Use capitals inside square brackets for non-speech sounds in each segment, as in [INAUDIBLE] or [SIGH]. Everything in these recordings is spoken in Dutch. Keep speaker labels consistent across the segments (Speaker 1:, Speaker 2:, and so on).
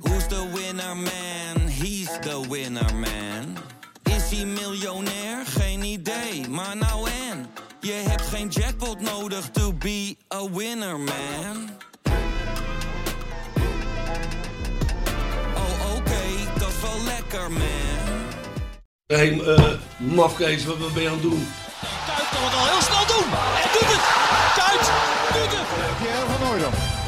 Speaker 1: Who's the winner man? He's the winner man. Is hij miljonair? Geen idee, maar nou en. Je hebt geen jackpot nodig to be a winner man. Oh oké, dat is wel lekker man.
Speaker 2: Hé, hey, eh, mafkees, wat, wat ben je aan het doen?
Speaker 3: Kuit kan het al heel snel doen. En doet het. Kuit doet het.
Speaker 4: Pierre van Hooydonk.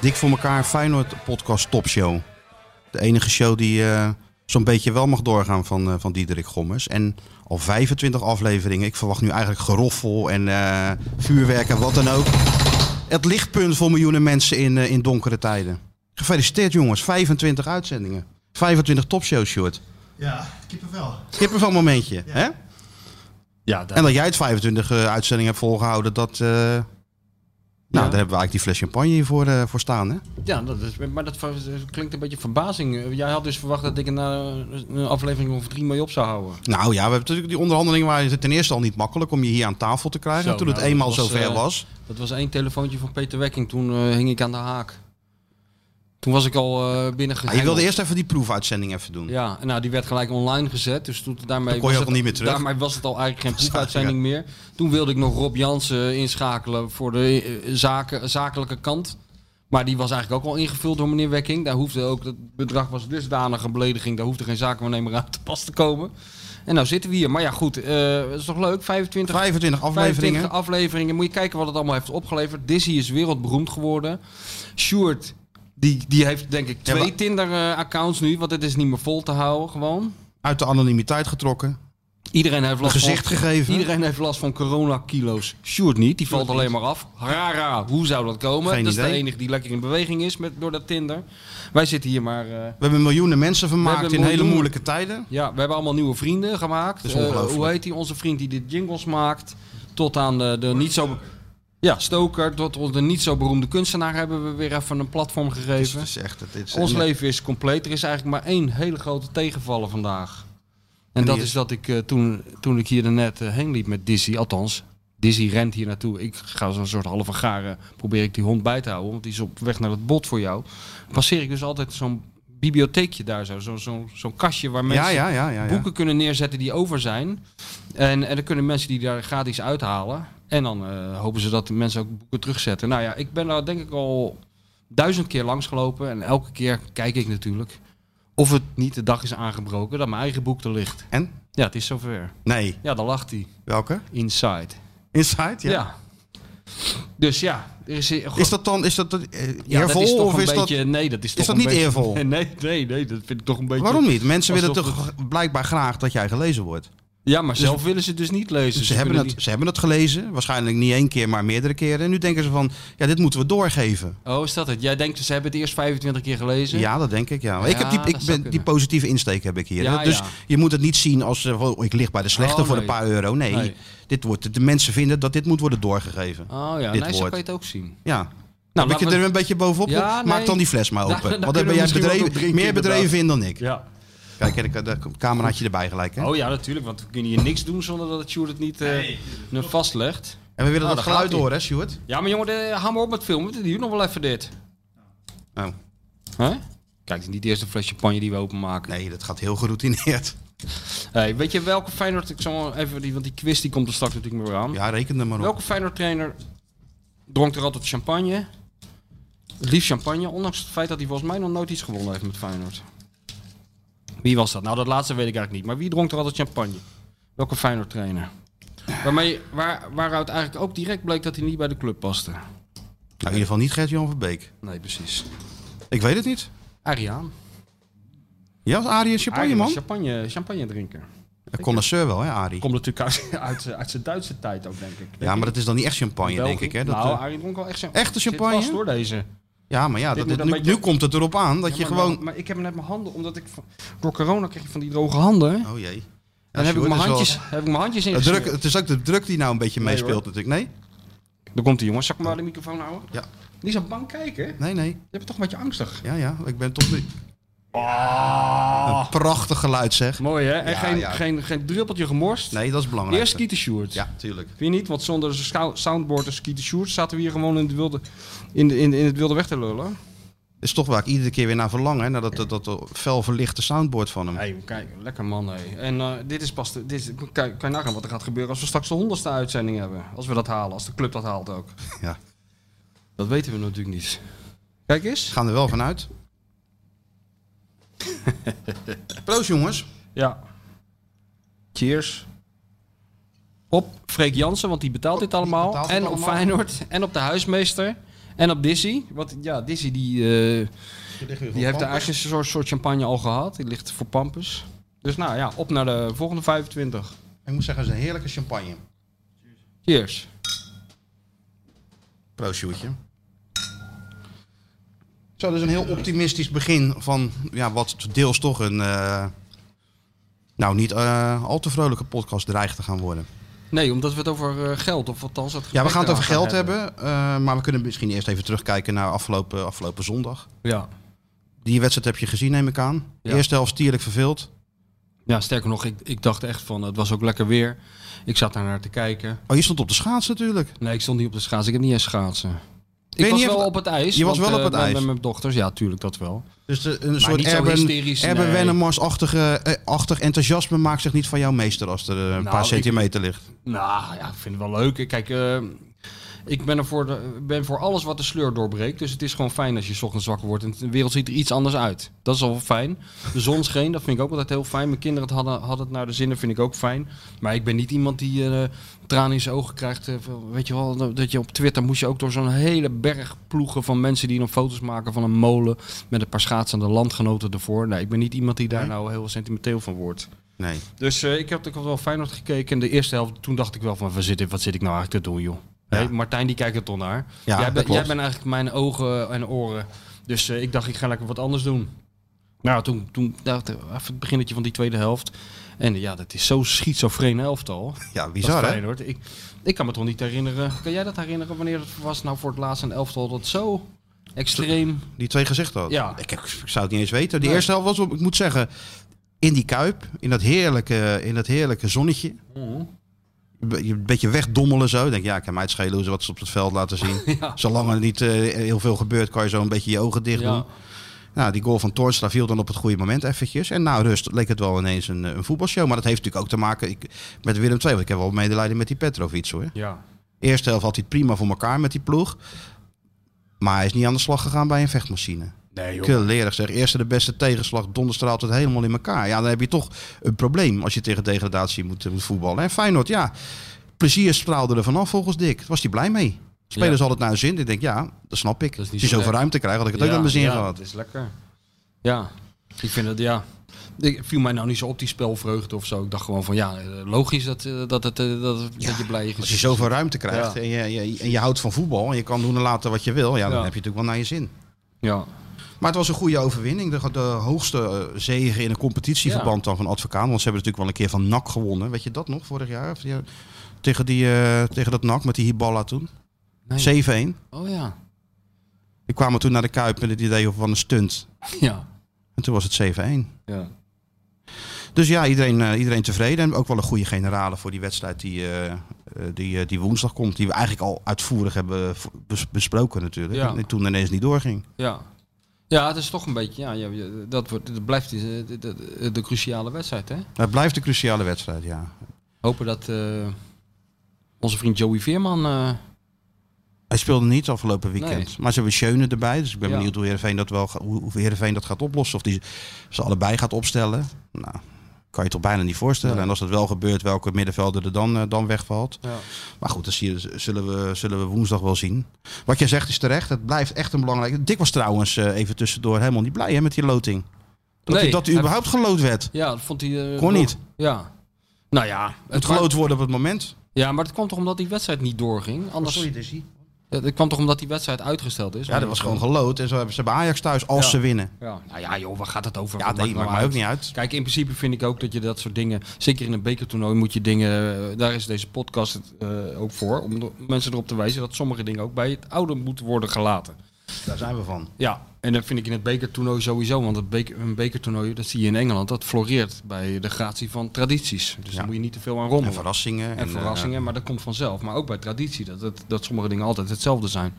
Speaker 5: Dik voor elkaar Feyenoord podcast topshow. De enige show die eh, zo'n beetje wel mag doorgaan van, eh, van Diederik Gommers. En al 25 afleveringen. Ik verwacht nu eigenlijk geroffel en eh, vuurwerk en wat dan ook. Het lichtpunt voor miljoenen mensen in, eh, in donkere tijden. Gefeliciteerd jongens, 25 uitzendingen. 25 topshows, Sjoerd.
Speaker 6: Ja, kippenvel.
Speaker 5: Kippenvel momentje,
Speaker 6: Ja.
Speaker 5: hè?
Speaker 6: Ja, dat,
Speaker 5: En dat jij het 25 eh, uitzendingen hebt volgehouden, dat... eh, Nou, daar hebben we eigenlijk die fles champagne hier voor, eh, voor staan, hè?
Speaker 7: Ja, dat is, maar dat ver- klinkt een beetje verbazing. Jij had dus verwacht dat ik een, eh, een aflevering of drie mee op zou houden.
Speaker 5: Nou ja, we hebben natuurlijk die onderhandelingen waren het ten eerste al niet makkelijk om je hier aan tafel te krijgen.
Speaker 7: Zo,
Speaker 5: En toen
Speaker 7: nou,
Speaker 5: het eenmaal
Speaker 7: dat was,
Speaker 5: zover
Speaker 7: eh,
Speaker 5: was.
Speaker 7: Dat was één telefoontje van Peter Wekking. Toen eh, hing ik aan de haak. Toen was ik al eh binnengegaan.
Speaker 5: Ah, je wilde eerst even die proefuitzending even doen.
Speaker 7: Ja, en nou, die werd gelijk online gezet. Dus toen, daarmee
Speaker 5: Toen kon je
Speaker 7: was
Speaker 5: ook
Speaker 7: het,
Speaker 5: niet meer terug.
Speaker 7: Daarmee was het al eigenlijk
Speaker 5: [LAUGHS]
Speaker 7: geen proefuitzending meer. Toen wilde ik nog Rob Jansen inschakelen voor de eh, zaken, zakelijke kant. Maar die was eigenlijk ook al ingevuld door meneer Wekking. Daar hoefde ook, het bedrag was dusdanig een belediging. Daar hoefde geen zakenwaarnemer aan te pas te komen. En nou zitten we hier. Maar ja, goed. eh, Het is toch leuk? 25
Speaker 5: 25 afleveringen.
Speaker 7: 25 afleveringen. Moet je kijken wat het allemaal heeft opgeleverd. Dizzy is wereldberoemd geworden. Sjoerd, die, die heeft denk ik twee
Speaker 5: maar-
Speaker 7: Tinder-accounts nu. Want het is niet meer vol te houden gewoon.
Speaker 5: Uit de anonimiteit getrokken.
Speaker 7: Iedereen heeft last
Speaker 5: gezicht
Speaker 7: van,
Speaker 5: gegeven.
Speaker 7: Iedereen heeft last van corona-kilo's. Sjoerd niet, die valt alleen maar af. Rara, hoe zou dat komen?
Speaker 5: Geen
Speaker 7: dat is de
Speaker 5: idee.
Speaker 7: enige die lekker in beweging is met, door dat Tinder. Wij zitten hier maar... eh,
Speaker 5: We hebben miljoenen mensen
Speaker 7: We
Speaker 5: vermaakt
Speaker 7: hebben
Speaker 5: in hele
Speaker 7: miljoenen-
Speaker 5: moeilijke tijden.
Speaker 7: ja, we hebben allemaal nieuwe vrienden gemaakt.
Speaker 5: Dat is
Speaker 7: Eh,
Speaker 5: ongelooflijk.
Speaker 7: hoe heet die? Onze vriend die de jingles maakt. Tot aan de, de niet zo... Ja, Stoker. Tot onze niet zo beroemde kunstenaar hebben we weer even een platform
Speaker 5: Dus
Speaker 7: gegeven.
Speaker 5: het is echt, het is,
Speaker 7: Ons
Speaker 5: en-
Speaker 7: leven is compleet. Er is eigenlijk maar één hele grote tegenvaller vandaag. En
Speaker 5: die
Speaker 7: dat
Speaker 5: is-
Speaker 7: is dat ik eh, toen, toen ik hier daarnet net heen liep met Dizzy, althans, Dizzy rent hier naartoe. Ik ga zo'n soort halve garen, probeer ik die hond bij te houden, want die is op weg naar het bot voor jou. Passeer ik dus altijd zo'n bibliotheekje daar, zo, zo, zo, zo'n kastje waar mensen
Speaker 5: Ja, ja, ja, ja. ja.
Speaker 7: boeken kunnen neerzetten die over zijn. En, en dan kunnen mensen die daar gratis uithalen. En dan eh, hopen ze dat de mensen ook boeken terugzetten. Nou ja, ik ben daar denk ik al duizend keer langs gelopen. En elke keer kijk ik natuurlijk of het niet de dag is aangebroken dat mijn eigen boek er ligt.
Speaker 5: En?
Speaker 7: Ja, het is zover.
Speaker 5: Nee.
Speaker 7: Ja, dan lacht hij.
Speaker 5: Welke?
Speaker 7: Inside.
Speaker 5: Inside?
Speaker 7: Ja.
Speaker 5: Ja.
Speaker 7: Dus ja, er is...
Speaker 5: Is dat dan, is dat eh, eervol
Speaker 7: ja, dat is toch
Speaker 5: of
Speaker 7: een
Speaker 5: is
Speaker 7: beetje, Nee, dat is toch
Speaker 5: dat
Speaker 7: een
Speaker 5: niet
Speaker 7: beetje-
Speaker 5: eervol?
Speaker 7: [LAUGHS] Nee, nee, nee, dat vind ik toch een
Speaker 5: dat...
Speaker 7: beetje...
Speaker 5: Waarom niet? Mensen willen
Speaker 7: Alsof
Speaker 5: toch blijkbaar graag dat jij gelezen wordt.
Speaker 7: Ja, maar zelf willen ze dus niet lezen.
Speaker 5: Ze hebben,
Speaker 7: kunnen
Speaker 5: het,
Speaker 7: die-
Speaker 5: ze hebben het gelezen, waarschijnlijk niet één keer, maar meerdere keren. En nu denken ze van, ja, dit moeten we doorgeven.
Speaker 7: Oh, is dat het? Jij denkt, ze hebben het eerst 25 keer gelezen?
Speaker 5: Ja, dat denk ik. Ja. Maar ik heb die,
Speaker 7: Ja, dat
Speaker 5: ik
Speaker 7: zou
Speaker 5: ben,
Speaker 7: kunnen.
Speaker 5: die positieve insteek heb ik hier.
Speaker 7: Ja,
Speaker 5: hè. dus
Speaker 7: ja.
Speaker 5: je moet het niet zien als eh, oh, ik lig bij de slechte
Speaker 7: Oh,
Speaker 5: voor een
Speaker 7: nee.
Speaker 5: paar euro. Nee,
Speaker 7: Nee.
Speaker 5: Dit wordt, de mensen vinden dat dit moet worden doorgegeven.
Speaker 7: Oh ja,
Speaker 5: Dit
Speaker 7: nee, zo
Speaker 5: woord.
Speaker 7: kan je het ook zien.
Speaker 5: Ja.
Speaker 7: Nou,
Speaker 5: Heb
Speaker 7: laten
Speaker 5: je
Speaker 7: we-
Speaker 5: er een beetje bovenop?
Speaker 7: Ja,
Speaker 5: Maak
Speaker 7: nee.
Speaker 5: dan die fles
Speaker 7: [LAUGHS]
Speaker 5: maar
Speaker 7: Nou,
Speaker 5: open.
Speaker 7: dan
Speaker 5: Want
Speaker 7: kunnen
Speaker 5: daar
Speaker 7: we
Speaker 5: ben jij
Speaker 7: misschien wel
Speaker 5: bedreven,
Speaker 7: nog drinken,
Speaker 5: meer bedreven in dan ik.
Speaker 7: Ja.
Speaker 5: Kijk, en ik de cameraatje erbij gelijk. Hè?
Speaker 7: Oh ja, natuurlijk, want we kunnen hier niks doen zonder dat het Sjoerd het niet eh, vastlegt.
Speaker 5: En we willen dat
Speaker 7: Nou, daar
Speaker 5: geluid
Speaker 7: gaat-ie.
Speaker 5: horen, hè, Stuart?
Speaker 7: Ja, maar jongen, de, hou maar op met filmen. Het duurt nog wel even dit.
Speaker 5: Oh,
Speaker 7: Hè? Kijk, het is niet de eerste fles champagne die we openmaken.
Speaker 5: nee, dat gaat heel geroutineerd.
Speaker 7: Hey, weet je welke Feyenoord... Ik zal even... Die, want die quiz die komt er straks natuurlijk meer aan.
Speaker 5: Ja, reken er maar op.
Speaker 7: Welke Feyenoord trainer dronk er altijd champagne? Het liefst champagne, ondanks het feit dat hij volgens mij nog nooit iets gewonnen heeft met Feyenoord. Wie was dat? Nou, dat laatste weet ik eigenlijk niet. Maar wie dronk er altijd champagne? Welke Feyenoord trainer? Waarmee, waar, waaruit eigenlijk ook direct bleek dat hij niet bij de club paste.
Speaker 5: Nou, in ieder geval niet Gert-Jan van Beek.
Speaker 7: Nee, precies.
Speaker 5: Ik weet het niet.
Speaker 7: Ariaan.
Speaker 5: Jij was Arie een champagne,
Speaker 7: Ariaan was
Speaker 5: man?
Speaker 7: champagne, champagne drinker.
Speaker 5: Een connoisseur wel, hè, Arie?
Speaker 7: Komt natuurlijk uit, uit, uit zijn Duitse tijd ook, denk ik.
Speaker 5: Ja, maar dat is dan niet echt champagne, denk ik, hè? Dat,
Speaker 7: nou,
Speaker 5: eh,
Speaker 7: Arie dronk wel echt champagne.
Speaker 5: Echte
Speaker 7: Zit
Speaker 5: champagne?
Speaker 7: vast, hoor, deze.
Speaker 5: Ja, maar ja,
Speaker 7: Dit
Speaker 5: dat,
Speaker 7: moet
Speaker 5: nu,
Speaker 7: een beetje-
Speaker 5: nu komt het erop aan dat
Speaker 7: Ja,
Speaker 5: je
Speaker 7: maar-
Speaker 5: gewoon...
Speaker 7: Maar, maar ik heb net mijn handen, omdat ik van- door corona kreeg je van die droge handen. En
Speaker 5: Oh jee.
Speaker 7: dan heb, ik
Speaker 5: Sjoerd,
Speaker 7: mijn
Speaker 5: dat is wel-
Speaker 7: handjes, heb ik mijn handjes
Speaker 5: De druk,
Speaker 7: ingesmeerd.
Speaker 5: het is ook de druk die nou een beetje
Speaker 7: Nee,
Speaker 5: meespeelt
Speaker 7: hoor.
Speaker 5: natuurlijk. Nee?
Speaker 7: Daar komt die jongens. Zal ik maar de microfoon houden?
Speaker 5: Ja.
Speaker 7: Die is aan bang kijken. hè? Je
Speaker 5: Nee, nee.
Speaker 7: bent toch een beetje angstig.
Speaker 5: Ja, ja. Ik ben toch... niet-
Speaker 7: Ah.
Speaker 5: Een prachtig geluid zeg.
Speaker 7: Mooi hè? En
Speaker 5: Ja,
Speaker 7: geen,
Speaker 5: ja.
Speaker 7: Geen, geen druppeltje gemorst.
Speaker 5: Nee, dat is belangrijk.
Speaker 7: Eerst Skeeter Sjoerd.
Speaker 5: Ja, tuurlijk.
Speaker 7: Vind je niet? Want zonder scho- soundboard en Skeeter Sjoerd zaten we hier gewoon in, de wilde, in, de, in, in het wilde weg te lullen.
Speaker 5: is toch waar ik iedere keer weer naar verlang, hè? Naar dat, dat, dat fel verlichte soundboard van hem.
Speaker 7: Hey, kijk, lekker man hé. En eh, dit is pas... De, dit is, kijk, kan je nagaan wat er gaat gebeuren als we straks de honderdste uitzending hebben. Als we dat halen. Als de club dat haalt ook.
Speaker 5: Ja.
Speaker 7: Dat weten we natuurlijk niet. Kijk eens.
Speaker 5: Gaan er wel
Speaker 7: [LAUGHS]
Speaker 5: vanuit. Proost, jongens.
Speaker 7: Ja. Cheers. Op Freek Jansen, want die betaalt dit allemaal.
Speaker 5: betaalt het
Speaker 7: en op
Speaker 5: allemaal.
Speaker 7: Feyenoord. En op de huismeester. En op Dizzy. Want ja, Dizzy die, eh, die heeft daar eigenlijk een soort, soort champagne al gehad. Die ligt voor Pampus. Dus nou ja, op naar de volgende 25.
Speaker 5: Ik moet zeggen, het is een heerlijke champagne.
Speaker 7: Cheers.
Speaker 5: Proost, Sjoerdje. Zo, dus een heel optimistisch begin van ja, wat deels toch een... eh, nou, niet eh, al te vrolijke podcast dreigt te gaan worden.
Speaker 7: Nee, omdat we het over eh, geld, of althans het
Speaker 5: Ja, we
Speaker 7: gesprek
Speaker 5: gaan het over
Speaker 7: eraan
Speaker 5: geld hebben. eh, maar we kunnen misschien eerst even terugkijken naar afgelopen, afgelopen zondag.
Speaker 7: Ja.
Speaker 5: Die wedstrijd heb je gezien, neem ik aan.
Speaker 7: Ja.
Speaker 5: Eerste helft tierlijk verveeld.
Speaker 7: ja, sterker nog, ik, ik dacht echt van, het was ook lekker weer. Ik zat daar naar te kijken.
Speaker 5: Oh, je stond op de schaats natuurlijk.
Speaker 7: Nee, ik stond niet op de schaatsen. Ik heb niet eens schaatsen.
Speaker 5: je
Speaker 7: Ik was
Speaker 5: niet
Speaker 7: wel
Speaker 5: even-
Speaker 7: op het ijs.
Speaker 5: Je was
Speaker 7: want,
Speaker 5: wel op
Speaker 7: eh,
Speaker 5: het
Speaker 7: met-
Speaker 5: ijs.
Speaker 7: Met mijn dochters, ja, tuurlijk, dat wel.
Speaker 5: Dus de- een soort
Speaker 7: niet zo
Speaker 5: Erben,
Speaker 7: hysterisch,
Speaker 5: Erben
Speaker 7: nee.
Speaker 5: Wennemars-achtige eh, achtig enthousiasme maakt zich niet van jou meester als er eh, een
Speaker 7: Nou,
Speaker 5: paar
Speaker 7: ik-
Speaker 5: centimeter ligt.
Speaker 7: Nou ja, ik vind het wel leuk. Kijk, eh, ik ben, er voor de, ben voor alles wat de sleur doorbreekt. Dus het is gewoon fijn als je 's ochtends wakker wordt en de wereld ziet er iets anders uit. Dat is al fijn. De zon scheen, dat vind ik ook altijd heel fijn. Mijn kinderen het hadden, hadden het naar de zin, dat vind ik ook fijn. Maar ik ben niet iemand die eh, tranen in zijn ogen krijgt. eh, van- weet je wel, dat je op Twitter moest je ook door zo'n hele berg ploegen van mensen die dan foto's maken van een molen met een paar schaatsende landgenoten ervoor. Nee, ik ben niet iemand die daar nou heel sentimenteel van wordt.
Speaker 5: Nee.
Speaker 7: Dus eh, ik heb ook wel Feyenoord gekeken. En de eerste helft, toen dacht ik wel van, wat zit ik, wat zit ik nou eigenlijk te doen, joh?
Speaker 5: Ja.
Speaker 7: Hé, Martijn, die kijkt er toch naar.
Speaker 5: Ja,
Speaker 7: jij,
Speaker 5: dat
Speaker 7: bent,
Speaker 5: klopt.
Speaker 7: jij bent eigenlijk mijn ogen en oren. Dus eh, ik dacht, ik ga lekker wat anders doen. Nou, toen, toen dacht ik, even het beginnetje van die tweede helft. En eh, ja, dat is zo schizofreen helftal.
Speaker 5: Ja,
Speaker 7: Dat
Speaker 5: bizar hè?
Speaker 7: Feyenoord. Ik, ik kan me toch niet herinneren. Kan jij dat herinneren? Wanneer het was nou voor het laatst een elftal dat zo extreem...
Speaker 5: Die twee gezichten had.
Speaker 7: Ja.
Speaker 5: Ik, heb- ik zou het niet eens weten. Die
Speaker 7: Nee.
Speaker 5: eerste helft was, op- ik moet zeggen, in die kuip, in dat heerlijke, in dat heerlijke zonnetje.
Speaker 7: Mhm.
Speaker 5: Een be- Een beetje wegdommelen zo. Ik Denk ja, ik kan mij het schelen hoe ze wat ze op het veld laten zien.
Speaker 7: [LAUGHS] Ja.
Speaker 5: Zolang er niet eh, heel veel gebeurt, kan je zo een beetje je ogen dicht doen.
Speaker 7: Ja.
Speaker 5: Nou, die goal van Toornstra viel dan op het goede moment eventjes. En nou, rust leek het wel ineens een, eh, een voetbalshow. Maar dat heeft natuurlijk ook te maken ik, met Willem II. Want ik heb wel medelijden met die Petrovic hoor.
Speaker 7: ja.
Speaker 5: Eerste helft had hij het prima voor elkaar met die ploeg. Maar hij is niet aan de slag gegaan bij een vechtmachine.
Speaker 7: Nee, joh.
Speaker 5: Kleurig zeg. Eerste de beste tegenslag. Donderstraalt het helemaal in elkaar. Ja, dan heb je toch een probleem als je tegen degradatie moet, eh, moet voetballen. En Feyenoord, ja. Plezier straalde er vanaf volgens Dick. Daar Was hij blij mee. Spelers
Speaker 7: Ja.
Speaker 5: hadden het naar hun zin. Ik denk, ja, dat snap ik.
Speaker 7: Dat is niet
Speaker 5: Als je
Speaker 7: zo
Speaker 5: zoveel
Speaker 7: gek.
Speaker 5: ruimte krijgt, had ik het ook naar mijn zin
Speaker 7: ja,
Speaker 5: gehad.
Speaker 7: Het is lekker. Ja, ik vind het, ja. Ik viel mij nou niet zo op die spelvreugde of zo. Ik dacht gewoon van ja, eh, logisch dat, eh, dat, het, eh, dat, dat je blij
Speaker 5: Als je
Speaker 7: is.
Speaker 5: zoveel ruimte krijgt
Speaker 7: Ja.
Speaker 5: en, je, je- en je houdt van voetbal en je kan doen en laten wat je wil, ja, dan
Speaker 7: Ja.
Speaker 5: heb je het natuurlijk wel naar je zin.
Speaker 7: Ja,
Speaker 5: Maar het was een goede overwinning. De, de hoogste eh, zege in een competitieverband dan van Advocaan. Want ze hebben natuurlijk wel een keer van NAC gewonnen. Weet je dat nog, vorig jaar? Of die- eh, tegen, die, eh, tegen dat NAC met die Hiballa toen.
Speaker 7: Nee.
Speaker 5: 7-1.
Speaker 7: oh ja. [LAUGHS]
Speaker 5: Die kwamen toen naar de Kuip met het idee van een stunt.
Speaker 7: Ja,
Speaker 5: En toen was het 7-1.
Speaker 7: ja.
Speaker 5: Dus ja, iedereen, eh, iedereen tevreden. En ook wel een goede generale voor die wedstrijd die, eh, eh, die, eh, die woensdag komt. Die we eigenlijk al uitvoerig hebben v- bes- besproken natuurlijk.
Speaker 7: Ja.
Speaker 5: En toen ineens niet doorging.
Speaker 7: ja. Ja, het is toch een beetje, ja, ja, ja, dat, wordt, dat blijft eh, de, de, de cruciale wedstrijd hè.
Speaker 5: Maar het blijft een cruciale wedstrijd, ja.
Speaker 7: Hopen dat eh, onze vriend Joey Veerman, eh,
Speaker 5: Hij speelde niet afgelopen weekend.
Speaker 7: Nee.
Speaker 5: Maar ze hebben Schöne erbij. Dus ik ben
Speaker 7: Ja.
Speaker 5: benieuwd hoe Heerenveen, dat wel, ga- hoe hoe Heerenveen dat gaat oplossen. Of die ze allebei gaat opstellen. Nou, kan je toch bijna niet voorstellen.
Speaker 7: Nee.
Speaker 5: En als dat wel gebeurt, welke middenvelder er dan, eh, dan wegvalt.
Speaker 7: Ja.
Speaker 5: Maar goed, dat zie je- zullen we, zullen we woensdag wel zien. Wat jij zegt is terecht. Het blijft echt een belangrijke... Dick was trouwens eh, even tussendoor helemaal niet blij hè, met die loting. Dat
Speaker 7: Nee,
Speaker 5: hij, dat hij
Speaker 7: hij-
Speaker 5: überhaupt geloot werd.
Speaker 7: ja, dat vond hij... eh,
Speaker 5: Kon
Speaker 7: nog-
Speaker 5: niet.
Speaker 7: Ja. Nou ja,
Speaker 5: Het
Speaker 7: wa-
Speaker 5: geloot worden op het moment.
Speaker 7: Ja, maar dat kwam toch omdat die wedstrijd niet doorging. Anders,
Speaker 5: Dizzy.
Speaker 7: Dat, dat kwam toch omdat die wedstrijd uitgesteld is?
Speaker 5: Ja, dat was gewoon gelood. En zo hebben ze bij Ajax thuis als
Speaker 7: Ja.
Speaker 5: ze winnen.
Speaker 7: Ja, nou ja, joh, waar gaat het over?
Speaker 5: Ja,
Speaker 7: Wat
Speaker 5: nee,
Speaker 7: maakt
Speaker 5: maakt
Speaker 7: nou
Speaker 5: mij ook
Speaker 7: uit?
Speaker 5: niet uit.
Speaker 7: Kijk, in principe vind ik ook dat je dat soort dingen, zeker in een bekertoernooi, moet je dingen. eh, Daar is deze podcast eh, ook voor. Om de- mensen erop te wijzen dat sommige dingen ook bij het oude moeten worden gelaten.
Speaker 5: Daar zijn we van.
Speaker 7: Ja, en dat vind ik in het bekertoernooi sowieso. Want het beker, een bekertoernooi, dat zie je in Engeland, dat floreert bij de gratie van tradities. Dus
Speaker 5: Ja.
Speaker 7: daar moet je niet te veel aan rommelen.
Speaker 5: En verrassingen.
Speaker 7: En verrassingen,
Speaker 5: eh,
Speaker 7: maar dat komt vanzelf. Maar ook bij traditie, dat, dat, dat sommige dingen altijd hetzelfde zijn.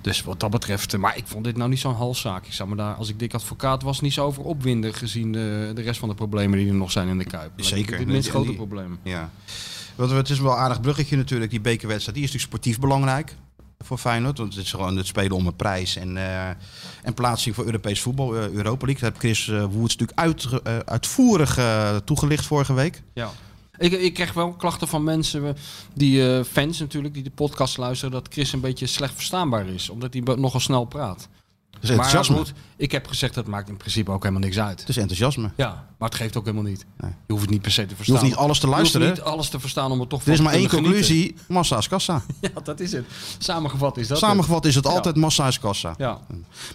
Speaker 7: Dus wat dat betreft, eh, maar ik vond dit nou niet zo'n halszaak. Ik zou me daar, als ik dik advocaat was, niet zo over opwinden gezien de, de rest van de problemen die er nog zijn in de Kuip. Maar
Speaker 5: Zeker.
Speaker 7: Dit is het minst
Speaker 5: En
Speaker 7: grote
Speaker 5: die-
Speaker 7: probleem.
Speaker 5: Ja. Want het is wel een aardig bruggetje natuurlijk, die bekerwedstrijd. Die is natuurlijk sportief belangrijk voor Feyenoord. Want het is gewoon het spelen om een prijs en, eh, en plaatsing voor Europees voetbal, eh, Europa League. Daar heb Chris eh, Woerts natuurlijk uitge- eh, uitvoerig eh, toegelicht vorige week.
Speaker 7: Ja. Ik, ik kreeg wel klachten van mensen, eh, die eh, fans natuurlijk, die de podcast luisteren, dat Chris een beetje slecht verstaanbaar is. Omdat hij be- nogal snel praat.
Speaker 5: Het is
Speaker 7: Maar
Speaker 5: enthousiasme.
Speaker 7: goed, ik heb gezegd, dat maakt in principe ook helemaal niks uit.
Speaker 5: Het is enthousiasme.
Speaker 7: Ja, maar het geeft ook helemaal niet.
Speaker 5: Nee.
Speaker 7: Je hoeft het niet per se te
Speaker 5: Je
Speaker 7: verstaan.
Speaker 5: hoeft niet alles te luisteren.
Speaker 7: Je hoeft niet alles te verstaan om er toch
Speaker 5: Er
Speaker 7: van
Speaker 5: is
Speaker 7: te
Speaker 5: maar één
Speaker 7: kunnen genieten.
Speaker 5: conclusie. Massa is kassa.
Speaker 7: [LAUGHS] Ja, dat is het. Samengevat is dat het.
Speaker 5: Samengevat is het altijd massa is kassa.
Speaker 7: Ja.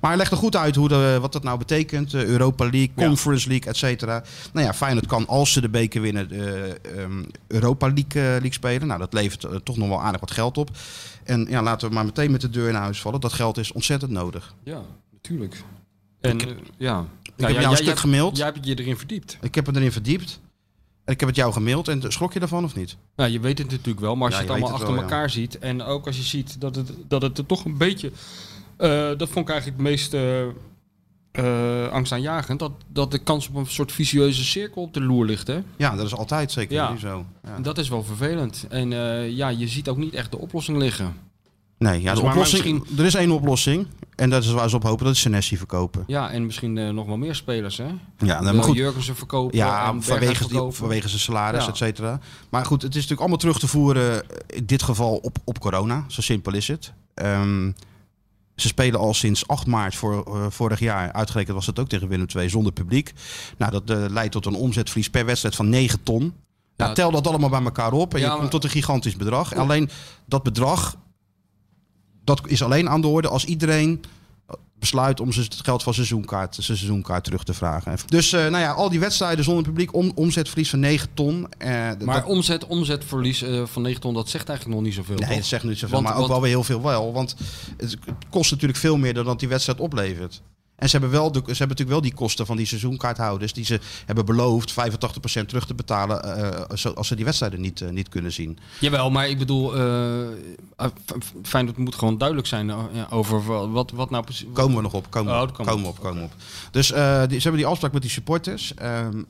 Speaker 5: Maar hij legde goed uit hoe de, wat dat nou betekent. Eh, Europa League, Conference League, et cetera. Nou ja, Feyenoord kan als ze de beker winnen eh, ehm, Europa League, eh, League spelen. Nou, dat levert eh, toch nog wel aardig wat geld op. En ja, laten we maar meteen met de deur naar huis vallen. Dat geld is ontzettend nodig.
Speaker 7: ja, natuurlijk. En eh, ja. Ik
Speaker 5: jou een stuk gemaild.
Speaker 7: Jij hebt je erin verdiept.
Speaker 5: Ik heb me erin verdiept. En ik heb het jou gemaild. En schrok je daarvan of niet?
Speaker 7: Nou, je weet het natuurlijk wel, maar als
Speaker 5: Ja,
Speaker 7: je het
Speaker 5: je weet
Speaker 7: allemaal
Speaker 5: het
Speaker 7: achter
Speaker 5: wel, ja.
Speaker 7: elkaar ziet. En ook als je ziet dat het, dat het er toch een beetje. eh, dat vond ik eigenlijk het meest eh, eh, angstaanjagend. Dat, dat de kans op een soort vicieuze cirkel op de loer ligt. Hè?
Speaker 5: Ja, dat is altijd zeker
Speaker 7: Ja.
Speaker 5: niet zo. Ja.
Speaker 7: En dat is wel vervelend. En eh, ja, je ziet ook niet echt de oplossing liggen.
Speaker 5: Nee, ja, de
Speaker 7: maar- maar
Speaker 5: oplossing, er is één oplossing. En dat is waar ze op hopen. Dat is Senesi verkopen.
Speaker 7: Ja, en misschien eh, nog wel meer spelers. Hè?
Speaker 5: Ja, nou, maar
Speaker 7: Eh,
Speaker 5: goed.
Speaker 7: Jurgensen verkopen.
Speaker 5: Ja,
Speaker 7: en Berghuis
Speaker 5: vanwege, die,
Speaker 7: verkopen.
Speaker 5: vanwege zijn salaris,
Speaker 7: Ja.
Speaker 5: et cetera. Maar goed, het is natuurlijk allemaal terug te voeren, eh, in dit geval op, op corona. Zo simpel is het. Ehm, ze spelen al sinds 8 maart voor, eh, vorig jaar, uitgerekend was het ook tegen Willem II, zonder publiek. Nou, dat eh, leidt tot een omzetverlies per wedstrijd van 9 ton. Nou,
Speaker 7: Ja,
Speaker 5: tel dat allemaal bij elkaar op en
Speaker 7: Ja,
Speaker 5: je komt
Speaker 7: maar-
Speaker 5: tot een gigantisch bedrag. En alleen dat bedrag, dat is alleen aan de orde als iedereen besluit om ze- het geld van seizoenkaart, zijn seizoenkaart terug te vragen. Dus eh, nou ja, al die wedstrijden zonder publiek, om, omzetverlies van 9 ton. Eh, d-
Speaker 7: Maar
Speaker 5: dat,
Speaker 7: omzet, omzetverlies eh, van 9 ton, dat zegt eigenlijk nog niet zoveel.
Speaker 5: nee,
Speaker 7: toch?
Speaker 5: dat zegt niet zoveel,
Speaker 7: Want-
Speaker 5: maar ook
Speaker 7: want-
Speaker 5: wel weer heel veel wel. Want het het kost natuurlijk veel meer dan dat die wedstrijd oplevert. En ze hebben, wel de, ze hebben natuurlijk wel die kosten van die seizoenkaarthouders... die ze hebben beloofd 85% terug te betalen... eh, zo- als ze die wedstrijden niet, eh, niet kunnen zien.
Speaker 7: Jawel, maar ik bedoel, eh eh, f- fijn dat moet gewoon duidelijk zijn eh, ja, over wa- wat, wat nou precies.
Speaker 5: Komen we nog op, komen, we
Speaker 7: Oh,
Speaker 5: op,
Speaker 7: dat
Speaker 5: komen,
Speaker 7: komen
Speaker 5: we op, komen we op. Dus eh, die, ze hebben die afspraak met die supporters. Ehm,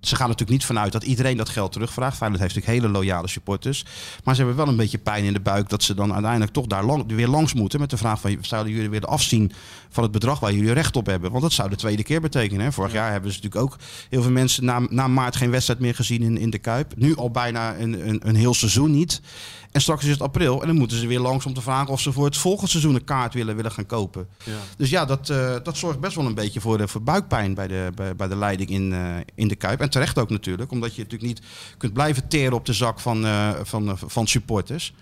Speaker 5: ze gaan natuurlijk niet vanuit dat iedereen dat geld terugvraagt. Feyenoord heeft natuurlijk hele loyale supporters. Maar ze hebben wel een beetje pijn in de buik dat ze dan uiteindelijk toch daar lang, weer langs moeten. Met de vraag van, zouden jullie willen afzien van het bedrag waar jullie recht op hebben? Want dat zou de tweede keer betekenen. Hè? Vorig jaar hebben ze natuurlijk ook heel veel mensen na, na maart geen wedstrijd meer gezien in, in de Kuip. Nu al bijna een, een, een heel seizoen niet. En straks is het april en dan moeten ze weer langs om te vragen of ze voor het volgende seizoen een kaart willen, willen gaan kopen. Dus ja, dat, eh, dat zorgt best wel een beetje voor, de, voor buikpijn bij de, bij, bij de leiding in, eh, in de Kuip. En terecht ook natuurlijk, omdat je natuurlijk niet kunt blijven teren op de zak van, eh, van, eh, van supporters.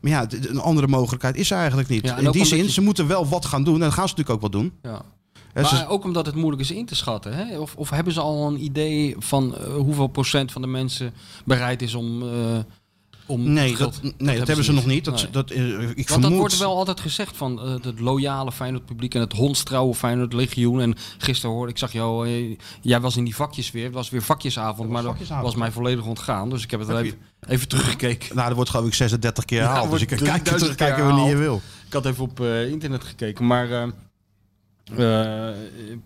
Speaker 5: Maar ja, d- d- een andere mogelijkheid is er eigenlijk niet.
Speaker 7: Ja, en
Speaker 5: in
Speaker 7: ook
Speaker 5: die
Speaker 7: omdat
Speaker 5: zin,
Speaker 7: je-
Speaker 5: ze moeten wel wat gaan doen. En dat gaan ze natuurlijk ook wel doen.
Speaker 7: Ja.
Speaker 5: Hè, ze-
Speaker 7: Maar eh, ook omdat het moeilijk is in te schatten. Hè? Of, of hebben ze al een idee van eh, hoeveel procent van de mensen bereid is om. eh, om
Speaker 5: nee,
Speaker 7: het
Speaker 5: dat,
Speaker 7: geld-
Speaker 5: nee, dat, hebben ze nog niet. Dat,
Speaker 7: Nee.
Speaker 5: dat, eh, ik
Speaker 7: Want dat
Speaker 5: vermoed...
Speaker 7: wordt wel altijd gezegd van eh, het loyale Feyenoord publiek en het hondstrouwe Feyenoord legioen. En gisteren hoorde ik, zag jou, eh, jij was in die vakjes weer. Het was weer
Speaker 5: was
Speaker 7: vakjesavond, maar
Speaker 5: vakjesavond.
Speaker 7: dat was mij volledig ontgaan. Dus ik heb het
Speaker 5: Heb je-
Speaker 7: even, even teruggekeken.
Speaker 5: Nou, dat wordt gewoon ik 36 keer
Speaker 7: Ja,
Speaker 5: herhaald. dus
Speaker 7: wordt
Speaker 5: je kan kijken,
Speaker 7: 3000 keer
Speaker 5: terugkijken wanneer je wil.
Speaker 7: Ik had even op eh, internet gekeken, maar eh eh,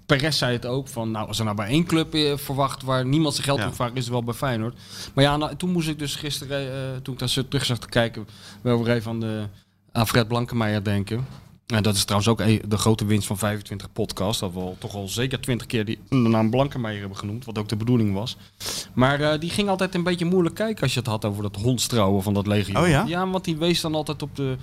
Speaker 7: Perez zei het ook van, nou als er nou bij één club eh, verwacht waar niemand zijn geld
Speaker 5: Ja.
Speaker 7: om vraagt, is het wel bij Feyenoord. Maar ja, nou, toen moest ik dus gisteren, eh, toen ik daar zo terug zag te kijken, wel weer even aan, de, aan Fred Blankenmeijer denken. En dat is trouwens ook e- de grote winst van 25 podcast, dat we al, toch al zeker 20 keer die, de naam Blankenmeijer hebben genoemd, wat ook de bedoeling was. Maar eh, die ging altijd een beetje moeilijk kijken als je het had over dat hondstrouwen van dat legio.
Speaker 5: Oh ja?
Speaker 7: Ja, want die wees dan altijd op de...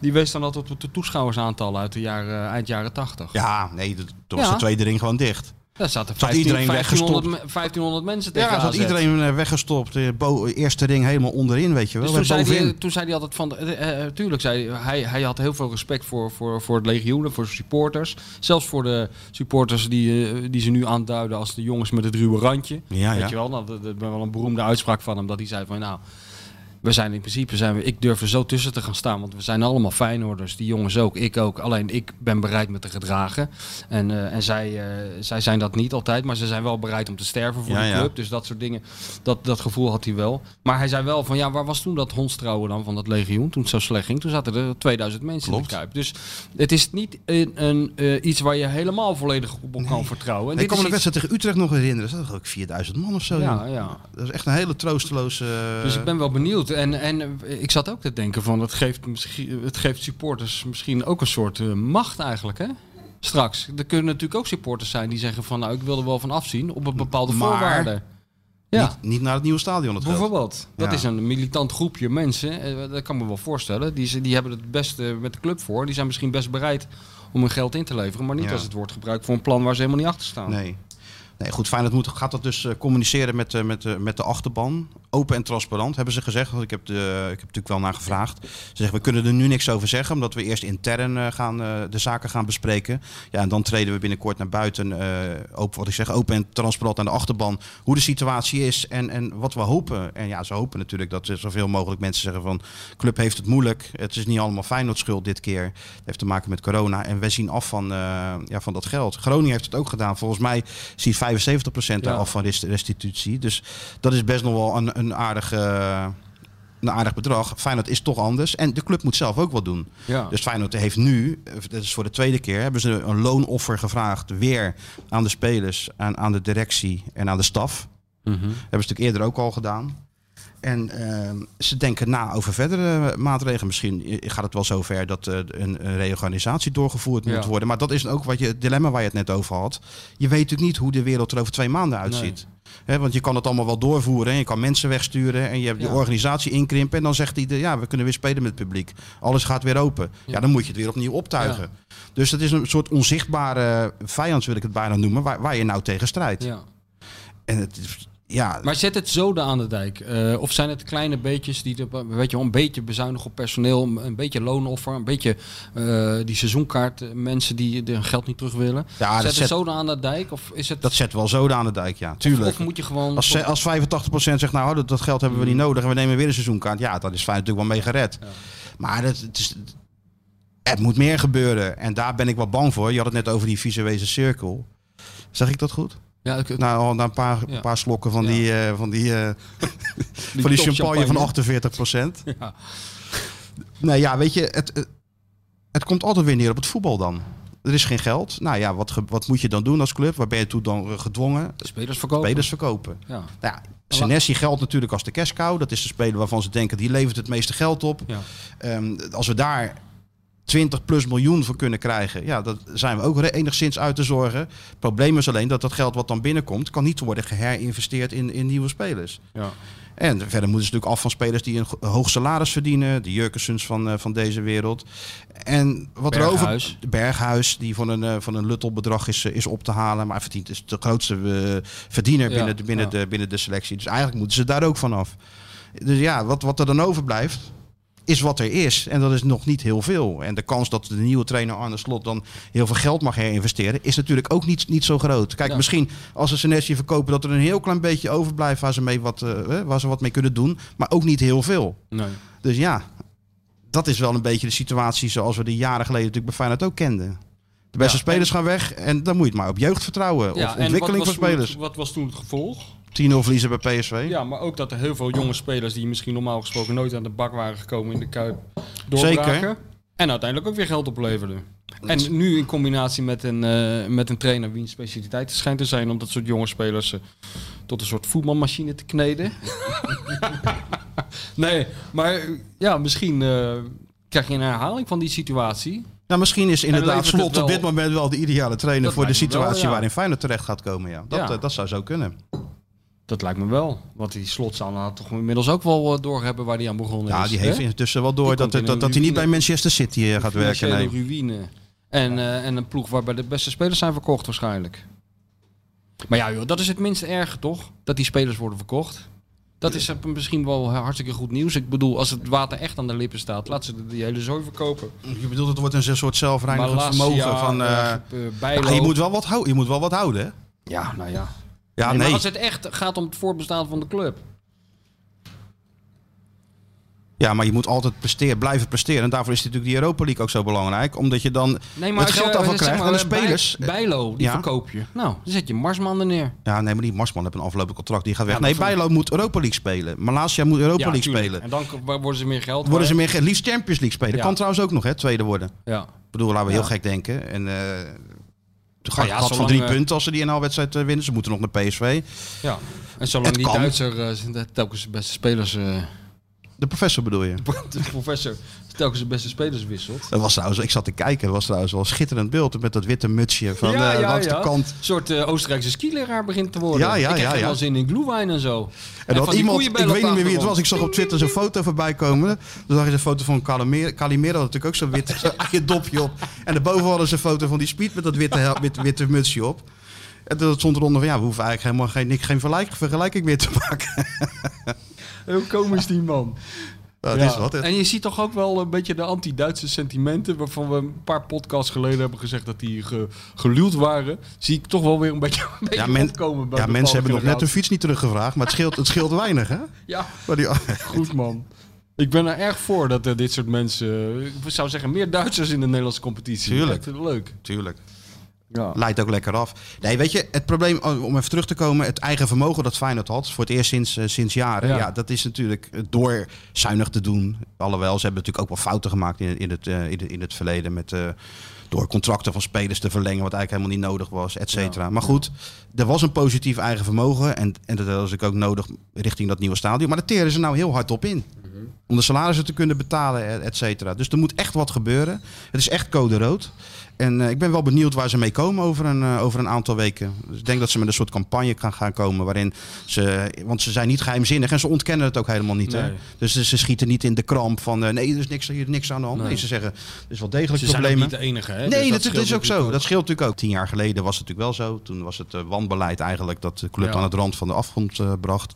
Speaker 7: Die wees dan altijd op de toeschouwersaantallen uit de jaren, eh, eind jaren 80.
Speaker 5: Ja, nee, dat- toen was
Speaker 7: Ja.
Speaker 5: de tweede ring gewoon dicht.
Speaker 7: Daar zaten
Speaker 5: Zat
Speaker 7: 15
Speaker 5: iedereen
Speaker 7: 1500,
Speaker 5: weggestopt?
Speaker 7: me- 1500 mensen tegen
Speaker 5: Ja, dat had
Speaker 7: AZ.
Speaker 5: iedereen eh, weggestopt. Eh, bo- Eerste ring helemaal onderin, weet je wel.
Speaker 7: Dus toen
Speaker 5: En
Speaker 7: zei,
Speaker 5: bovenin.
Speaker 7: hij, toen zei hij altijd van, eh, eh, tuurlijk, zei hij, hij, hij had heel veel respect voor, voor, voor het legioen, voor zijn supporters. Zelfs voor de supporters die, eh, die ze nu aanduiden als de jongens met het ruwe randje.
Speaker 5: Ja,
Speaker 7: Weet
Speaker 5: ja.
Speaker 7: je wel, nou, dat, dat ben wel een beroemde uitspraak van hem, dat hij zei van, nou, we zijn in principe, zijn we, ik durf er zo tussen te gaan staan, want we zijn allemaal Feyenoorders, die jongens ook, ik ook. Alleen ik ben bereid me te gedragen. En, eh, en zij, eh, zij zijn dat niet altijd, maar ze zijn wel bereid om te sterven voor
Speaker 5: Ja,
Speaker 7: die
Speaker 5: ja.
Speaker 7: club. Dus dat soort dingen, dat, dat gevoel had hij wel. Maar hij zei wel van, ja, waar was toen dat hondstrouwen dan van dat legioen, toen het zo slecht ging? Toen zaten er 2000 mensen
Speaker 5: Klopt.
Speaker 7: in de Kuip. Dus het is niet een, een, eh, iets waar je helemaal volledig op kan vertrouwen. En
Speaker 5: ik kan me
Speaker 7: is
Speaker 5: de
Speaker 7: iets-
Speaker 5: wedstrijd tegen Utrecht nog herinneren. Dat was ook 4000 man of zo.
Speaker 7: Ja,
Speaker 5: joh.
Speaker 7: ja.
Speaker 5: Dat is echt een hele troosteloze... eh,
Speaker 7: Dus ik ben wel benieuwd. En, en eh, ik zat ook te denken van, het geeft, misschien, het geeft supporters misschien ook een soort eh, macht eigenlijk, hè? Straks. Er kunnen natuurlijk ook supporters zijn die zeggen van, nou, ik wil er wel van afzien op een bepaalde
Speaker 5: Maar-
Speaker 7: voorwaarde. Ja.
Speaker 5: niet, niet naar het nieuwe stadion het geld.
Speaker 7: Bijvoorbeeld, dat
Speaker 5: Ja.
Speaker 7: is een militant groepje mensen, eh, dat kan me wel voorstellen. Die, ze- die hebben het best eh, met de club voor. Die zijn misschien best bereid om hun geld in te leveren, maar niet
Speaker 5: Ja.
Speaker 7: als het wordt gebruikt voor een plan waar ze helemaal niet achter staan.
Speaker 5: Nee. Nee, goed, Feyenoord moet, gaat dat dus eh, communiceren met, eh, met, eh, met de achterban. Open en transparant, hebben ze gezegd. Want ik heb, de, ik heb natuurlijk wel naar gevraagd. Ze zeggen, we kunnen er nu niks over zeggen... omdat we eerst intern eh, gaan, eh, de zaken gaan bespreken. Ja, en dan treden we binnenkort naar buiten. eh, open, wat ik zeg, open en transparant aan de achterban. Hoe de situatie is en, en wat we hopen. En ja, ze hopen natuurlijk dat er zoveel mogelijk mensen zeggen van... club heeft het moeilijk, het is niet allemaal Feyenoord schuld dit keer. Het heeft te maken met corona en wij zien af van, eh, ja, van dat geld. Groningen heeft het ook gedaan. Volgens mij ziet 75% daar
Speaker 7: Ja.
Speaker 5: af van rest- restitutie. Dus dat is best nog wel een, een, aardig, eh, een aardig bedrag. Feyenoord is toch anders en de club moet zelf ook wat doen.
Speaker 7: Ja.
Speaker 5: Dus Feyenoord heeft nu, eh, dat is voor de tweede keer, hebben ze een loonoffer gevraagd weer aan de spelers, aan, aan de directie en aan de staf.
Speaker 7: Mhm.
Speaker 5: Hebben ze natuurlijk eerder ook al gedaan. En ehm, ze denken na over verdere eh, maatregelen. Misschien i- gaat het wel zover dat eh, een, een reorganisatie doorgevoerd moet
Speaker 7: Ja.
Speaker 5: worden. Maar dat is ook wat je, het dilemma waar je het net over had. Je weet natuurlijk niet hoe de wereld er over twee maanden uitziet. Hè, want je kan het allemaal wel doorvoeren. En je kan mensen wegsturen. En je hebt
Speaker 7: Ja.
Speaker 5: je organisatie inkrimpen. En dan zegt ieder, ja, we kunnen weer spelen met het publiek. Alles gaat weer open. Ja,
Speaker 7: Ja.
Speaker 5: dan moet je het weer opnieuw optuigen. Dus dat is een soort onzichtbare vijand, wil ik het bijna noemen. Waar, waar je nou tegen strijdt.
Speaker 7: Ja.
Speaker 5: En het is- ja,
Speaker 7: Maar zet het zoden aan de dijk. eh, of zijn het kleine beetjes die de, weet je, wel, een beetje bezuinigen op personeel, een beetje loonoffer, een beetje eh, die seizoenkaart, eh, mensen die de- hun geld niet terug willen.
Speaker 5: Ja,
Speaker 7: zet
Speaker 5: Ah, dat
Speaker 7: het
Speaker 5: zet-
Speaker 7: zoden aan de dijk? Of is het
Speaker 5: Dat zet wel zoden aan de dijk, ja. Tuurlijk.
Speaker 7: Of moet Hmm. je gewoon.
Speaker 5: als, ze- als 85% zegt, nou dat, dat geld hebben we niet nodig en we nemen weer een seizoenkaart. Ja, dan is Feyenoord natuurlijk wel mee gered. Maar dat, het, is, het moet meer gebeuren. En daar ben ik wel bang voor. Je had het net over die visuele cirkel. Zeg ik dat goed?
Speaker 7: ja, ik-
Speaker 5: Nou, al na een paar,
Speaker 7: Ja.
Speaker 5: paar slokken van
Speaker 7: Ja.
Speaker 5: die, eh, van die, eh, van die
Speaker 7: top
Speaker 5: champagne van 48
Speaker 7: [LAUGHS] Ja.
Speaker 5: Nou ja, weet je, het, eh, het komt altijd weer neer op het voetbal dan. Er is geen geld. Nou ja, wat, ge- wat moet je dan doen als club? Waar ben je toe dan eh, gedwongen?
Speaker 7: Spelers verkopen.
Speaker 5: Spelers verkopen.
Speaker 7: Ja.
Speaker 5: Nou ja, Senesi geldt natuurlijk als de cash cow. Dat is de speler waarvan ze denken die levert het meeste geld op.
Speaker 7: Ja.
Speaker 5: Ehm, als we daar 20 plus miljoen voor kunnen krijgen, ja, dat zijn we ook re- enigszins uit te zorgen. Het probleem is alleen dat dat geld wat dan binnenkomt, kan niet worden geherinvesteerd in, in nieuwe spelers.
Speaker 7: Ja.
Speaker 5: En verder moeten ze natuurlijk af van spelers die een go- hoog salaris verdienen. De Jurkensens van, eh, van deze wereld. En wat er
Speaker 7: Berghuis.
Speaker 5: over... Berghuis. die van een, eh, van een Luttel-bedrag is, eh, is op te halen. Maar hij verdient, is de grootste eh, verdiener
Speaker 7: Ja,
Speaker 5: binnen, de, binnen,
Speaker 7: ja.
Speaker 5: de, binnen de selectie. Dus eigenlijk moeten ze daar ook vanaf. Dus ja, wat, wat er dan overblijft, is wat er is. En dat is nog niet heel veel. En de kans dat de nieuwe trainer Arne Slot dan heel veel geld mag herinvesteren, is natuurlijk ook niet, niet zo groot. Kijk,
Speaker 7: Ja.
Speaker 5: misschien als ze Senesi verkopen, dat er een heel klein beetje overblijft waar ze, mee wat, eh, eh, waar ze wat mee kunnen doen. Maar ook niet heel veel.
Speaker 7: Nee.
Speaker 5: Dus ja, dat is wel een beetje de situatie zoals we die jaren geleden natuurlijk bij Feyenoord ook kenden. De beste
Speaker 7: Ja,
Speaker 5: spelers gaan weg en dan moet je het maar op jeugd vertrouwen.
Speaker 7: Ja,
Speaker 5: of
Speaker 7: en
Speaker 5: ontwikkeling
Speaker 7: wat was
Speaker 5: van
Speaker 7: toen het-
Speaker 5: spelers. 10-0
Speaker 7: wat was toen het gevolg?
Speaker 5: verliezen bij PSV.
Speaker 7: Ja, maar ook dat er heel veel jonge spelers die misschien normaal gesproken nooit aan de bak waren gekomen in de kuip doorbraken.
Speaker 5: Zeker.
Speaker 7: En uiteindelijk ook weer geld opleverden. En nu in combinatie met een, eh, met een trainer wiens specialiteit het schijnt te zijn om dat soort jonge spelers eh, tot een soort voetbalmachine te [LAUGHS] kneden. nee, maar eh, ja, misschien eh, krijg je een herhaling van die situatie.
Speaker 5: Nou, misschien is inderdaad
Speaker 7: levert het
Speaker 5: Slot
Speaker 7: wel-
Speaker 5: op dit moment wel de ideale trainer
Speaker 7: Dat
Speaker 5: voor de
Speaker 7: lijkt me wel,
Speaker 5: situatie
Speaker 7: ja.
Speaker 5: waarin Feyenoord terecht gaat komen. Ja. Dat,
Speaker 7: Ja.
Speaker 5: eh, dat zou zo kunnen.
Speaker 7: Dat lijkt me wel. Want die slot zal nou toch inmiddels ook wel eh, doorhebben waar die aan begonnen
Speaker 5: Ja,
Speaker 7: is.
Speaker 5: die
Speaker 7: dus, hè?
Speaker 5: heeft intussen wel door
Speaker 7: Die
Speaker 5: dat,
Speaker 7: komt in
Speaker 5: dat, dat,
Speaker 7: een
Speaker 5: hij niet
Speaker 7: ruïne.
Speaker 5: bij Manchester City eh, gaat werken.
Speaker 7: Financiële
Speaker 5: Nee.
Speaker 7: ruïne. En, eh, en een ploeg waarbij de beste spelers zijn verkocht waarschijnlijk. Maar ja, joh, dat is het minst erg, toch? Dat die spelers worden verkocht. Dat is eh, misschien wel hartstikke goed nieuws. Ik bedoel, als het water echt aan de lippen staat, laat ze die hele zooi verkopen.
Speaker 5: Je bedoelt, het wordt een soort zelfreinigend
Speaker 7: Malasia,
Speaker 5: vermogen van... eh,
Speaker 7: eh, eh, Bijlo.
Speaker 5: ah, je, moet wel wat hou, je moet wel wat houden, hè?
Speaker 7: Ja, nou ja.
Speaker 5: Ja,
Speaker 7: Nee, maar
Speaker 5: nee.
Speaker 7: als het echt gaat om het voortbestaan van de club.
Speaker 5: Ja, maar je moet altijd presteren, blijven presteren. En daarvoor is natuurlijk die Europa League ook zo belangrijk. Omdat je dan
Speaker 7: Nee,
Speaker 5: het geld
Speaker 7: je,
Speaker 5: daarvan
Speaker 7: zeg
Speaker 5: krijgt
Speaker 7: maar,
Speaker 5: en de
Speaker 7: eh, Bij-
Speaker 5: spelers...
Speaker 7: Bijlo, die
Speaker 5: Ja.
Speaker 7: verkoop je. Nou, dan zet je Marsman er neer.
Speaker 5: Ja, nee, maar die Marsman heeft een aflopend contract. Die gaat weg.
Speaker 7: Ja,
Speaker 5: nee,
Speaker 7: dat vind ik-
Speaker 5: Bijlo moet Europa League spelen. Malasia moet Europa League
Speaker 7: tuurlijk.
Speaker 5: spelen.
Speaker 7: En dan k- worden ze meer geld.
Speaker 5: Worden ze
Speaker 7: waard.
Speaker 5: meer, ge- liefst Champions League spelen.
Speaker 7: Ja.
Speaker 5: Kan trouwens ook nog, hè, tweede worden.
Speaker 7: Ja.
Speaker 5: Ik bedoel, laten we heel
Speaker 7: Ja.
Speaker 5: gek denken. En eh toen
Speaker 7: Nou
Speaker 5: gaat
Speaker 7: ja,
Speaker 5: het van
Speaker 7: zolang,
Speaker 5: drie
Speaker 7: eh,
Speaker 5: punten als ze die NL-wedstrijd eh, winnen. Ze moeten nog naar PSV.
Speaker 7: ja. En zolang
Speaker 5: Het
Speaker 7: die
Speaker 5: kan.
Speaker 7: Duitser eh, de- telkens de beste spelers... eh,
Speaker 5: [LAUGHS] De professor bedoel je?
Speaker 7: de professor telkens de beste spelers wisselt.
Speaker 5: Dat was trouwens, ik zat te kijken, dat was trouwens wel een schitterend beeld met dat witte mutsje van
Speaker 7: ja,
Speaker 5: eh,
Speaker 7: ja,
Speaker 5: langs
Speaker 7: ja.
Speaker 5: de kant.
Speaker 7: Een soort eh, Oostenrijkse skileraar begint te worden.
Speaker 5: Ja, ja,
Speaker 7: ik heb
Speaker 5: ja, ja.
Speaker 7: wel zin in glühwein en zo.
Speaker 5: En dat
Speaker 7: van die
Speaker 5: iemand, ik
Speaker 7: koeienbellen
Speaker 5: weet niet meer wie het
Speaker 7: op
Speaker 5: was, ik zag op Twitter zo'n foto voorbij komen. Toen zag je een foto van Calimero, Calimero had natuurlijk ook zo'n
Speaker 7: [LAUGHS]
Speaker 5: wit zo'n eigen dopje op. En daarboven hadden ze een foto van die Speed met dat witte, hel- wit- witte mutsje op. En toen stond eronder van, ja, we hoeven eigenlijk helemaal geen, niks- geen vergelijk- vergelijking meer te maken.
Speaker 7: achtergrond. Heel komisch die man.
Speaker 5: Dat
Speaker 7: Ja.
Speaker 5: Nou, is wat. hè.
Speaker 7: En je ziet toch ook wel een beetje de anti-Duitse sentimenten... waarvan we een paar podcasts geleden hebben gezegd dat die ge, geluwd waren. Zie ik toch wel weer een beetje, een beetje
Speaker 5: Ja, men-
Speaker 7: opkomen bij
Speaker 5: ja
Speaker 7: de
Speaker 5: mensen hebben nog net
Speaker 7: generatie.
Speaker 5: hun fiets niet teruggevraagd, maar het scheelt, het scheelt weinig, hè?
Speaker 7: Ja,
Speaker 5: Maar die,
Speaker 7: goed man. Ik ben er erg voor dat eh, dit soort mensen... eh, ik zou zeggen, meer Duitsers in de Nederlandse competitie.
Speaker 5: Tuurlijk.
Speaker 7: Echt leuk.
Speaker 5: tuurlijk.
Speaker 7: Ja.
Speaker 5: Leidt ook lekker af. Nee, weet je, het probleem, oh, om even terug te komen, het eigen vermogen dat Feyenoord had, voor het eerst sinds, eh, sinds jaren,
Speaker 7: Ja.
Speaker 5: ja. dat is natuurlijk door zuinig te doen. Alhoewel, ze hebben natuurlijk ook wel fouten gemaakt in, in, het, eh, in, het- in het verleden met... eh, door contracten van spelers te verlengen, wat eigenlijk helemaal niet nodig was, et cetera. Maar goed, er was een positief eigen vermogen. En, en dat was ik ook nodig richting dat nieuwe stadion. Maar dat teren ze nou heel hard op in. Om de salarissen te kunnen betalen, et- et cetera. Dus er moet echt wat gebeuren. Het is echt code rood. En eh, ik ben wel benieuwd waar ze mee komen over een, eh, over een aantal weken. Dus ik denk dat ze met een soort campagne gaan, gaan komen. Waarin ze, want ze zijn niet geheimzinnig en ze ontkennen het ook helemaal niet. Hè?
Speaker 7: Nee.
Speaker 5: Dus ze, ze schieten niet in de kramp van eh, nee, er is niks, hier is niks aan de hand. Nee, ze zeggen er is wel degelijk
Speaker 7: Ze zijn ook
Speaker 5: problemen.
Speaker 7: niet de enige, hè?
Speaker 5: Nee,
Speaker 7: Dus
Speaker 5: dat, dat
Speaker 7: scheelt
Speaker 5: is ook zo.
Speaker 7: natuurlijk
Speaker 5: Dat scheelt natuurlijk ook. Tien jaar geleden was het natuurlijk wel zo. Toen was het eh, wanbeleid eigenlijk dat de club
Speaker 7: Ja.
Speaker 5: aan het rand van de afgrond eh, bracht.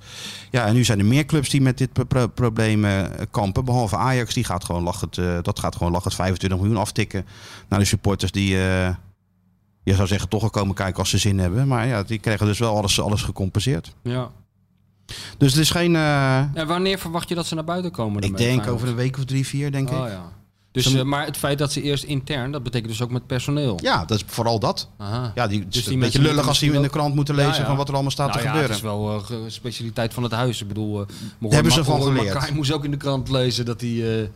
Speaker 5: Ja, en nu zijn er meer clubs die met dit pro- pro- probleem eh, kampen. Behalve Ajax, die gaat gewoon lachend, eh, dat gaat gewoon lachend 25 miljoen aftikken naar de supporters die... eh, je zou zeggen, toch wel komen kijken als ze zin hebben. Maar ja, die krijgen dus wel alles, alles gecompenseerd.
Speaker 7: Ja.
Speaker 5: Dus het is geen... eh,
Speaker 7: En wanneer verwacht je dat ze naar buiten komen?
Speaker 5: ik
Speaker 7: daarmee,
Speaker 5: denk
Speaker 7: Feyenoord?
Speaker 5: over een week of drie, vier, denk
Speaker 7: Oh,
Speaker 5: ik.
Speaker 7: ja. Dus,
Speaker 5: Ze-
Speaker 7: eh, maar het feit dat ze eerst intern, dat betekent dus ook met personeel.
Speaker 5: Ja, dat is vooral dat.
Speaker 7: Aha.
Speaker 5: Ja, die, het is
Speaker 7: Ah. Dus die
Speaker 5: een beetje
Speaker 7: mensen
Speaker 5: lullig
Speaker 7: moeten
Speaker 5: als die in de
Speaker 7: misschien
Speaker 5: krant moeten lezen
Speaker 7: Ja, ja.
Speaker 5: van wat er allemaal staat
Speaker 7: nou
Speaker 5: te
Speaker 7: ja,
Speaker 5: gebeuren.
Speaker 7: het is wel eh, ge- specialiteit van het huis. Ik bedoel, eh, Moran-
Speaker 5: hebben ze van
Speaker 7: Moran-
Speaker 5: geleerd.
Speaker 7: Makai moest ook in de krant lezen dat hij... eh,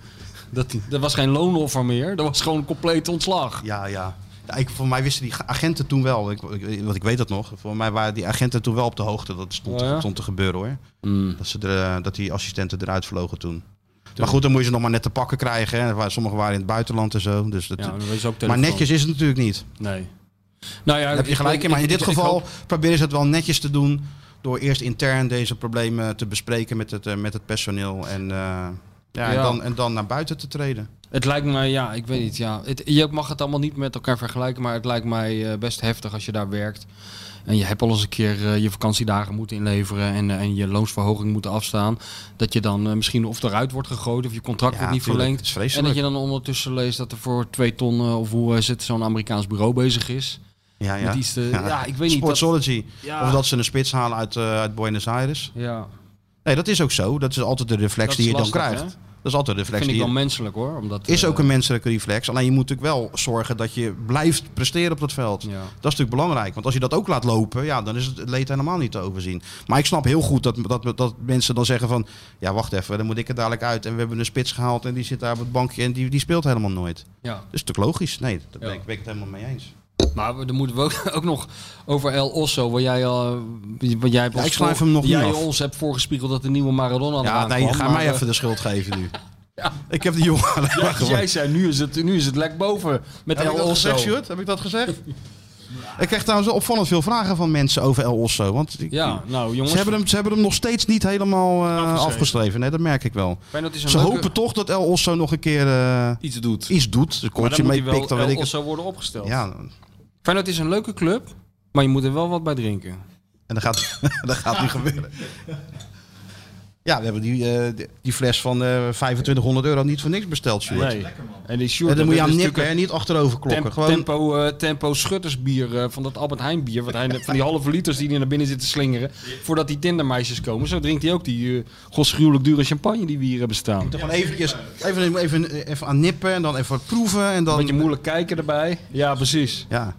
Speaker 7: dat hij- er was geen loonoffer meer, er was gewoon compleet ontslag.
Speaker 5: Ja, ja. Ja, ik, voor mij wisten die ge- agenten toen wel, ik, ik, want ik weet dat nog. Voor mij waren die agenten toen wel op de hoogte. Dat stond,
Speaker 7: Oh ja? Hmm.
Speaker 5: stond te gebeuren hoor. Dat, ze er, dat die assistenten eruit vlogen toen. Maar goed, dan moet je ze nog maar net te pakken krijgen. Hè. Waar- Sommigen waren in het buitenland en zo. Dus dat,
Speaker 7: Ja, maar dat is ook
Speaker 5: maar
Speaker 7: telefoon.
Speaker 5: netjes is het natuurlijk niet.
Speaker 7: Nee. Nou ja,
Speaker 5: Daar heb je
Speaker 7: ik-
Speaker 5: gelijk
Speaker 7: ik-
Speaker 5: in. Maar in
Speaker 7: ik-
Speaker 5: dit
Speaker 7: ik- ik
Speaker 5: geval
Speaker 7: hoop-
Speaker 5: proberen ze het wel netjes te doen. Door eerst intern deze problemen te bespreken met het, eh, met het personeel. En, eh, ja,
Speaker 7: Ja.
Speaker 5: En, dan, en dan naar buiten te treden.
Speaker 7: het lijkt mij, ja, ik weet niet. Ja, het, je mag het allemaal niet met elkaar vergelijken, maar het lijkt mij eh, best heftig als je daar werkt. En je hebt al eens een keer eh, je vakantiedagen moeten inleveren en, eh, en je loonsverhoging moeten afstaan. Dat je dan eh, misschien of eruit wordt gegooid of je contract
Speaker 5: Ja,
Speaker 7: wordt niet
Speaker 5: tuurlijk.
Speaker 7: verlengd.
Speaker 5: Het is
Speaker 7: En
Speaker 5: vreselijk.
Speaker 7: dat je dan ondertussen leest dat er voor twee ton eh, of hoe eh, zit zo'n Amerikaans bureau bezig is.
Speaker 5: Ja, ja.
Speaker 7: Met iets te- ja, ik weet niet,
Speaker 5: Sportsology.
Speaker 7: Ja.
Speaker 5: Of dat ze een spits halen uit, eh, uit Buenos Aires.
Speaker 7: Ja,
Speaker 5: Nee, dat is ook zo. Dat is altijd de reflex
Speaker 7: Dat
Speaker 5: die
Speaker 7: is
Speaker 5: je
Speaker 7: lastig,
Speaker 5: dan
Speaker 7: hè?
Speaker 5: krijgt. Dat is altijd de reflex
Speaker 7: vind ik
Speaker 5: die
Speaker 7: wel
Speaker 5: je...
Speaker 7: menselijk hoor. Omdat,
Speaker 5: Is
Speaker 7: eh,
Speaker 5: ook een menselijke reflex. Alleen je moet natuurlijk wel zorgen dat je blijft presteren op dat veld.
Speaker 7: Ja.
Speaker 5: Dat is natuurlijk belangrijk. Want als je dat ook laat lopen, ja, dan is het het leed helemaal niet te overzien. Maar ik snap heel goed dat, dat, dat mensen dan zeggen van... Ja, wacht even, dan moet ik er dadelijk uit. En we hebben een spits gehaald en die zit daar op het bankje en die, die speelt helemaal nooit.
Speaker 7: Ja.
Speaker 5: Dat is natuurlijk logisch. Nee, daar ben,
Speaker 7: Ja.
Speaker 5: ik, ben ik het helemaal mee eens.
Speaker 7: Maar we- dan moeten we ook, [LAUGHS] ook nog over El Osso, waar jij al, wat jij hebt
Speaker 5: Ja,
Speaker 7: ons
Speaker 5: ik schrijf
Speaker 7: voor-
Speaker 5: hem nog
Speaker 7: jij
Speaker 5: niet af.
Speaker 7: ons hebt voorgespiegeld dat de nieuwe Maradona aan
Speaker 5: Ja, nee, ga
Speaker 7: eh,
Speaker 5: mij even de schuld geven
Speaker 7: [LAUGHS]
Speaker 5: nu. Ik heb die jongen alleen maar
Speaker 7: dus Jij,
Speaker 5: gewoon-
Speaker 7: zei, nu is, het, nu is het lek boven met
Speaker 5: Heb
Speaker 7: El
Speaker 5: ik dat
Speaker 7: Osso.
Speaker 5: gezegd, Sjoerd? Heb ik dat gezegd? Ik krijg trouwens opvallend veel vragen van mensen over El Osso. Want ik-
Speaker 7: ja, nou jongens,
Speaker 5: ze, hebben hem, ze hebben hem nog steeds niet helemaal eh, afgeschreven. Nee, dat merk ik wel.
Speaker 7: Feyenoord is een
Speaker 5: Ze
Speaker 7: leuke-
Speaker 5: hopen toch dat El Osso nog een keer eh,
Speaker 7: iets doet.
Speaker 5: iets doet. Een
Speaker 7: maar
Speaker 5: kortje
Speaker 7: dan moet
Speaker 5: mee
Speaker 7: hij wel
Speaker 5: pikt, dan weet
Speaker 7: El
Speaker 5: ik het.
Speaker 7: Osso worden opgesteld.
Speaker 5: Ja,
Speaker 7: Feyenoord is een leuke club. Maar je moet er wel wat bij drinken.
Speaker 5: En dat gaat, [LAUGHS] dat gaat nu gebeuren. Ja, we hebben die, eh, die- die fles van eh 2500 euro niet voor niks besteld, Sjoerd.
Speaker 7: Nee. En die Sjoerd,
Speaker 5: En dan moet je
Speaker 7: dat
Speaker 5: aan
Speaker 7: is
Speaker 5: nippen,
Speaker 7: natuurlijk
Speaker 5: dus hè, niet achterover
Speaker 7: een
Speaker 5: klokken.
Speaker 7: temp-
Speaker 5: Gewoon,
Speaker 7: tempo, eh, tempo schuttersbier eh, van dat Albert Heijn bier. Wat hij, [LAUGHS] net- van die halve liters die hij naar binnen zit te slingeren. Voordat die tindermeisjes komen. Zo drinkt hij ook die eh godsgruwelijk dure champagne die we hier hebben staan.
Speaker 5: gewoon eventjes, even, even, even aan nippen en dan even proeven. En dan,
Speaker 7: Beetje moeilijk kijken erbij. Ja, precies.
Speaker 5: Ja.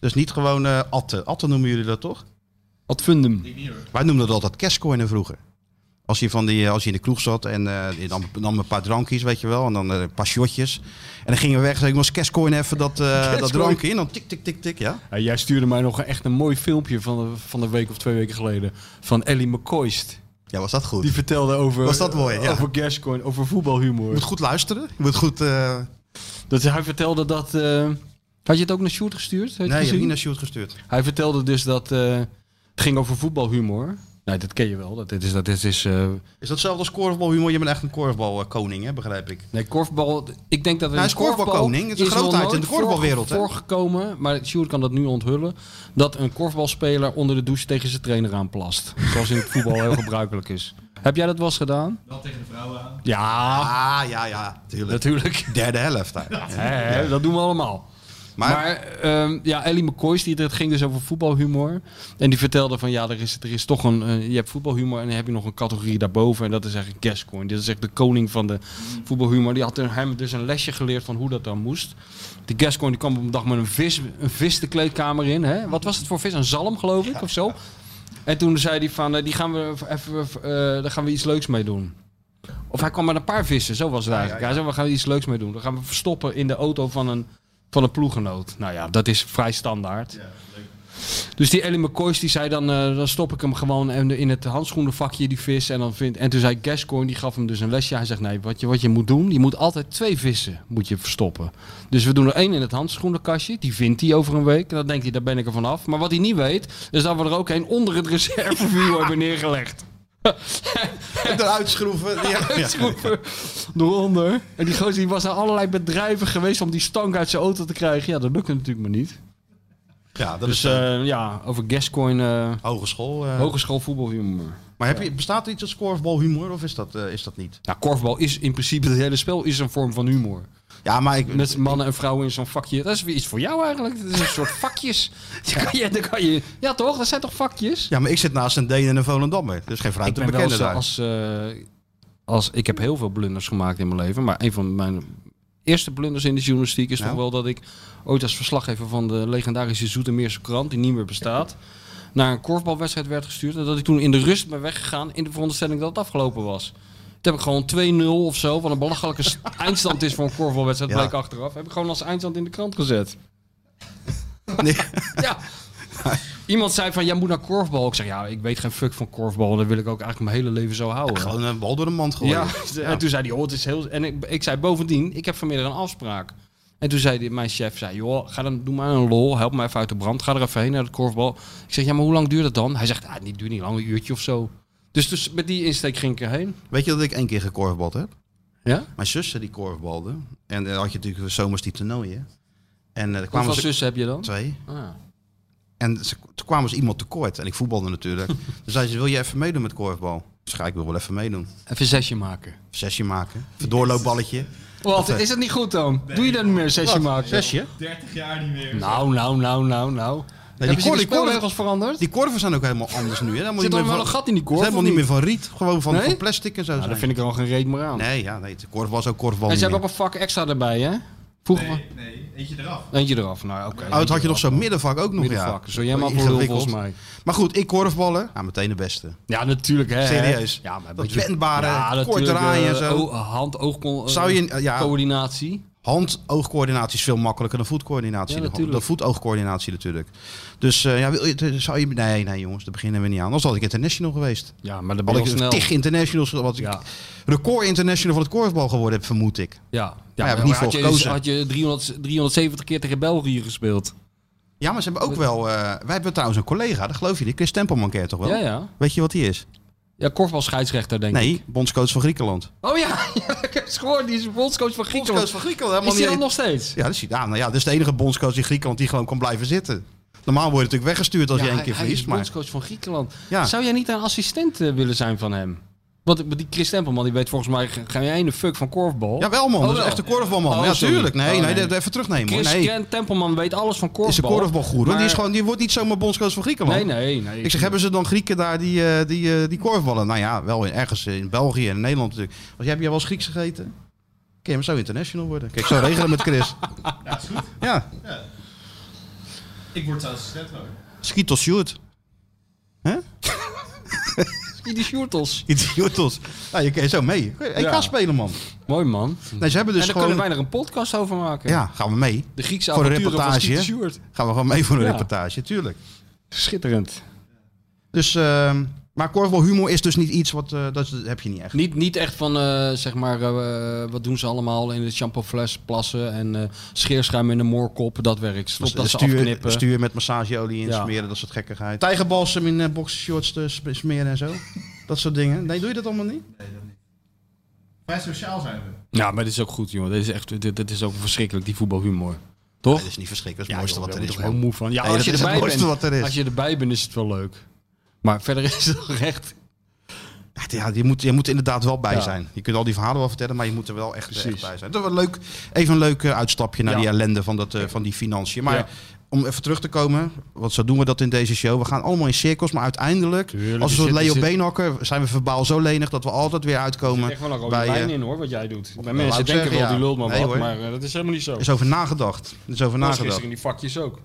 Speaker 5: Dus niet gewoon eh atten. Atten noemen jullie dat toch?
Speaker 7: Wat fundum.
Speaker 5: Wij noemden dat altijd kerstcoinen vroeger. Als je, van die, eh, als je in de kroeg zat en eh, je nam, nam een paar drankjes, weet je wel, en dan eh, een paar shotjes. En dan gingen we weg, zeg ik, was kerstcoin even dat, eh, dat drankje in. Dan tik, tik, tik, tik, ja.
Speaker 7: Ja, jij stuurde mij nog een- echt een mooi filmpje van de, van de week of twee weken geleden. Van Ellie McCoist.
Speaker 5: Ja, was dat goed?
Speaker 7: Die
Speaker 5: Je
Speaker 7: vertelde over,
Speaker 5: Was dat mooi, ja.
Speaker 7: over Gascoigne, over voetbalhumor.
Speaker 5: moet goed luisteren. Je moet goed... eh
Speaker 7: Dat hij vertelde dat... eh, had je het ook naar Sjoerd gestuurd? Heb je het
Speaker 5: nee, je hebt
Speaker 7: gezien?
Speaker 5: niet naar Sjoerd gestuurd.
Speaker 7: Hij vertelde dus dat... eh, het ging over voetbalhumor. Nee, dat ken je wel. Dat, dit is, dat, dit is, eh,
Speaker 5: Is dat hetzelfde als korfbalhumor? Je bent echt een korfbalkoning, hè, begrijp ik.
Speaker 7: nee, korfbal... Ik denk dat we
Speaker 5: Hij
Speaker 7: in
Speaker 5: is korfbalkoning. Het is een
Speaker 7: nog
Speaker 5: grootheid in
Speaker 7: nooit
Speaker 5: de korfbalwereld, hè?
Speaker 7: voor- Voorgekomen, maar Sjoerd kan dat nu onthullen... dat een korfbalspeler onder de douche tegen zijn trainer aanplast. Zoals in het voetbal heel gebruikelijk is. Heb jij dat wel eens gedaan?
Speaker 6: Wel tegen de vrouwen aan.
Speaker 7: Ja,
Speaker 5: Ah, ja, ja, tuurlijk.
Speaker 7: natuurlijk.
Speaker 5: Derde helft eigenlijk.
Speaker 7: Hè, hè, Dat doen we allemaal. Maar,
Speaker 5: Maar-
Speaker 7: ehm, ja, Ellie McCoy, die, dat ging dus over voetbalhumor. En die vertelde van, ja, er is, er is toch een... eh, je hebt voetbalhumor en dan heb je nog een categorie daarboven. En dat is eigenlijk Gascoigne. Dit is echt de koning van de voetbalhumor. Die had er- hem dus een lesje geleerd van hoe dat dan moest. Die Gascoigne die kwam op een dag met een vis, een vis de kleedkamer in. Hè? Wat was het voor vis? Een zalm, geloof ik, of zo? En toen zei hij van, eh, die gaan we even, eh, daar gaan we iets leuks mee doen. Of hij kwam met een paar vissen, zo was het eigenlijk. Hij zei, we gaan er iets leuks mee doen. Dan gaan we verstoppen in de auto van een, van een ploegenoot. Nou ja, dat is vrij standaard. Dus die Ellie McCoys die zei dan, eh, dan stop ik hem gewoon in, in het handschoenenvakje, die vis. En, dan vind, en toen zei Gascoigne, die gaf hem dus een lesje. Hij zegt, nee, wat je, wat je moet doen, je moet altijd twee vissen moet je verstoppen. Dus we doen er één in het handschoenenkastje, die vindt hij over een week. En dan denkt hij, daar ben ik er vanaf. Maar wat hij niet weet, is dat we er ook één onder het reservevuur [LAUGHS] hebben neergelegd.
Speaker 5: Eruit schroeven. Ja. Ja.
Speaker 7: Schroeven [LAUGHS] eronder. En die gozer die was naar allerlei bedrijven geweest om die stank uit zijn auto te krijgen. Ja, dat lukte natuurlijk maar niet.
Speaker 5: Ja, dat is
Speaker 7: Dus
Speaker 5: eh,
Speaker 7: eh, ja, over Gascoin, eh
Speaker 5: hogeschool. eh.
Speaker 7: hogeschool voetbalhumor.
Speaker 5: Maar heb je, bestaat er iets als korfbalhumor of is dat, eh, is dat niet?
Speaker 7: Nou, korfbal is in principe, het hele spel is een vorm van humor.
Speaker 5: Ja, maar ik,
Speaker 7: Met mannen en vrouwen in zo'n vakje. Dat is weer iets voor jou eigenlijk. Dat is een soort vakjes. [LAUGHS] Ja, kan je, dan kan je, ja toch? Dat zijn toch vakjes?
Speaker 5: ja, maar ik zit naast een Deen en een Volendammer. Dus geen fruit
Speaker 7: ik
Speaker 5: te
Speaker 7: ben wel
Speaker 5: bekennen
Speaker 7: eens,
Speaker 5: daar.
Speaker 7: eh, als, eh, als ik heb heel veel blunders gemaakt in mijn leven, maar een van mijn eerste blunders in de journalistiek is
Speaker 5: Nou?
Speaker 7: toch wel dat ik ooit als verslaggever van de legendarische Zoetermeerse krant, die niet meer bestaat, naar een korfbalwedstrijd werd gestuurd en dat ik toen in de rust ben weggegaan in de veronderstelling dat het afgelopen was. Toen heb ik gewoon 2-0 of zo, wat een belachelijke
Speaker 5: [LAUGHS]
Speaker 7: s- eindstand is voor een korfbalwedstrijd,
Speaker 5: Ja.
Speaker 7: bleek achteraf. Heb ik gewoon als eindstand in de krant gezet.
Speaker 5: Nee.
Speaker 7: Ja.
Speaker 5: [LAUGHS]
Speaker 7: Iemand zei van, jij moet naar korfbal. Ik zeg, ja, ik weet geen fuck van korfbal. En dat wil ik ook eigenlijk mijn hele leven zo houden.
Speaker 5: Gewoon een bal door de mand gooien.
Speaker 7: Ja, [LAUGHS] en toen zei hij, oh, het is heel... En ik, ik zei bovendien, ik heb vanmiddag een afspraak. En toen zei die, mijn chef, zei, joh, ga dan, doe maar een lol, help me even uit de brand. Ga er even heen naar de korfbal. Ik zeg, ja, maar hoe lang duurt dat dan? Hij zegt, ah, het duurt niet lang, een uurtje of zo. Dus, dus met die insteek ging ik erheen.
Speaker 5: Weet je dat ik één keer gekorfbald heb?
Speaker 7: Ja?
Speaker 5: Mijn zussen die korfbalde. En dan had je natuurlijk zomers die toernooien. En eh, er kwamen
Speaker 7: Hoeveel
Speaker 5: ze
Speaker 7: zussen heb je dan?
Speaker 5: twee.
Speaker 7: Ah.
Speaker 5: En ze, toen kwamen ze iemand tekort. En ik voetbalde
Speaker 7: [LAUGHS]
Speaker 5: natuurlijk. Toen zei ze, wil je even meedoen met korfbal? Dus ga ik wil wel even meedoen.
Speaker 7: Even een sessie maken.
Speaker 5: Sessie maken. Even doorloopballetje.
Speaker 7: Wat, is het niet goed dan? Doe je dan niet meer een sessie maken?
Speaker 5: Zesje?
Speaker 6: 30 jaar niet meer.
Speaker 7: Nou, nou, nou, nou, nou.
Speaker 5: die
Speaker 7: Hebben ze
Speaker 5: korf-
Speaker 7: de
Speaker 5: die korf-
Speaker 7: spelregels veranderd?
Speaker 5: Die korven zijn ook helemaal anders nu. Hè? Helemaal
Speaker 7: Zit
Speaker 5: niet
Speaker 7: er
Speaker 5: meer
Speaker 7: wel
Speaker 5: van-
Speaker 7: een gat in die korf?
Speaker 5: helemaal
Speaker 7: of
Speaker 5: niet meer van riet. Gewoon van,
Speaker 7: Nee?
Speaker 5: van plastic en zo.
Speaker 7: Nou,
Speaker 5: zijn.
Speaker 7: dat vind ik er al geen reet meer aan.
Speaker 5: Nee, ja, nee. het Korfbal is ook korfbal.
Speaker 7: En
Speaker 5: niet
Speaker 7: ze hebben
Speaker 5: meer.
Speaker 7: ook een vak extra erbij, hè? Vroeger
Speaker 6: Nee, nee, eentje eraf.
Speaker 7: Eentje eraf, nou oké.
Speaker 5: Oh, dat had je nog zo'n middenvak ook nog,
Speaker 7: middenvak.
Speaker 5: ja.
Speaker 7: Zo jij maar voor lul,
Speaker 5: Ingewikkeld.
Speaker 7: volgens mij.
Speaker 5: Maar goed, ik korfballen. Ja, meteen de beste.
Speaker 7: Ja, natuurlijk hè.
Speaker 5: Serieus.
Speaker 7: Ja, maar een
Speaker 5: Dat
Speaker 7: beetje-
Speaker 5: wendbare, kort
Speaker 7: natuurlijk,
Speaker 5: draaien en
Speaker 7: eh,
Speaker 5: zo.
Speaker 7: o- Hand-oog
Speaker 5: Zou je- ja.
Speaker 7: coördinatie.
Speaker 5: Hand-oogcoördinatie is veel makkelijker dan voetcoördinatie.
Speaker 7: Ja,
Speaker 5: De-
Speaker 7: natuurlijk.
Speaker 5: De voet-oogcoördinatie natuurlijk. Dus eh, ja, wil je, eh, zou je... Nee, nee jongens, daar beginnen we niet aan. Anders had ik international geweest.
Speaker 7: Ja, maar dat ben
Speaker 5: Had
Speaker 7: ik
Speaker 5: ik
Speaker 7: snel.
Speaker 5: tig internationals, wat ik
Speaker 7: Ja,
Speaker 5: record international van het korfbal geworden heb, vermoed ik.
Speaker 7: ja.
Speaker 5: ja,
Speaker 7: ja,
Speaker 5: heb ik
Speaker 7: maar
Speaker 5: niet voor
Speaker 7: had, je,
Speaker 5: gekozen.
Speaker 7: had je 300, 370 keer tegen België gespeeld?
Speaker 5: Ja, maar ze hebben ook wel... eh, wij hebben trouwens een collega, dat geloof je niet. Chris Tempelman kent toch wel?
Speaker 7: Ja, ja.
Speaker 5: Weet je wat die is?
Speaker 7: Ja, korfbal scheidsrechter denk ik.
Speaker 5: Nee, bondscoach van Griekenland.
Speaker 7: Oh ja, [LAUGHS] ja, ik heb het gehoord. Die is bondscoach van Griekenland.
Speaker 5: Griekenland,
Speaker 7: Is die dan nog steeds?
Speaker 5: nou Ja, dat is, ja, nou ja, dat is de enige bondscoach in Griekenland die gewoon kan blijven zitten. Normaal word je natuurlijk weggestuurd als
Speaker 7: Ja,
Speaker 5: je één
Speaker 7: hij-
Speaker 5: keer
Speaker 7: hij
Speaker 5: verliest.
Speaker 7: is
Speaker 5: Maar
Speaker 7: bondscoach van Griekenland.
Speaker 5: Ja.
Speaker 7: Zou jij niet een assistent eh, willen zijn van hem? Want ik- die Chris Tempelman die weet volgens mij ge- geen ene fuck van korfbal.
Speaker 5: Jawel man,
Speaker 7: Oh,
Speaker 5: dat is
Speaker 7: wel.
Speaker 5: echt een korfbalman.
Speaker 7: Oh,
Speaker 5: ja,
Speaker 7: sorry.
Speaker 5: tuurlijk. Nee,
Speaker 7: Oh,
Speaker 5: nee,
Speaker 7: nee.
Speaker 5: dat- even terugnemen. hoor.
Speaker 7: Chris
Speaker 5: Nee,
Speaker 7: Ken- Tempelman weet alles van korfbal.
Speaker 5: is een korfbalgoer. hoor. Die, is
Speaker 7: maar-
Speaker 5: gewoon, die wordt niet zomaar bondscoach van Griekenland.
Speaker 7: Nee, nee, nee.
Speaker 5: Ik zeg, hebben ze dan Grieken daar die, eh, die, eh, die korfballen? Nou ja, wel in, ergens in België en in Nederland natuurlijk. Want jij, heb jij wel eens Grieks gegeten? Kun je hem zo international worden? Kijk,
Speaker 6: [LAUGHS]
Speaker 5: zo regelen met Chris.
Speaker 6: Ja, is goed.
Speaker 5: Ja,
Speaker 6: Ik word zelfs assistent hoor.
Speaker 5: schiet of shoot.
Speaker 7: die shortels.
Speaker 5: Idiotos. Nou, je kan zo mee. EK
Speaker 7: Ja.
Speaker 5: spelen, man.
Speaker 7: Mooi man.
Speaker 5: Nee, ze hebben dus
Speaker 7: en daar
Speaker 5: gewoon...
Speaker 7: kunnen wij er een podcast over maken.
Speaker 5: Ja, gaan we mee.
Speaker 7: De Griekse
Speaker 5: Voor een
Speaker 7: avonturen van
Speaker 5: reportage,
Speaker 7: Skeeter
Speaker 5: hè?
Speaker 7: Stewart.
Speaker 5: Gaan we gewoon mee voor een
Speaker 7: Ja.
Speaker 5: reportage, tuurlijk.
Speaker 7: Schitterend.
Speaker 5: Dus, ehm, maar korfbalhumor is dus niet iets wat... eh, dat dat heb je niet echt.
Speaker 7: Niet, niet echt van, eh, zeg maar, eh, wat doen ze allemaal in de shampoofles plassen en eh, scheerschuim in de moorkop. Dat werkt. Stop dat ze
Speaker 5: stuur,
Speaker 7: afknippen.
Speaker 5: stuur met massageolie in
Speaker 7: Ja.
Speaker 5: smeren, dat soort gekkigheid. Tijgerbalsem in eh, boxershorts eh, sp- smeren en
Speaker 7: [LAUGHS]
Speaker 5: zo. dat soort dingen. Nee, doe je dat allemaal niet?
Speaker 6: Nee, dat niet. Wij sociaal zijn we.
Speaker 7: Ja, maar dit is ook goed, jongen. Dit is echt, dit, dit is ook verschrikkelijk, die voetbalhumor. Toch?
Speaker 5: Dat is niet verschrikkelijk. Dat
Speaker 7: Ja,
Speaker 5: is het mooiste
Speaker 7: joh,
Speaker 5: wat er
Speaker 7: daar
Speaker 5: is,
Speaker 7: word ik
Speaker 5: man.
Speaker 7: moe van. Ja,
Speaker 5: Nee,
Speaker 7: als
Speaker 5: dat
Speaker 7: je
Speaker 5: is het
Speaker 7: erbij
Speaker 5: mooiste
Speaker 7: bent,
Speaker 5: wat er is.
Speaker 7: Als je erbij bent, is het wel leuk. Maar verder is het toch echt...
Speaker 5: Ja, ja, je, moet, je moet er inderdaad wel bij
Speaker 7: Ja.
Speaker 5: zijn. Je kunt al die verhalen wel vertellen, maar je moet er wel echt, eh, echt
Speaker 7: Precies.
Speaker 5: bij zijn. Dat was leuk, even een leuk eh, uitstapje naar
Speaker 7: Ja.
Speaker 5: die ellende van, dat, eh, van die financiën. Maar
Speaker 7: Ja.
Speaker 5: om even terug te komen, want zo doen we dat in deze show. We gaan allemaal in cirkels, maar uiteindelijk,
Speaker 7: Tuurlijk,
Speaker 5: als we
Speaker 7: er
Speaker 5: soort
Speaker 7: zit-
Speaker 5: Leo
Speaker 7: er zit-
Speaker 5: Beenhakker, zijn we verbaal zo lenig dat we altijd weer uitkomen.
Speaker 7: Echt wel een rode
Speaker 5: bij, eh,
Speaker 7: lijn in, hoor, wat jij doet. Bij
Speaker 5: wou
Speaker 7: mensen
Speaker 5: ik
Speaker 7: denken
Speaker 5: zeggen,
Speaker 7: wel,
Speaker 5: ja.
Speaker 7: die lult maar
Speaker 5: Nee,
Speaker 7: wat,
Speaker 5: hoor.
Speaker 7: maar eh, dat is helemaal niet zo.
Speaker 5: Er is over nagedacht. Er is over
Speaker 7: Dat was
Speaker 5: nagedacht.
Speaker 7: gisteren in die vakjes ook.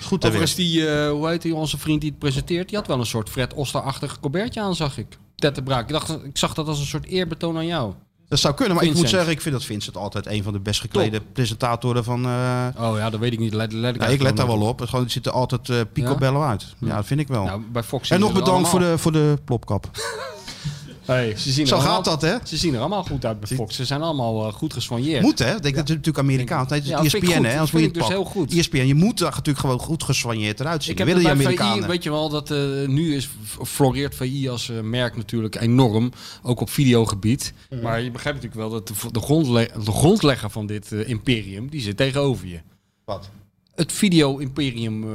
Speaker 5: Goed hè,
Speaker 7: Overigens,
Speaker 5: weer.
Speaker 7: die, eh, hoe heet die, onze vriend die het presenteert, die had wel een soort Fred Oster-achtig colbertje aan, zag ik. Tettenbraak. Ik, dacht, ik zag dat als een soort eerbetoon aan jou.
Speaker 5: Dat zou kunnen, maar ik moet
Speaker 7: Vincent.
Speaker 5: zeggen, ik vind dat Vincent altijd een van de best geklede presentatoren van... eh,
Speaker 7: Oh ja, dat weet ik niet. Let, let ik,
Speaker 5: nou, ik let
Speaker 7: eigenlijk
Speaker 5: daar wel
Speaker 7: nooit
Speaker 5: op. Het gewoon- het ziet er altijd eh, picobello uit. Ja, dat vind ik wel.
Speaker 7: Nou, bij
Speaker 5: en
Speaker 7: Fox zien
Speaker 5: nog
Speaker 7: ze er
Speaker 5: bedankt voor
Speaker 7: allemaal-
Speaker 5: de, voor de plopkap.
Speaker 7: Hey, ze zien er
Speaker 5: Zo
Speaker 7: allemaal-
Speaker 5: gaat dat, hè?
Speaker 7: Ze zien er allemaal goed uit bij Fox. Ze zijn allemaal eh, goed gesfanjeerd.
Speaker 5: Moet, hè? Ik Denk, Dat is natuurlijk Amerikaans. Nee, het is E
Speaker 7: Ja, vind ik
Speaker 5: ESPN,
Speaker 7: goed.
Speaker 5: hè?
Speaker 7: Dat
Speaker 5: Anders
Speaker 7: vind
Speaker 5: moet
Speaker 7: ik
Speaker 5: je
Speaker 7: dus
Speaker 5: het
Speaker 7: heel
Speaker 5: pakken.
Speaker 7: goed.
Speaker 5: ESPN, je moet daar natuurlijk gewoon goed geswanjeerd eruit zien.
Speaker 7: Ik
Speaker 5: Dat
Speaker 7: heb
Speaker 5: willen
Speaker 7: het
Speaker 5: die
Speaker 7: bij
Speaker 5: Amerikanen.
Speaker 7: VI, weet je wel, dat eh, nu is, floreert VI als eh, merk natuurlijk enorm, ook op videogebied.
Speaker 5: Mhm.
Speaker 7: Maar je begrijpt natuurlijk wel dat de, v- de, grondle- de grondlegger van dit eh, imperium, die zit tegenover je.
Speaker 5: Wat?
Speaker 7: Het video-imperium eh,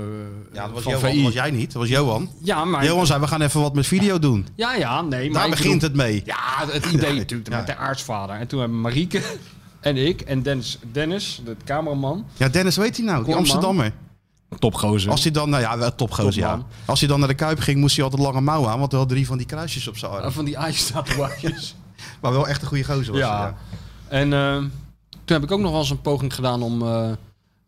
Speaker 5: Ja, dat was,
Speaker 7: van
Speaker 5: Johan,
Speaker 7: VI.
Speaker 5: dat was jij niet. Dat was Johan.
Speaker 7: Ja, maar...
Speaker 5: Johan zei, we gaan even wat met video doen.
Speaker 7: ja, ja, nee, maar
Speaker 5: Daar
Speaker 7: ik
Speaker 5: begint
Speaker 7: bedoel-
Speaker 5: het mee.
Speaker 7: Ja, het idee
Speaker 5: [CLEARS THROAT]
Speaker 7: natuurlijk,
Speaker 5: Ja.
Speaker 7: met de aartsvader. En toen hebben Marieke [LAUGHS] en ik en Dennis, Dennis de cameraman,
Speaker 5: Ja, Dennis, weet hij nou? Die
Speaker 7: Kom, man.
Speaker 5: Amsterdammer.
Speaker 7: topgozer.
Speaker 5: Als hij dan, nou ja, wel topgozer, ja.
Speaker 7: Topman.
Speaker 5: Als hij dan naar de Kuip ging, moest hij altijd lange mouwen aan. Want hij had drie van die kruisjes op zijn arm.
Speaker 7: Eh, Van die ijstatoeages.
Speaker 5: Maar wel echt een goede gozer was hij,
Speaker 7: Ja.
Speaker 5: ja.
Speaker 7: En eh, toen heb ik ook nog wel eens een poging gedaan om. eh,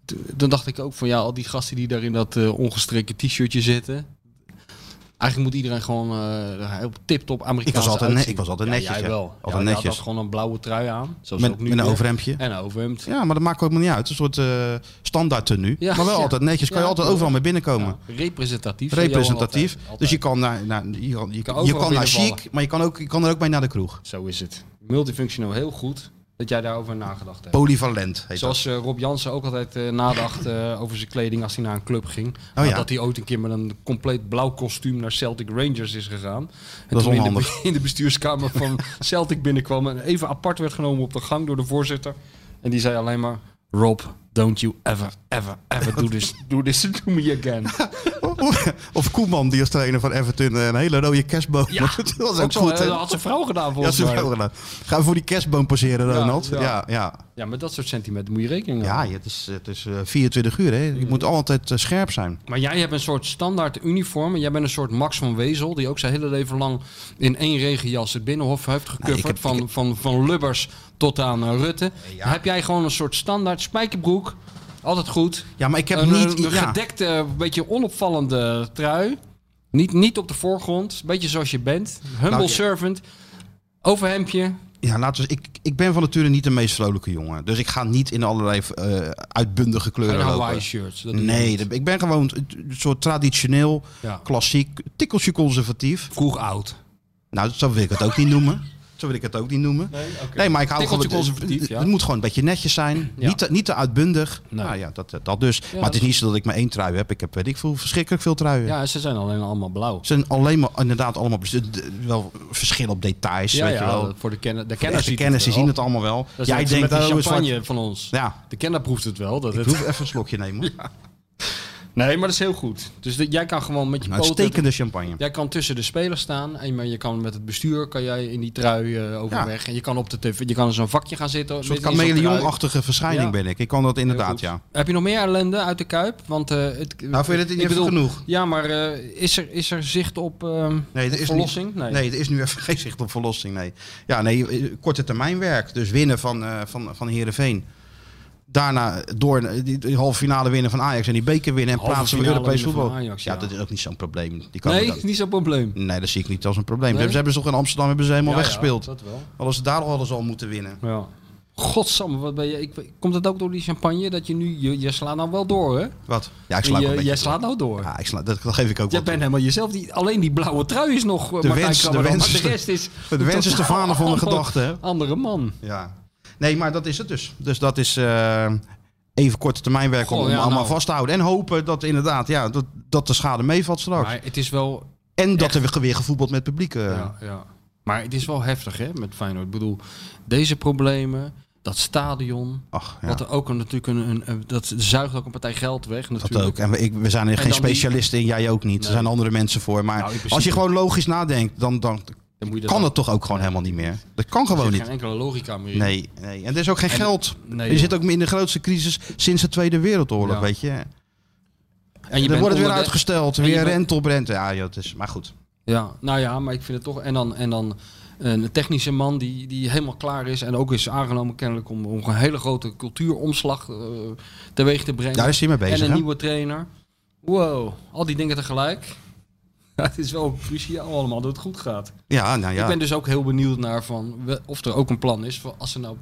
Speaker 7: t- toen dacht ik ook van ja, al die gasten die daar in dat eh, ongestreken t-shirtje zitten. Eigenlijk moet iedereen gewoon eh heel tip-top Amerikaans
Speaker 5: Ik was altijd, ne-
Speaker 7: uitzien.
Speaker 5: ik was altijd netjes.
Speaker 7: Ja,
Speaker 5: hè.
Speaker 7: jij wel. Ja,
Speaker 5: Altijd
Speaker 7: jij had
Speaker 5: netjes.
Speaker 7: altijd gewoon een blauwe trui aan. Zoals
Speaker 5: Met,
Speaker 7: ook nu
Speaker 5: met een
Speaker 7: weer.
Speaker 5: overhemdje.
Speaker 7: En een overhemd.
Speaker 5: Ja, maar dat maakt ook helemaal niet uit. Een soort eh standaard tenue.
Speaker 7: Ja,
Speaker 5: maar wel
Speaker 7: ja.
Speaker 5: altijd netjes. Kan je
Speaker 7: Ja,
Speaker 5: altijd
Speaker 7: ja.
Speaker 5: overal mee binnenkomen.
Speaker 7: Ja, representatief. zei Johan
Speaker 5: Representatief.
Speaker 7: altijd. Altijd.
Speaker 5: Dus je kan, naar, naar, je kan, je,
Speaker 7: Kan
Speaker 5: je
Speaker 7: overal
Speaker 5: kan naar
Speaker 7: binnenvallen.
Speaker 5: chic, maar je kan, ook, je kan er ook mee naar de kroeg.
Speaker 7: Zo is het. Multifunctioneel heel goed dat jij daarover nagedacht hebt.
Speaker 5: Polyvalent heet
Speaker 7: Zoals eh, Rob Jansen ook altijd eh, nadacht eh, over zijn kleding als hij naar een club ging.
Speaker 5: Oh ja.
Speaker 7: Maar Dat hij ooit een keer met een compleet blauw kostuum naar Celtic Rangers is gegaan. En
Speaker 5: is
Speaker 7: toen in de,
Speaker 5: onhandig.
Speaker 7: be- [LAUGHS] in de bestuurskamer
Speaker 5: [LAUGHS]
Speaker 7: van Celtic binnenkwam en even apart werd genomen op de gang door de voorzitter. En die zei alleen maar, Rob, don't you ever, ever, ever do
Speaker 5: [LAUGHS]
Speaker 7: this, do this to me again.
Speaker 5: dat. [LAUGHS] of Koeman, die als trainer van Everton eh, een hele rode kerstboom.
Speaker 7: Ja,
Speaker 5: [LAUGHS] dat was ook,
Speaker 7: Ook zo,
Speaker 5: goed.
Speaker 7: eh,
Speaker 5: hè?
Speaker 7: dat had zijn vrouw gedaan
Speaker 5: Ja,
Speaker 7: volgens
Speaker 5: ze
Speaker 7: mij.
Speaker 5: wel [LAUGHS] gedaan. Gaan we voor die kerstboom passeren,
Speaker 7: Ja,
Speaker 5: Ronald? Ja,
Speaker 7: ja.
Speaker 5: ja. ja.
Speaker 7: Ja, met dat soort sentimenten moet je rekening houden.
Speaker 5: het is, het is eh, 24 uur. Hè. Je moet altijd eh, scherp zijn.
Speaker 7: Maar jij hebt een soort standaard uniform. En jij bent een soort Max van Wezel. Die ook zijn hele leven lang in één regenjas het Binnenhof heeft gecoverd.
Speaker 5: Nou, ik heb-
Speaker 7: van,
Speaker 5: ik heb-
Speaker 7: van, van Lubbers tot aan eh, Rutte.
Speaker 5: Ja.
Speaker 7: Dan Heb jij gewoon een soort standaard spijkerbroek. Altijd goed.
Speaker 5: Ja, maar ik heb
Speaker 7: een, eh,
Speaker 5: niet...
Speaker 7: een- een
Speaker 5: ja.
Speaker 7: gedekte, een beetje onopvallende trui. Niet, niet op de voorgrond. Beetje zoals je bent. Humble
Speaker 5: Nou, ja.
Speaker 7: servant. Overhemdje.
Speaker 5: Ja, laten we, ik, ik ben van nature niet de meest vrolijke jongen. Dus ik ga niet in allerlei eh, uitbundige
Speaker 7: En
Speaker 5: kleuren
Speaker 7: Hawaii
Speaker 5: lopen.
Speaker 7: shirts. Dat doe je
Speaker 5: Nee,
Speaker 7: niet.
Speaker 5: dat- ik ben gewoon een soort traditioneel,
Speaker 7: Ja.
Speaker 5: klassiek, tikkeltje conservatief.
Speaker 7: Vroeg oud.
Speaker 5: Nou, zo wil ik het ook niet noemen. Zo wil ik het ook niet noemen. Nee, maar ik hou
Speaker 7: Tikkeltje
Speaker 5: gewoon...
Speaker 7: conservatief,
Speaker 5: het,
Speaker 7: ja.
Speaker 5: het moet gewoon een beetje netjes zijn.
Speaker 7: Ja.
Speaker 5: Niet, te, niet te uitbundig.
Speaker 7: Nee.
Speaker 5: Nou ja, dat, dat dus. maar het
Speaker 7: dat
Speaker 5: is
Speaker 7: is-
Speaker 5: niet zo dat ik maar één trui heb. Ik heb, weet ik veel, verschrikkelijk veel truien.
Speaker 7: Ja, ze zijn alleen allemaal blauw.
Speaker 5: Het zijn alleen maar, inderdaad, allemaal bes- d- wel verschil op details,
Speaker 7: Ja,
Speaker 5: weet je
Speaker 7: ja,
Speaker 5: wel.
Speaker 7: dat- voor de, kenner, de
Speaker 5: De
Speaker 7: kenners
Speaker 5: echte
Speaker 7: ziet
Speaker 5: kennis, die
Speaker 7: wel.
Speaker 5: zien het allemaal wel.
Speaker 7: Dat is
Speaker 5: Jij
Speaker 7: net zo
Speaker 5: denkt,
Speaker 7: met
Speaker 5: oh,
Speaker 7: de
Speaker 5: een zwart...
Speaker 7: champagne van ons.
Speaker 5: Ja,
Speaker 7: De kenner proeft het wel. Dat
Speaker 5: ik
Speaker 7: het... [LAUGHS]
Speaker 5: hoef even een slokje nemen. hoor.
Speaker 7: Nee, maar dat is heel goed. Dus dat- jij kan gewoon met je
Speaker 5: Nou,
Speaker 7: poten...
Speaker 5: uitstekende champagne.
Speaker 7: Jij kan tussen de spelers staan en maar je kan met het bestuur kan jij in die trui eh, overweg. En je kan op de tv, je kan in zo'n vakje gaan zitten.
Speaker 5: Een soort
Speaker 7: midden in zo'n trui.
Speaker 5: chameleonachtige verschijning
Speaker 7: Ja.
Speaker 5: ben ik. Ik kan dat
Speaker 7: Heel
Speaker 5: inderdaad,
Speaker 7: goed.
Speaker 5: ja.
Speaker 7: Heb je nog meer ellende uit de Kuip? Want, eh, het,
Speaker 5: Nou, vind je dat
Speaker 7: ik
Speaker 5: niet even
Speaker 7: bedoel-
Speaker 5: genoeg?
Speaker 7: Ja, maar eh, is, er, is er zicht op ehm,
Speaker 5: Nee, er is
Speaker 7: verlossing?
Speaker 5: Niet, nee, er is nu even [LAUGHS] geen zicht op verlossing, nee. Ja, nee, eh, korte termijn werk. Dus winnen van, eh van, van Heerenveen. Daarna door eh, die, die halve finale winnen van Ajax en die beker winnen en
Speaker 7: Halve
Speaker 5: plaatsen voor
Speaker 7: finale
Speaker 5: Europees
Speaker 7: winnen van
Speaker 5: voetbal.
Speaker 7: Ajax,
Speaker 5: ja.
Speaker 7: ja.
Speaker 5: dat is ook niet zo'n probleem. Die kan
Speaker 7: Nee,
Speaker 5: ook-
Speaker 7: is niet zo'n probleem.
Speaker 5: nee, dat zie ik niet als een probleem.
Speaker 7: Nee?
Speaker 5: Ze hebben ze toch in Amsterdam hebben ze helemaal
Speaker 7: Ja,
Speaker 5: weggespeeld.
Speaker 7: Ja, dat wel.
Speaker 5: Hadden ze daar al hadden ze al moeten winnen.
Speaker 7: Ja. Godsamme, wat ben je? Ik, komt dat ook door die champagne dat je nu je, je slaat nou wel door, hè?
Speaker 5: Wat? Ja, ik sla ook een
Speaker 7: je,
Speaker 5: beetje
Speaker 7: jij
Speaker 5: door.
Speaker 7: slaat nou door.
Speaker 5: Ja, ik sla, dat, dat geef ik ook
Speaker 7: Jij
Speaker 5: wel
Speaker 7: bent
Speaker 5: toe.
Speaker 7: helemaal jezelf. Die, alleen die blauwe trui is nog. eh,
Speaker 5: De
Speaker 7: Martijn
Speaker 5: wens- de
Speaker 7: Krabbe dan,
Speaker 5: wens
Speaker 7: maar
Speaker 5: is de-
Speaker 7: de rest is.
Speaker 5: de wens is de
Speaker 7: totaal
Speaker 5: vader
Speaker 7: [LAUGHS]
Speaker 5: van de
Speaker 7: andere-
Speaker 5: gedachte, hè?
Speaker 7: Andere man.
Speaker 5: Ja. Nee, maar dat is het dus. Dus dat is eh, even korte termijn werken
Speaker 7: Goh,
Speaker 5: om
Speaker 7: ja,
Speaker 5: allemaal
Speaker 7: nou.
Speaker 5: vast te houden. En hopen dat inderdaad, ja, dat, dat de schade meevalt straks.
Speaker 7: Maar het is wel.
Speaker 5: en dat er weer- weer gevoetbald met publiek. eh.
Speaker 7: Ja, ja. Maar het is wel heftig, hè? Met Feyenoord. Ik bedoel, deze problemen, dat stadion.
Speaker 5: Ach, ja.
Speaker 7: Wat er ook een, natuurlijk een, een, een- Dat zuigt ook een partij geld weg.
Speaker 5: Dat
Speaker 7: Natuurlijk.
Speaker 5: ook. En we, ik, we zijn er
Speaker 7: En
Speaker 5: geen
Speaker 7: dan die-
Speaker 5: specialisten in, jij ook niet. Er
Speaker 7: Nee.
Speaker 5: zijn andere mensen voor. Maar
Speaker 7: Nou, in principe-
Speaker 5: als je gewoon logisch nadenkt, dan, dan
Speaker 7: Dan moet je
Speaker 5: kan
Speaker 7: dat
Speaker 5: het toch ook gewoon helemaal niet meer. Dat kan gewoon
Speaker 7: Er zit
Speaker 5: niet.
Speaker 7: geen enkele logica meer in.
Speaker 5: Nee, nee. En er is ook geen
Speaker 7: En-
Speaker 5: geld.
Speaker 7: nee,
Speaker 5: je
Speaker 7: joh.
Speaker 5: zit ook in de grootste crisis sinds de Tweede Wereldoorlog,
Speaker 7: Ja.
Speaker 5: weet je.
Speaker 7: En
Speaker 5: dan
Speaker 7: bent
Speaker 5: wordt het weer
Speaker 7: onder de-
Speaker 5: uitgesteld.
Speaker 7: en je
Speaker 5: Weer
Speaker 7: bent-
Speaker 5: rente op rente. Ja, joh, het is, maar goed.
Speaker 7: Ja, nou ja, maar ik vind het toch. En dan, en dan eh, een technische man die, die helemaal klaar is. En ook is aangenomen kennelijk om, om een hele grote cultuuromslag eh, teweeg te brengen.
Speaker 5: Daar is hij mee bezig.
Speaker 7: en een
Speaker 5: hè?
Speaker 7: nieuwe trainer. Wow, al die dingen tegelijk. [LAUGHS] Ja, het is wel cruciaal allemaal dat het goed gaat.
Speaker 5: Ja, nou ja.
Speaker 7: Ik ben dus ook heel benieuwd naar van we- of er ook een plan is voor als ze nou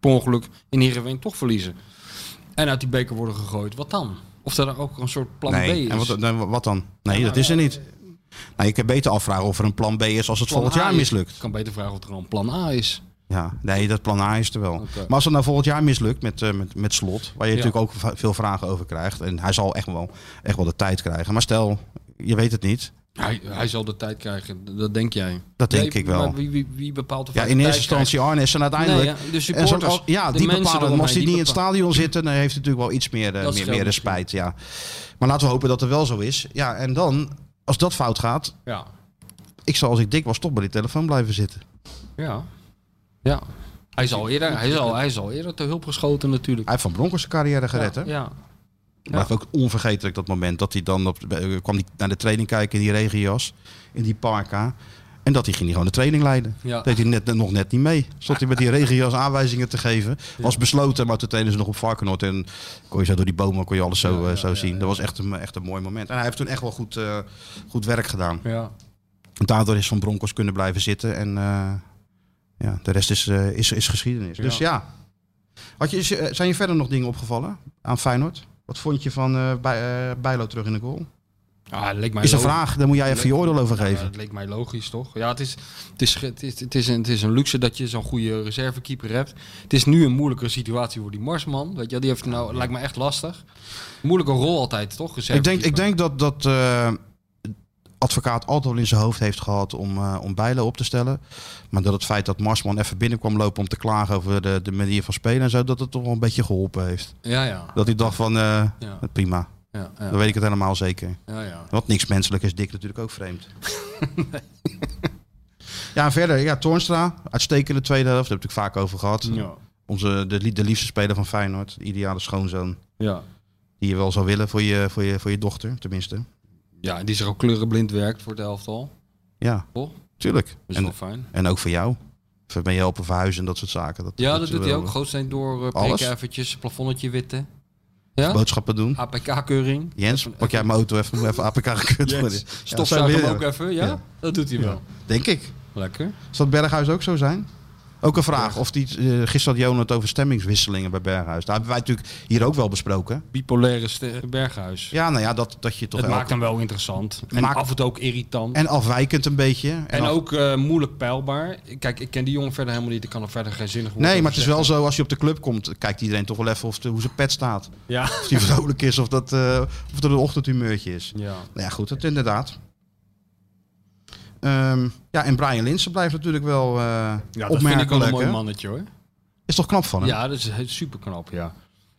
Speaker 7: per ongeluk in Heerenveen toch verliezen. En uit die beker worden gegooid. Wat dan? Of er dan ook een soort plan
Speaker 5: nee.
Speaker 7: B is.
Speaker 5: En wat, dan, wat dan? Nee, dat is er niet. Nou, ik kan beter afvragen of er een plan B is als het
Speaker 7: Plan
Speaker 5: volgend
Speaker 7: A
Speaker 5: jaar
Speaker 7: is-
Speaker 5: mislukt.
Speaker 7: Ik kan beter vragen of er een plan A is.
Speaker 5: Ja, nee, dat plan A is er wel.
Speaker 7: Oké.
Speaker 5: Maar als het nou volgend jaar mislukt met, eh, met, met slot, waar je
Speaker 7: Ja.
Speaker 5: natuurlijk ook va- veel vragen over krijgt. En hij zal echt wel, echt wel de tijd krijgen. Maar stel, je weet het niet.
Speaker 7: Hij, hij zal de tijd krijgen, dat denk jij.
Speaker 5: Dat denk
Speaker 7: Nee,
Speaker 5: ik wel.
Speaker 7: maar Wie, wie, wie bepaalt of
Speaker 5: Ja,
Speaker 7: hij
Speaker 5: in
Speaker 7: de
Speaker 5: eerste
Speaker 7: tijd
Speaker 5: instantie Arnes en
Speaker 7: krijgt?
Speaker 5: uiteindelijk.
Speaker 7: Nee, ja, de
Speaker 5: En zo'n-
Speaker 7: supporters,
Speaker 5: oh, ja,
Speaker 7: de
Speaker 5: die
Speaker 7: mensen
Speaker 5: bepalen. hem. Als die
Speaker 7: eromheen,
Speaker 5: niet in het
Speaker 7: bepa-
Speaker 5: stadion zitten, dan heeft hij natuurlijk wel iets meer, eh,
Speaker 7: Dat
Speaker 5: meer,
Speaker 7: scheelt
Speaker 5: meer de
Speaker 7: misschien.
Speaker 5: spijt. Ja. Maar laten we hopen dat het wel zo is. Ja, en dan, als dat fout gaat, ik zal als ik dik was toch bij die telefoon blijven zitten.
Speaker 7: Ja, ja, ja. Hij is al eerder, hij is al, hij is al eerder te hulp geschoten natuurlijk.
Speaker 5: Hij heeft Van Bronckhorst zijn carrière gered, hè?
Speaker 7: Ja, ja.
Speaker 5: Blijft ook onvergetelijk dat moment dat hij dan op, eh, kwam die naar de training kijken in die regenjas, in die parka. En dat hij ging die gewoon de training leiden.
Speaker 7: Ja.
Speaker 5: Deed hij net, nog net niet mee. Stond hij met die regenjas aanwijzingen te geven. Was besloten, maar toen deden ze nog op Varkenoord. En kon je zo door die bomen kon je alles zo, eh, zo zien. Dat was echt een, echt een mooi moment. En hij heeft toen echt wel goed, eh, goed werk gedaan.
Speaker 7: ja.
Speaker 5: En Daardoor is Van Broncos kunnen blijven zitten. En eh, ja, de rest is, eh, is, is geschiedenis. Dus ja. Had je, is- eh, zijn je verder nog dingen opgevallen aan Feyenoord? Wat vond je van eh, bij, eh, Bijlo terug in de goal?
Speaker 7: Ah, dat leek mij
Speaker 5: Is een
Speaker 7: lo-
Speaker 5: vraag, daar moet jij even je oordeel over
Speaker 7: Ja,
Speaker 5: geven.
Speaker 7: dat leek mij logisch, toch? Ja, het is, het is, ge- het is, het is, een, het is een luxe dat je zo'n goede reservekeeper hebt. Het is nu een moeilijkere situatie voor die Marsman. Weet je, wel, die heeft nou, lijkt me echt lastig. Moeilijke rol altijd, toch?
Speaker 5: Ik denk, ik
Speaker 7: reservekeeper.
Speaker 5: denk dat, dat eh, advocaat altijd wel in zijn hoofd heeft gehad om, eh, om Bijlo op te stellen. Maar dat het feit dat Marsman even binnenkwam lopen om te klagen over de, de manier van spelen en zo, dat het toch wel een beetje geholpen heeft.
Speaker 7: Ja, ja.
Speaker 5: Dat hij dacht van, eh,
Speaker 7: Ja,
Speaker 5: prima,
Speaker 7: ja,
Speaker 5: dan
Speaker 7: ja,
Speaker 5: weet ik het helemaal zeker.
Speaker 7: ja, ja.
Speaker 5: Want niks menselijk is dik natuurlijk ook vreemd. [LAUGHS] ja, en verder, ja, Toornstra, uitstekende tweede helft, daar heb ik het vaak over gehad.
Speaker 7: Ja,
Speaker 5: Onze, de, lie- de liefste speler van Feyenoord, de ideale schoonzoon.
Speaker 7: ja.
Speaker 5: Die je wel zou willen voor je, voor je, voor je dochter, tenminste.
Speaker 7: Ja, en die zich ook kleurenblind werkt voor het elftal.
Speaker 5: Ja,
Speaker 7: Toch?
Speaker 5: tuurlijk.
Speaker 7: Dat Oh. is
Speaker 5: En,
Speaker 7: wel fijn.
Speaker 5: en ook voor jou. Even mee helpen verhuizen en dat soort zaken. Dat,
Speaker 7: Ja, dat,
Speaker 5: is
Speaker 7: doet hij
Speaker 5: wel-
Speaker 7: ook. Gootsteen door, eh
Speaker 5: Alles?
Speaker 7: prikken eventjes, plafonnetje witten. Ja?
Speaker 5: Boodschappen doen.
Speaker 7: APK-keuring.
Speaker 5: Jens, pak jij mijn auto even, even APK
Speaker 7: [LAUGHS]
Speaker 5: gekut worden. Ja,
Speaker 7: Stofzuigen
Speaker 5: zo
Speaker 7: hem
Speaker 5: weer,
Speaker 7: ook even, ja?
Speaker 5: Ja.
Speaker 7: Dat doet hij wel.
Speaker 5: Denk ik.
Speaker 7: Lekker.
Speaker 5: Zal het Berghuis ook zo zijn? Ook een vraag. Of die, eh, gisteren had Johan het over stemmingswisselingen bij Berghuis. Daar hebben wij natuurlijk hier ook wel besproken.
Speaker 7: Bipolaire ste- Berghuis.
Speaker 5: Ja, nou ja, dat, dat je toch...
Speaker 7: het
Speaker 5: elke-
Speaker 7: maakt hem wel interessant. En
Speaker 5: Maakt-
Speaker 7: af en toe ook irritant. En,
Speaker 5: En afwijkend een beetje. En, af-
Speaker 7: ook eh, moeilijk peilbaar. Kijk, ik ken die jongen verder helemaal niet. Ik kan er verder geen zinnig woord
Speaker 5: Nee,
Speaker 7: over
Speaker 5: maar het is
Speaker 7: zeggen.
Speaker 5: wel zo, als je op de club komt, kijkt iedereen toch wel even of de, hoe zijn pet staat.
Speaker 7: Ja.
Speaker 5: Of
Speaker 7: [LAUGHS]
Speaker 5: die vrolijk is, of dat eh, of dat een ochtendhumeurtje is.
Speaker 7: ja.
Speaker 5: Nou ja, goed, dat inderdaad. Ehm, ja, en Brian Linsen blijft natuurlijk wel eh
Speaker 7: Ja, dat vind ik wel een
Speaker 5: opmerkelijk.
Speaker 7: mooi
Speaker 5: hè?
Speaker 7: mannetje hoor.
Speaker 5: Is toch knap van hem?
Speaker 7: Ja, dat is super knap, ja.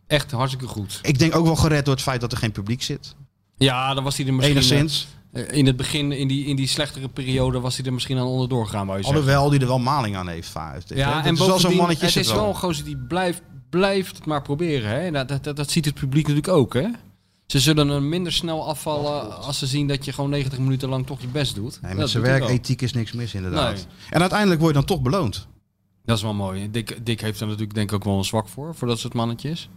Speaker 7: Echt hartstikke goed.
Speaker 5: Ik denk ook wel gered door het feit dat er geen publiek zit.
Speaker 7: Ja, dan was hij er misschien...
Speaker 5: Enigszins.
Speaker 7: eh, in het begin, in die, in die slechtere periode, was hij er misschien aan onderdoor gegaan, wou je zeggen.
Speaker 5: Alhoewel die er wel maling aan heeft. va- heeft hè.
Speaker 7: Ja,
Speaker 5: Dat
Speaker 7: en
Speaker 5: is wel zo'n
Speaker 7: bovendien,
Speaker 5: mannetje
Speaker 7: het
Speaker 5: zit
Speaker 7: is wel een gozer die blijft, blijft het maar proberen. Hè? Dat, dat, dat, dat ziet het publiek natuurlijk ook. Hè? Ze zullen hem minder snel afvallen als ze zien dat je gewoon 90 minuten lang toch je best doet.
Speaker 5: Nee,
Speaker 7: Dat
Speaker 5: met zijn
Speaker 7: doet hij wel.
Speaker 5: werkethiek is niks mis inderdaad.
Speaker 7: Nee.
Speaker 5: En uiteindelijk word je dan toch beloond.
Speaker 7: Dat is wel mooi. Dick, Dick heeft er natuurlijk denk ik ook wel een zwak voor, voor dat soort mannetjes.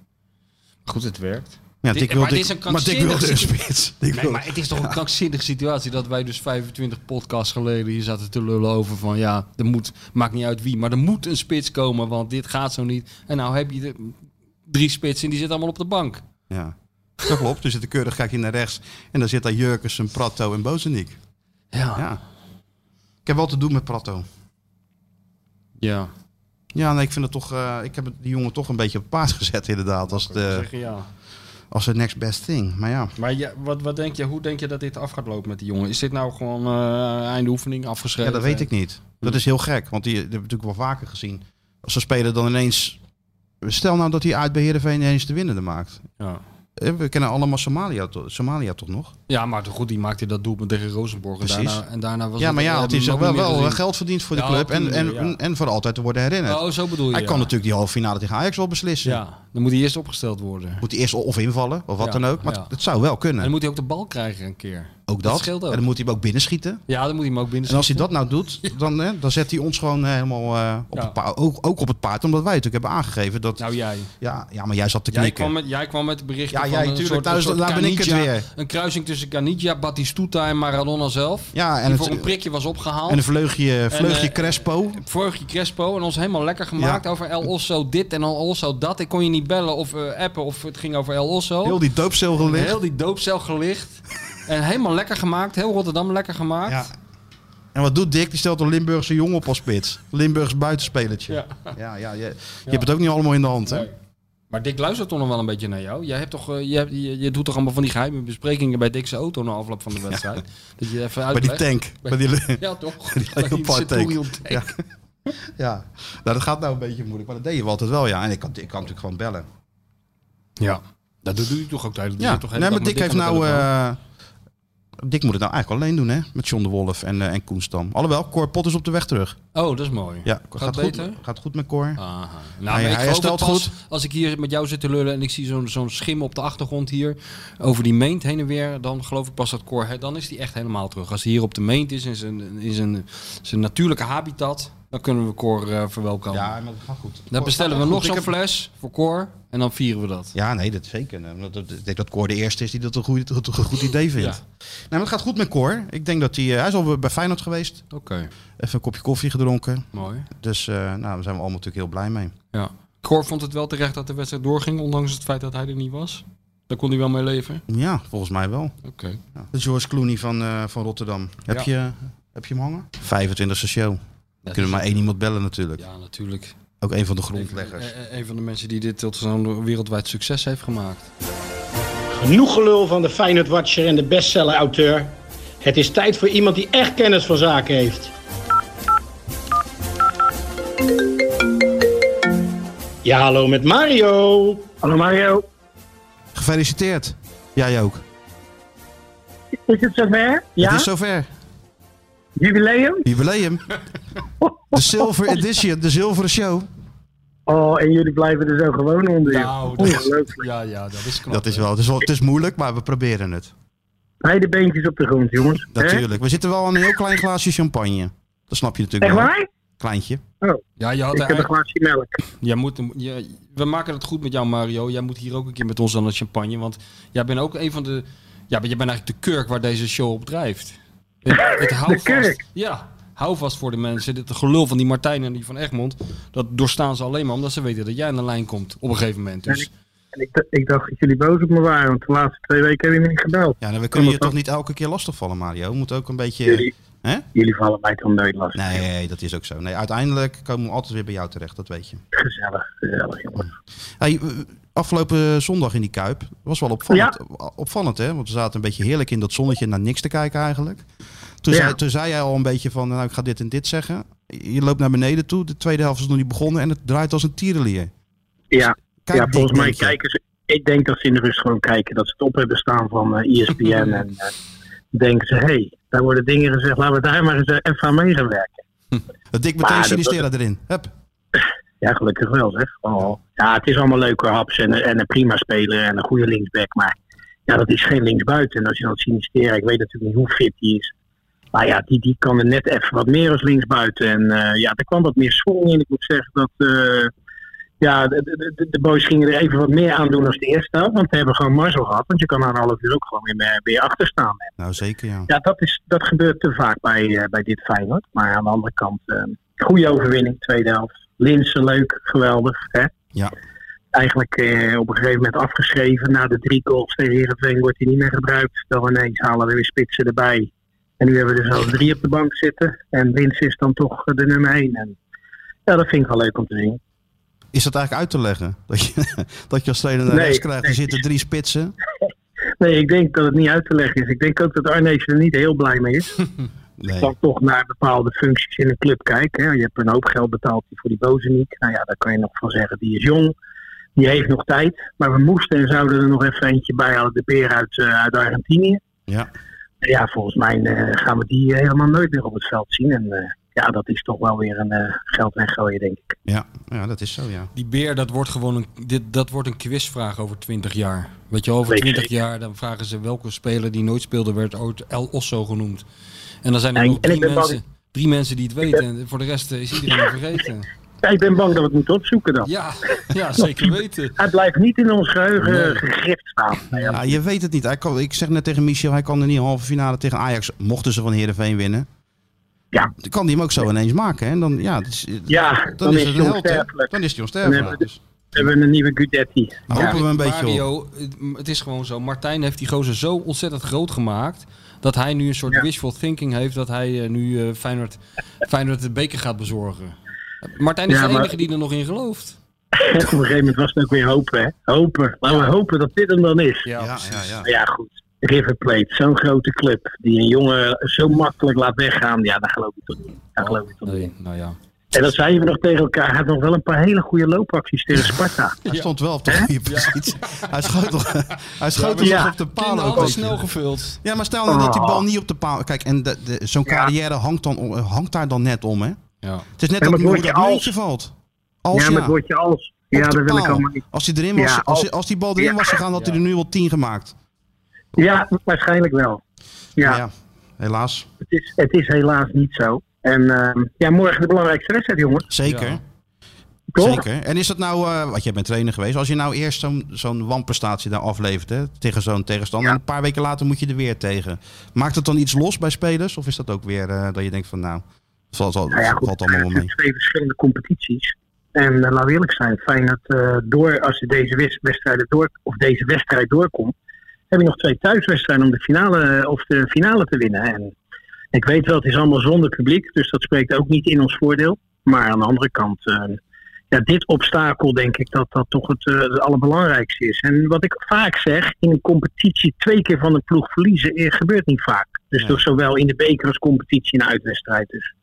Speaker 7: Maar Goed, het werkt.
Speaker 5: Ja,
Speaker 7: Dit-
Speaker 5: Dick wil
Speaker 7: maar dit
Speaker 5: Dick-
Speaker 7: is een
Speaker 5: maar Dick wilde een
Speaker 7: krankzinnig
Speaker 5: spits. Dick
Speaker 7: Nee,
Speaker 5: wilde-
Speaker 7: maar het is toch een krankzinnige situatie dat wij dus 25 podcasts geleden hier zaten te lullen over van ja, er moet, maakt niet uit wie, maar er moet een spits komen, want dit gaat zo niet. En nou heb je de, drie spitsen en die zitten allemaal op de bank.
Speaker 5: Ja, dat klopt. Dus zit keurig kijk je naar rechts. En dan zit daar Jurkensen, Pratto en Bozeniek.
Speaker 7: Ja.
Speaker 5: Ja. Ik heb wel te doen met Pratto.
Speaker 7: Ja.
Speaker 5: Ja, nee, ik vind het toch. eh, ik heb die jongen toch een beetje op paas gezet, inderdaad. Als het, eh,
Speaker 7: Zeggen ja.
Speaker 5: als het next best thing. Maar ja.
Speaker 7: Maar ja, wat, wat denk je, hoe denk je dat dit af gaat lopen met die jongen? Is dit nou gewoon eh einde oefening
Speaker 5: ja,
Speaker 7: afgeschreven?
Speaker 5: dat weet ik niet. Dat is heel gek. Want die, dat heb ik natuurlijk wel vaker gezien. Als ze spelen dan ineens. Stel nou dat hij uit bij Heerenveen ineens de winnende maakt.
Speaker 7: Ja.
Speaker 5: Eh, We kennen allemaal Somalia, to- Somalia toch nog?
Speaker 7: ja, maar goed, die maakte dat doelpunt tegen Rosenborg. En
Speaker 5: Precies.
Speaker 7: daarna, en daarna was eh,
Speaker 5: ja, maar ja,
Speaker 7: we
Speaker 5: het
Speaker 7: hebben
Speaker 5: is
Speaker 7: hem
Speaker 5: wel,
Speaker 7: ook niet
Speaker 5: wel eh,
Speaker 7: meer
Speaker 5: geld verdiend voor
Speaker 7: Ja,
Speaker 5: de club.
Speaker 7: op die
Speaker 5: En, en,
Speaker 7: manier, ja.
Speaker 5: en voor altijd te worden herinnerd.
Speaker 7: gezien. Oh, zo bedoel je.
Speaker 5: Hij
Speaker 7: ja.
Speaker 5: kan natuurlijk die halve finale tegen Ajax wel beslissen.
Speaker 7: Ja, dan moet hij eerst opgesteld worden. En
Speaker 5: Moet hij eerst of invallen of wat
Speaker 7: Ja,
Speaker 5: dan ook. Maar
Speaker 7: ja.
Speaker 5: het- het zou wel kunnen.
Speaker 7: dan moet hij ook de bal krijgen een keer.
Speaker 5: ook
Speaker 7: dat
Speaker 5: dat.
Speaker 7: scheelt ook.
Speaker 5: En dan moet hij hem ook binnenschieten.
Speaker 7: Ja, dan moet hij hem ook binnen
Speaker 5: En als hij dat nou
Speaker 7: [LAUGHS]
Speaker 5: doet, dan, hè, dan zet hij ons gewoon helemaal eh, op
Speaker 7: Ja.
Speaker 5: het paard, ook, ook op het paard. Omdat wij natuurlijk hebben aangegeven dat...
Speaker 7: Nou, jij.
Speaker 5: ja, ja, maar jij zat te
Speaker 7: Jij
Speaker 5: knikken.
Speaker 7: kwam, met, jij kwam met berichten
Speaker 5: Ja,
Speaker 7: van
Speaker 5: jij
Speaker 7: een
Speaker 5: tuurlijk.
Speaker 7: soort, een
Speaker 5: Thuis-
Speaker 7: soort
Speaker 5: daar ben ik het
Speaker 7: Caniggia-
Speaker 5: weer.
Speaker 7: Een kruising tussen Caniggia, Batistuta en Maradona zelf.
Speaker 5: ja, en,
Speaker 7: die voor
Speaker 5: het,
Speaker 7: een prikje was opgehaald.
Speaker 5: en een vleugje, vleugje
Speaker 7: En, eh,
Speaker 5: Crespo.
Speaker 7: Vorig jaar Crespo en ons helemaal lekker gemaakt
Speaker 5: Ja.
Speaker 7: over El Osso dit en El Osso dat. Ik kon je niet bellen of eh, appen of het ging over El Osso.
Speaker 5: Heel die doopcel gelicht.
Speaker 7: Heel die doopcel
Speaker 5: [LAUGHS]
Speaker 7: gelicht. en helemaal lekker gemaakt. Heel Rotterdam lekker gemaakt.
Speaker 5: Ja. En wat doet Dick? Die stelt een Limburgse jongen op als spits. Limburgs buitenspelertje.
Speaker 7: Ja.
Speaker 5: Ja, ja, je, je hebt het ook niet allemaal in de hand, hè?
Speaker 7: Nee. Maar Dick luistert toch nog wel een beetje naar jou. Jij hebt toch, eh, je, hebt- je, je doet toch allemaal van die geheime besprekingen bij Dick's auto na afloop van de wedstrijd.
Speaker 5: [LAUGHS]
Speaker 7: Dat je even
Speaker 5: Bij die
Speaker 7: uitlegt.
Speaker 5: tank. Bij die,
Speaker 7: [LAUGHS] Ja, toch?
Speaker 5: Die leopard tank.
Speaker 7: Centurion tank.
Speaker 5: [LAUGHS] Ja. ja, nou, dat gaat nou een beetje moeilijk. Maar dat deden we altijd wel, ja. En ik kan, ik kan natuurlijk gewoon bellen.
Speaker 7: Ja. Dat doet u toch ook tijdens
Speaker 5: Ja,
Speaker 7: toch
Speaker 5: nee, maar Dick heeft nou...
Speaker 7: eh
Speaker 5: eh Dick moet het nou eigenlijk alleen doen, hè? Met John de Wolf en, eh, en Koen Stam. Alhoewel, Cor Pot is op de weg terug.
Speaker 7: oh, dat is mooi.
Speaker 5: Ja,
Speaker 7: gaat,
Speaker 5: goed,
Speaker 7: beter.
Speaker 5: gaat goed met Cor.
Speaker 7: Aha.
Speaker 5: Hij- hij
Speaker 7: Nou, maar ik geloof het
Speaker 5: herstelt
Speaker 7: pas
Speaker 5: goed.
Speaker 7: Als ik hier met jou zit te lullen en ik zie zo'n zo'n schim op de achtergrond hier over die meent heen en weer, dan geloof ik pas dat Cor, hè, dan is die echt helemaal terug. Als hij hier op de meent is in zijn, in zijn, zijn natuurlijke habitat, dan kunnen we Cor eh, verwelkomen.
Speaker 5: Ja, maar dat gaat goed.
Speaker 7: dan
Speaker 5: Cor
Speaker 7: bestellen we
Speaker 5: gaat
Speaker 7: nog
Speaker 5: goed. Ik
Speaker 7: zo'n
Speaker 5: heb-
Speaker 7: fles voor Cor en dan vieren we dat.
Speaker 5: Ja, nee, dat zeker. Eh, want dat- Ik denk dat Cor de eerste is die dat een, goede, dat een goed idee vindt.
Speaker 7: Ja.
Speaker 5: Nee, maar het gaat goed met Cor. Ik denk dat hij... eh, hij is al bij Feyenoord geweest.
Speaker 7: Oké,
Speaker 5: Even een kopje koffie gedronken.
Speaker 7: mooi.
Speaker 5: Dus eh, nou, daar zijn we allemaal natuurlijk heel blij mee.
Speaker 7: Ja. Cor vond het wel terecht dat de wedstrijd doorging, ondanks het feit dat hij er niet was. Daar kon hij wel mee leven.
Speaker 5: Ja, volgens mij wel.
Speaker 7: Oké.
Speaker 5: Ja. De George Clooney van, eh, van Rotterdam. Heb, je, eh, heb je hem hangen? 25e show. Kunnen maar één iemand bellen natuurlijk.
Speaker 7: Ja, natuurlijk.
Speaker 5: Ook een van de
Speaker 7: Eh,
Speaker 5: grondleggers.
Speaker 7: eh, Een van de mensen die dit tot zo'n wereldwijd succes heeft gemaakt.
Speaker 8: Genoeg gelul van de Feyenoord Watcher en de bestseller auteur. Het is tijd voor iemand die echt kennis van zaken heeft. Ja, hallo met Mario.
Speaker 9: Hallo Mario,
Speaker 5: Gefeliciteerd. Jij ook.
Speaker 9: is het zover?
Speaker 5: Het
Speaker 9: Ja?
Speaker 5: is zover.
Speaker 9: Jubileum?
Speaker 5: Jubileum. De Silver Edition. De zilveren show.
Speaker 9: Oh, en jullie blijven er zo gewoon onder. joh.
Speaker 7: Nou, dat is-
Speaker 9: Ongelooflijk.
Speaker 7: Ja, ja, dat is knap.
Speaker 5: Dat is wel. Het is, wel, het is moeilijk, maar we proberen het.
Speaker 9: Beide beentjes op de grond, jongens. Hè?
Speaker 5: Natuurlijk. We zitten wel aan een heel klein glaasje champagne. Dat snap je natuurlijk
Speaker 9: Echt
Speaker 5: wel.
Speaker 9: waar?
Speaker 5: Kleintje.
Speaker 7: Ja, je had
Speaker 9: Ik heb een
Speaker 7: eigenlijk...
Speaker 9: glaasje melk.
Speaker 7: Jij moet, je- we maken het goed met jou, Mario. Jij moet hier ook een keer met ons aan het champagne. Want jij bent ook een van de... Ja, maar jij bent eigenlijk de kurk waar deze show op drijft. Het,
Speaker 9: [LAUGHS]
Speaker 7: het hou vast,
Speaker 9: kurk?
Speaker 7: Ja, hou vast voor de mensen. Dit gelul van die Martijn en die van Egmond. Dat doorstaan ze alleen maar omdat ze weten dat jij aan de lijn komt. Op een gegeven moment. Dus
Speaker 9: En ik, d- ik dacht dat jullie boos op me waren, want de laatste twee weken hebben jullie niet gebeld.
Speaker 5: Ja, nou, we kunnen je
Speaker 9: Ja, maar-
Speaker 5: toch niet elke keer lastigvallen, Mario. We moeten ook een beetje...
Speaker 9: Jullie,
Speaker 5: Hè?
Speaker 9: jullie vallen mij toch nooit lastig.
Speaker 5: Nee, dat is ook zo. Nee, uiteindelijk komen we altijd weer bij jou terecht. Dat weet je.
Speaker 9: Gezellig, gezellig, jongens.
Speaker 5: Hey, eh, afgelopen zondag in die Kuip was wel opvallend. Eh, Opvallend, hè? Want we zaten een beetje heerlijk in dat zonnetje naar niks te kijken eigenlijk. Toen,
Speaker 9: Ja.
Speaker 5: zei, toen zei jij al een beetje van, nou ik ga dit en dit zeggen. Je loopt naar beneden toe, de tweede helft is nog niet begonnen en het draait als een tierenlier.
Speaker 9: Ja,
Speaker 5: Kijk
Speaker 9: ja
Speaker 5: die,
Speaker 9: volgens mij
Speaker 5: denk je.
Speaker 9: kijken ze, Ik denk dat ze in de rust gewoon kijken dat ze het op hebben staan van eh
Speaker 5: [LAUGHS]
Speaker 9: ESPN. en eh, denken ze, hé, hey, daar worden dingen gezegd, laten we daar maar eens eh, even aan meegewerken.
Speaker 5: Dik meteen
Speaker 9: dat-
Speaker 5: Sinistera erin. Hup.
Speaker 9: Ja, gelukkig wel zeg. Oh. Ja, het is allemaal leuk hoor, Haps en, en een prima speler en een goede linksback. Maar ja, dat is geen linksbuiten. En als je dan Sinistera, ik weet natuurlijk niet hoe fit die is. Maar ja, die, die kan er net even wat meer als linksbuiten. En eh, ja, er kwam wat meer school in. Ik moet zeggen dat eh, ja, de, de, de- de boys gingen er even wat meer aan doen als de eerste helft. Want we hebben gewoon Marcel gehad. Want je kan na een half uur ook gewoon weer, eh, weer achter staan.
Speaker 5: Nou, zeker ja.
Speaker 9: Ja, dat, is, dat gebeurt te vaak bij, eh, bij dit Feyenoord. Maar aan de andere kant, eh, goede overwinning, tweede helft. Linsen leuk, geweldig. Hè?
Speaker 5: Ja.
Speaker 9: Eigenlijk eh, op een gegeven moment afgeschreven. Na de drie goals tegen Heerenveen wordt hij niet meer gebruikt. Dan ineens halen we weer spitsen erbij. En nu hebben we er zelfs drie op de bank zitten. En Linsen is dan toch eh, de nummer één. En, ja, dat vind ik wel leuk om te zien.
Speaker 5: Is dat eigenlijk uit te leggen? [LAUGHS] Dat je, dat je als trainer naar
Speaker 9: Nee,
Speaker 5: rechts krijgt, er
Speaker 9: nee.
Speaker 5: zitten drie spitsen.
Speaker 9: Nee, ik denk dat het niet uit te leggen is. Ik denk ook dat Arnees er niet heel blij mee is.
Speaker 5: Nee.
Speaker 9: dan toch naar bepaalde functies in een club kijken. Hè. Je hebt een hoop geld betaald voor die Bozeniek. Nou ja, daar kan je nog van zeggen, die is jong. Die heeft nog tijd. Maar we moesten en zouden er nog even eentje bij halen. De beer uit, eh, uit Argentinië.
Speaker 5: Ja.
Speaker 9: Ja, volgens mij eh, gaan we die helemaal nooit meer op het veld zien. En eh, ja, dat is toch wel weer een eh geld weggooien, denk ik.
Speaker 5: Ja. ja, dat is zo ja.
Speaker 7: Die beer, dat wordt gewoon een, dit, dat wordt een quizvraag over 20 jaar. Weet je, wel, over
Speaker 9: Weet
Speaker 7: 20
Speaker 9: zeker.
Speaker 7: jaar dan vragen ze welke speler die nooit speelde werd ooit El Osso genoemd. En dan zijn er
Speaker 9: En-
Speaker 7: nog
Speaker 9: en
Speaker 7: drie
Speaker 9: ik ben bang-
Speaker 7: mensen, drie mensen die het weten. En voor de rest eh, is iedereen het vergeten.
Speaker 9: Ja, ik ben bang dat we het moeten opzoeken dan.
Speaker 7: Ja, ja zeker weten.
Speaker 9: Hij blijft niet in ons geheugen
Speaker 7: Nee.
Speaker 9: eh, gegrift staan. Nou ja,
Speaker 5: Ja, je weet het niet. Hij kan, ik zeg net tegen Michel, hij kan er niet halve finale tegen Ajax. Mochten ze van Heerenveen winnen.
Speaker 9: Ja.
Speaker 5: Dan kan hij hem ook zo ineens maken. Hè? En dan, ja, dat is-
Speaker 9: Ja,
Speaker 5: dan,
Speaker 9: dan
Speaker 5: is
Speaker 9: is
Speaker 5: het
Speaker 9: hij
Speaker 5: een held. hè?
Speaker 9: onsterfelijk.
Speaker 5: Dan is hij
Speaker 9: Dan
Speaker 5: onsterfelijk.
Speaker 9: hebben
Speaker 5: Dus
Speaker 9: we hebben een nieuwe Gudetti.
Speaker 5: dan hopen we een beetje op.
Speaker 7: Mario, het- het is gewoon zo. Martijn heeft die gozer zo ontzettend groot gemaakt. Dat hij nu een soort
Speaker 9: Ja.
Speaker 7: wishful thinking heeft. Dat hij eh, nu eh, Feyenoord, Feyenoord de beker gaat bezorgen. Martijn is
Speaker 9: Ja,
Speaker 7: de
Speaker 9: maar-
Speaker 7: enige die er nog in gelooft.
Speaker 9: Op een gegeven moment was het ook weer hopen, hè? Hopen. Laten we hopen dat dit hem dan is.
Speaker 5: Ja, ja, ja.
Speaker 9: Maar ja, goed. River Plate, zo'n grote club die een jongen zo makkelijk laat weggaan. Ja, daar geloof ik toch niet. in. Daar geloof ik toch niet. in.
Speaker 7: Nee, nou ja.
Speaker 9: En dat zeiden we nog tegen elkaar. Hij had nog wel een paar hele goede loopacties tegen Sparta.
Speaker 5: Hij stond wel op de [LAUGHS] goede positie. Hij schoot toch, hij schoot toch
Speaker 9: Ja.
Speaker 5: nog op de paal ook.
Speaker 7: Kinderhanden
Speaker 5: weet je.
Speaker 7: snel gevuld.
Speaker 5: Ja, maar stel nou dat die bal niet op de paal... Kijk, en de- de- zo'n
Speaker 9: Oh. Ja.
Speaker 5: carrière hangt, dan, om- hangt daar dan net om, hè?
Speaker 7: Ja.
Speaker 5: Het is net
Speaker 9: Ja,
Speaker 5: dat
Speaker 9: maar
Speaker 5: hoe
Speaker 9: word je
Speaker 5: dat
Speaker 9: als-
Speaker 5: muntje valt. Als
Speaker 9: ja,
Speaker 5: ja,
Speaker 9: maar het woordje als. Ja,
Speaker 5: op de
Speaker 9: dat wil ik
Speaker 5: paal.
Speaker 9: allemaal niet.
Speaker 5: Als, hij erin was,
Speaker 9: Ja,
Speaker 5: als,
Speaker 9: als-
Speaker 5: als die bal erin
Speaker 9: Ja.
Speaker 5: was gegaan, had hij er nu al tien gemaakt.
Speaker 9: Ja, waarschijnlijk wel.
Speaker 5: Ja,
Speaker 9: Ja,
Speaker 5: ja helaas.
Speaker 9: Het, is, het is helaas niet zo. En ehm, ja, morgen de belangrijkste wedstrijd, jongens.
Speaker 5: Zeker.
Speaker 7: Ja.
Speaker 9: Toch?
Speaker 5: Zeker. En is dat nou, eh want jij bent trainer geweest, als je nou eerst zo'n zo'n wanprestatie daar aflevert hè, tegen zo'n tegenstander
Speaker 9: Ja.
Speaker 5: en een paar weken later moet je er weer tegen. Maakt het dan iets los bij spelers of is dat ook weer eh, dat je denkt van nou, het valt, al-
Speaker 9: Nou ja, goed,
Speaker 5: dus valt allemaal wel
Speaker 9: het zijn
Speaker 5: mee?
Speaker 9: twee verschillende competities. En eh, laat laten we eerlijk zijn, Feyenoord eh, door, als je deze, wis- wedstrijden door, of deze wedstrijd doorkomt, heb je nog twee thuiswedstrijden om de finale, eh, of de finale te winnen. En ik weet wel, het is allemaal zonder publiek, dus dat spreekt ook niet in ons voordeel. Maar aan de andere kant, eh, ja, dit obstakel denk ik dat dat toch het, eh, het allerbelangrijkste is. En wat ik vaak zeg, in een competitie twee keer van een ploeg verliezen eh, gebeurt niet vaak. Dus
Speaker 5: Nee.
Speaker 9: toch zowel in de beker als competitie en uitwedstrijd. Dus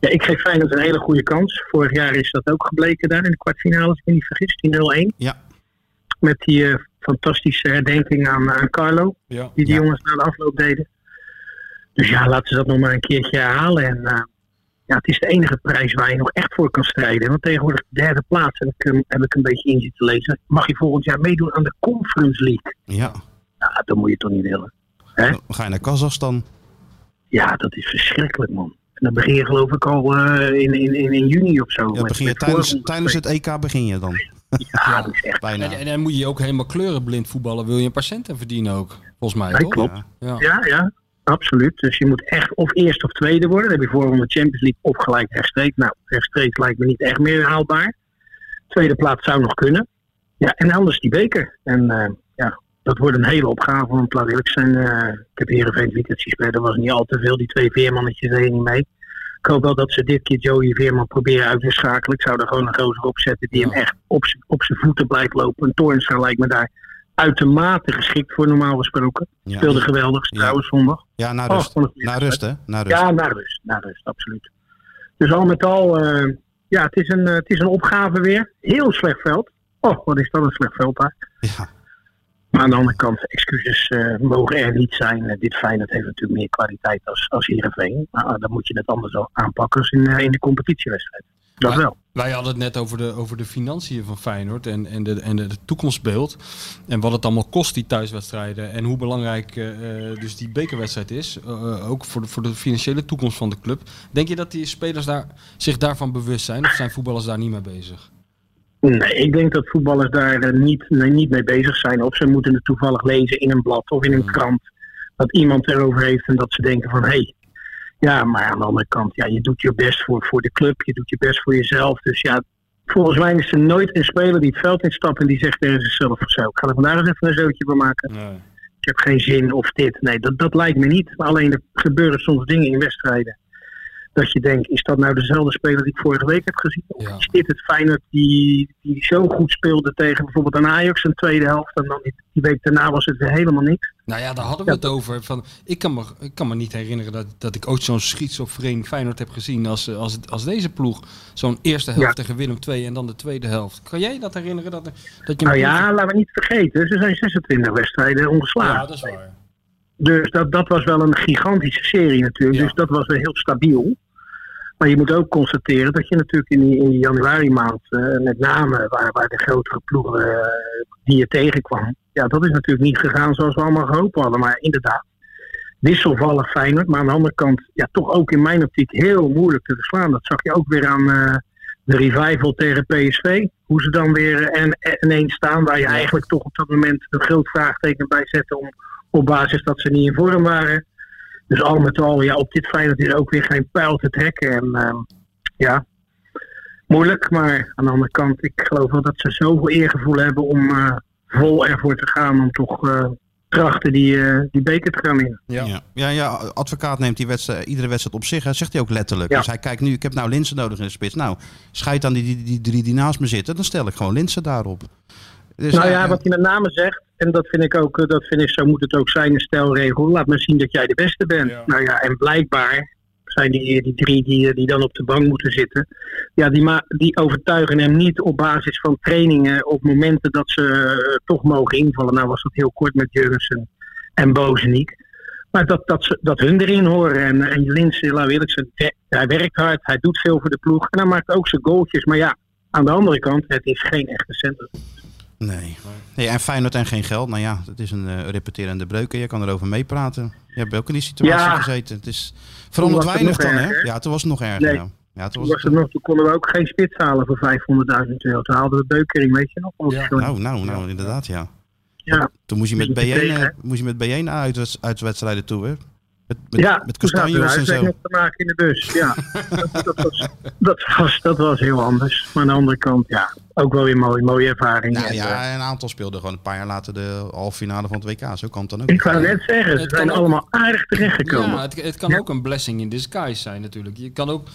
Speaker 9: ja, ik geef Feyenoord een hele goede kans. Vorig jaar is dat ook gebleken daar in de kwartfinale, als ik me niet vergis, die 0-1.
Speaker 5: Ja.
Speaker 9: Met die eh, fantastische herdenking aan, eh, aan Carlo,
Speaker 7: Ja.
Speaker 9: die die
Speaker 5: Ja.
Speaker 9: jongens na de afloop deden. Dus ja, laten ze dat nog maar een keertje herhalen. En eh, ja, het is de enige prijs waar je nog echt voor kan strijden. Want tegenwoordig de derde plaats, heb ik, hem- heb ik een beetje in zitten lezen, mag je volgend jaar meedoen aan de Conference League.
Speaker 5: Ja,
Speaker 9: Nou, dat moet je toch niet willen.
Speaker 5: dan ga je naar Kazachstan.
Speaker 9: Ja, dat is verschrikkelijk, man. En dan begin je geloof ik al eh, in, in, in, in juni of zo.
Speaker 5: Ja,
Speaker 9: met-
Speaker 5: begin je
Speaker 9: met
Speaker 5: tijdens,
Speaker 9: voorrondes.
Speaker 5: tijdens het EK begin je dan
Speaker 9: Ja, dat is echt
Speaker 5: bijna.
Speaker 7: En, en dan moet je ook helemaal kleurenblind voetballen. Wil je een paar centen verdienen ook? Volgens mij,
Speaker 9: Ja,
Speaker 7: toch?
Speaker 9: klopt.
Speaker 7: Ja.
Speaker 9: Ja, ja, absoluut. Dus je moet echt of eerst of tweede worden. Dan heb je voorronde Champions League of gelijk rechtstreeks. Nou, rechtstreeks lijkt me niet echt meer haalbaar. Tweede plaats zou nog kunnen. Ja, en anders die beker. En eh, ja, dat wordt een hele opgave. Want laat eerlijk zijn, eh, ik heb Heerenveen het weekend zien spelen. Er was niet al te veel. Die twee veermannetjes deden niet mee. Ik hoop wel dat ze dit keer Joey Veerman proberen uit te schakelen. Ik zou er gewoon een gozer op zetten die hem echt op z'n- op zijn voeten blijft lopen. Een Toornstra lijkt me daar uitermate geschikt voor normaal gesproken. Speelde
Speaker 5: Ja,
Speaker 9: geweldig
Speaker 5: Ja.
Speaker 9: trouwens zondag.
Speaker 5: ja naar
Speaker 9: Oh,
Speaker 5: rust.
Speaker 9: wat een goede
Speaker 5: Naar
Speaker 9: wedstrijd.
Speaker 5: rust, hè? Naar rust.
Speaker 9: Ja, naar rust. Naar rust, absoluut. Dus al met al, eh, ja, het is, een, eh, het is een opgave weer. Heel slecht veld. Oh, wat is dat een slecht veld daar.
Speaker 5: Ja,
Speaker 9: Maar aan de andere kant, excuses eh, mogen er niet zijn. Eh, dit Feyenoord heeft natuurlijk meer kwaliteit als, als Heerenveen. Maar ah, dan moet je het anders al aanpakken als in, eh, in de competitiewedstrijd. Dat
Speaker 7: Maar-
Speaker 9: wel.
Speaker 7: Wij hadden het net over de, over de financiën van Feyenoord en, en, de, en de, de toekomstbeeld. En wat het allemaal kost, die thuiswedstrijden. En hoe belangrijk eh, eh, dus die bekerwedstrijd is. eh, eh, ook voor de, voor de financiële toekomst van de club. Denk je dat die spelers daar, zich daarvan bewust zijn? Of zijn voetballers daar niet mee bezig?
Speaker 9: Nee, ik denk dat voetballers daar eh, niet, nee, niet mee bezig zijn. Of ze moeten het toevallig lezen in een blad of in een krant. Dat iemand erover heeft en dat ze denken van hé. Hey, ja, maar aan de andere kant, ja, je doet je best voor, voor de club. Je doet je best voor jezelf. Dus ja, volgens mij is er nooit een speler die het veld instapt en die zegt tegen zichzelf van zo. Ik ga er vandaag eens even een zootje van maken.
Speaker 7: Nee.
Speaker 9: Ik heb geen zin of dit. Nee, dat, dat lijkt me niet. Maar alleen er gebeuren soms dingen in wedstrijden. Dat je denkt, is dat nou dezelfde speler die ik vorige week heb gezien? Of
Speaker 7: Ja.
Speaker 9: is dit het Feyenoord die, die zo goed speelde tegen bijvoorbeeld een Ajax in de tweede helft? En dan die, die week daarna was het weer helemaal niks.
Speaker 7: Nou ja, daar hadden we het over. Van, ik, kan me, ik kan me niet herinneren dat, dat ik ooit zo'n schizofreen Feyenoord heb gezien als, eh, als, als deze ploeg. Zo'n eerste helft
Speaker 9: Ja.
Speaker 7: tegen Willem II en dan de tweede helft. Kan jij dat herinneren? Dat, er- dat je
Speaker 9: Nou
Speaker 7: een
Speaker 9: ja, laten we niet vergeten, ze zijn 26 wedstrijden
Speaker 7: ploeg-
Speaker 9: ongeslagen.
Speaker 7: ja, dat is waar.
Speaker 9: Dus dat, dat was wel een gigantische serie natuurlijk.
Speaker 7: Ja.
Speaker 9: Dus dat was wel heel stabiel. Maar je moet ook constateren dat je natuurlijk in die, in die januari maand, eh, met name waar, waar de grotere ploegen eh, die je tegenkwam, ja, dat is natuurlijk niet gegaan zoals we allemaal gehoopt hadden. Maar inderdaad, wisselvallig Feyenoord, maar aan de andere kant ja, toch ook in mijn optiek heel moeilijk te verslaan. Dat zag je ook weer aan eh, de revival tegen PSV. Hoe ze dan weer eh, en, en ineens staan, waar je eigenlijk toch op dat moment een groot vraagteken bij zette om op basis dat ze niet in vorm waren. Dus al met al, ja, op dit Feyenoord is ook weer geen pijl te trekken. En ehm, ja, moeilijk. Maar aan de andere kant, ik geloof wel dat ze zoveel eergevoel hebben om eh, vol ervoor te gaan. Om toch eh, trachten die, eh, die beker te gaan winnen.
Speaker 7: Ja.
Speaker 5: ja. ja. ja, advocaat neemt die wedstrijd, eh, iedere wedstrijd op zich. hè, zegt hij ook letterlijk.
Speaker 9: Ja.
Speaker 5: Dus hij kijkt nu, ik heb nou Linsen nodig in de spits. Nou, scheid aan die, die, die drie die naast me zitten. Dan stel ik gewoon Linsen daarop. Dus
Speaker 9: Nou
Speaker 5: hij-
Speaker 9: ja, wat hij met name zegt, en dat vind ik ook, eh, dat vind ik, zo moet het ook zijn, een stelregel. Laat maar zien dat jij de beste bent. Nou ja, en blijkbaar zijn die, die drie die, eh, die dan op de bank moeten zitten, ja, die, ma- die overtuigen hem niet op basis van trainingen op momenten dat ze eh, toch mogen invallen. Nou was dat heel kort met Jurgensen en Bozeniek. Maar dat, dat, ze, dat hun erin horen. En, en Linse, laat ik eerlijk zijn, de- hij werkt hard, hij doet veel voor de ploeg. En hij maakt ook zijn goaltjes. Maar ja, aan de andere kant, het is geen echte centrum.
Speaker 5: Nee. nee. En Feyenoord en geen geld. Nou ja, dat is een eh, repeterende breuk. En je kan erover meepraten. Je hebt ook in die situatie
Speaker 9: Ja.
Speaker 5: gezeten. Het is verandert
Speaker 9: Toen was het
Speaker 5: weinig
Speaker 9: nog
Speaker 5: dan, hè?
Speaker 9: erger.
Speaker 5: Ja, toen was het nog erger.
Speaker 9: Nee.
Speaker 5: Ja. Ja, toen
Speaker 9: Toen,
Speaker 5: was
Speaker 9: was
Speaker 5: het,
Speaker 9: het nog, toen konden we ook geen spits halen voor 500.000 euro. Toen haalden we Beukering, weet je nog? Onze
Speaker 7: Ja,
Speaker 9: jongen.
Speaker 5: nou, nou, nou, inderdaad, ja.
Speaker 9: ja.
Speaker 5: Toen moest je met
Speaker 9: Beetje
Speaker 5: B1,
Speaker 9: tegen,
Speaker 5: eh,
Speaker 9: hè?
Speaker 5: moest je met B1 uit, uit wedstrijden toe, hè? Met, met,
Speaker 9: ja,
Speaker 5: met
Speaker 9: toen zaten we
Speaker 5: Castanjos en
Speaker 9: uitweg
Speaker 5: zo.
Speaker 9: nog te maken in de bus.
Speaker 5: [LAUGHS]
Speaker 9: Ja. dat, dat, was, dat, was, dat was heel anders. Maar aan de andere kant, ja, ook wel weer mooi, mooie ervaring.
Speaker 5: Nou
Speaker 9: En, eh,
Speaker 5: ja, een aantal speelden gewoon een paar jaar later de halve finale van het WK. Zo kan het dan ook.
Speaker 9: ik wou net zeggen, ze
Speaker 7: Het
Speaker 9: zijn
Speaker 7: kan ook-
Speaker 9: allemaal aardig terechtgekomen.
Speaker 7: Ja, het, het kan ook een blessing in disguise zijn natuurlijk. Je kan ook,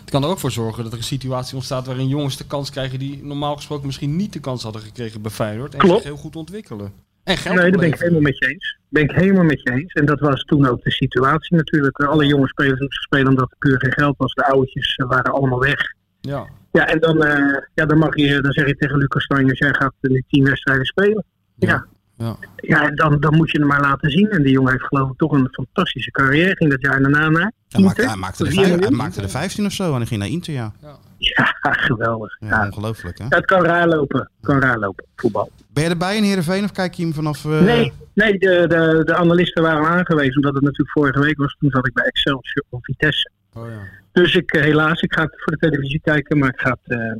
Speaker 7: het kan er ook voor zorgen dat er een situatie ontstaat waarin jongens de kans krijgen die normaal gesproken misschien niet de kans hadden gekregen bij Feyenoord. En
Speaker 9: Klopt.
Speaker 7: zich heel goed ontwikkelen. En geld
Speaker 9: nee, daar ben ik
Speaker 7: opleveren.
Speaker 9: helemaal met je eens. Ben ik helemaal met je eens. En dat was toen ook de situatie natuurlijk. Alle jonge spelers moesten spelen omdat er puur geen geld was. De oudjes eh, waren allemaal weg.
Speaker 7: Ja.
Speaker 9: Ja, en dan, eh, ja, dan, mag je, dan zeg je tegen Lucas Stanjes, jij gaat nu tien wedstrijden spelen. Ja.
Speaker 7: Ja.
Speaker 9: Ja, en dan, dan moet je hem maar laten zien. En die jongen heeft geloof ik toch een fantastische carrière. Ging dat jaar daarna naar. [LAUGHS]
Speaker 5: Hij maakte,
Speaker 9: Inter.
Speaker 5: hij, maakte de
Speaker 9: Vier
Speaker 5: vijf- hij
Speaker 9: miljoen.
Speaker 5: maakte de 15 of zo en hij ging naar Inter, ja.
Speaker 9: Ja, Ah, geweldig.
Speaker 5: ja,
Speaker 9: Ja,
Speaker 5: Ongelooflijk, hè?
Speaker 9: het kan raar lopen. kan raar lopen, voetbal.
Speaker 5: Ben je erbij in Heerenveen of kijk je hem vanaf... eh,
Speaker 9: Nee, nee de, de, de analisten waren aangewezen. Omdat het natuurlijk vorige week was. Toen zat ik bij Excelsior of Vitesse.
Speaker 7: Oh, ja.
Speaker 9: Dus ik, eh, helaas, ik ga het voor de televisie kijken. Maar ik ga het eh,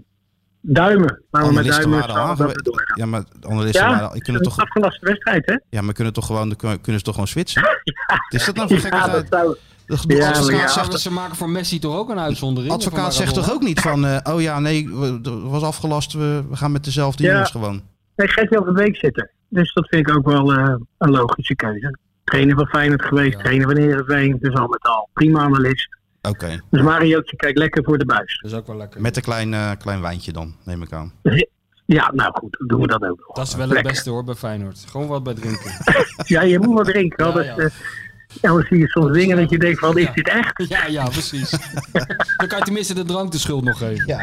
Speaker 9: duimen.
Speaker 5: Oh,
Speaker 9: Laten we met
Speaker 5: Analisten
Speaker 9: duimen
Speaker 5: waren al
Speaker 9: staan dat we
Speaker 5: aangewezen.
Speaker 9: doorgaan.
Speaker 5: Ja, maar de analisten
Speaker 9: Ja,
Speaker 5: waren al... Ik kunnen toch,
Speaker 9: vanaf de laatste wedstrijd, hè?
Speaker 5: ja, maar kunnen toch gewoon, de- kunnen ze toch gewoon switchen? Wat is dat nou voor gekke
Speaker 9: Ja, dat
Speaker 5: tijd?
Speaker 9: zou...
Speaker 5: De, de
Speaker 9: Ja, maar
Speaker 5: advocaat,
Speaker 9: ja.
Speaker 5: zegt,
Speaker 7: Zouden Dus ze maken voor Messi toch ook een uitzondering?
Speaker 5: advocaat
Speaker 7: Van
Speaker 5: zegt toch
Speaker 7: Maradona?
Speaker 5: ook niet van... eh, oh ja, nee, we- er was afgelast, we, we gaan met dezelfde
Speaker 9: Ja.
Speaker 5: jongens gewoon.
Speaker 9: Nee, Gert Jan van Beek zit er. Dus dat vind ik ook wel eh, een logische keuze. Trainer van Feyenoord geweest,
Speaker 7: Ja.
Speaker 9: trainer van Heerenveen. Dus al met al prima analist.
Speaker 5: Oké,
Speaker 9: Dus Mariootje kijkt lekker voor de buis.
Speaker 7: Dat is ook wel lekker.
Speaker 5: met een klein, eh, klein wijntje dan, neem ik aan.
Speaker 9: Ja, nou goed, dan doen we dat ook nog.
Speaker 7: Dat is wel het
Speaker 9: Lekker.
Speaker 7: beste hoor bij Feyenoord. Gewoon wat bij drinken.
Speaker 9: Ja, je moet wat drinken.
Speaker 7: [LAUGHS] Ja,
Speaker 9: anders,
Speaker 7: ja.
Speaker 9: eh, Ja, dan zie je soms dingen dat je denkt van, is dit echt?
Speaker 7: Ja, ja, precies. Dan kan je tenminste de drank de schuld nog geven.
Speaker 5: Ja.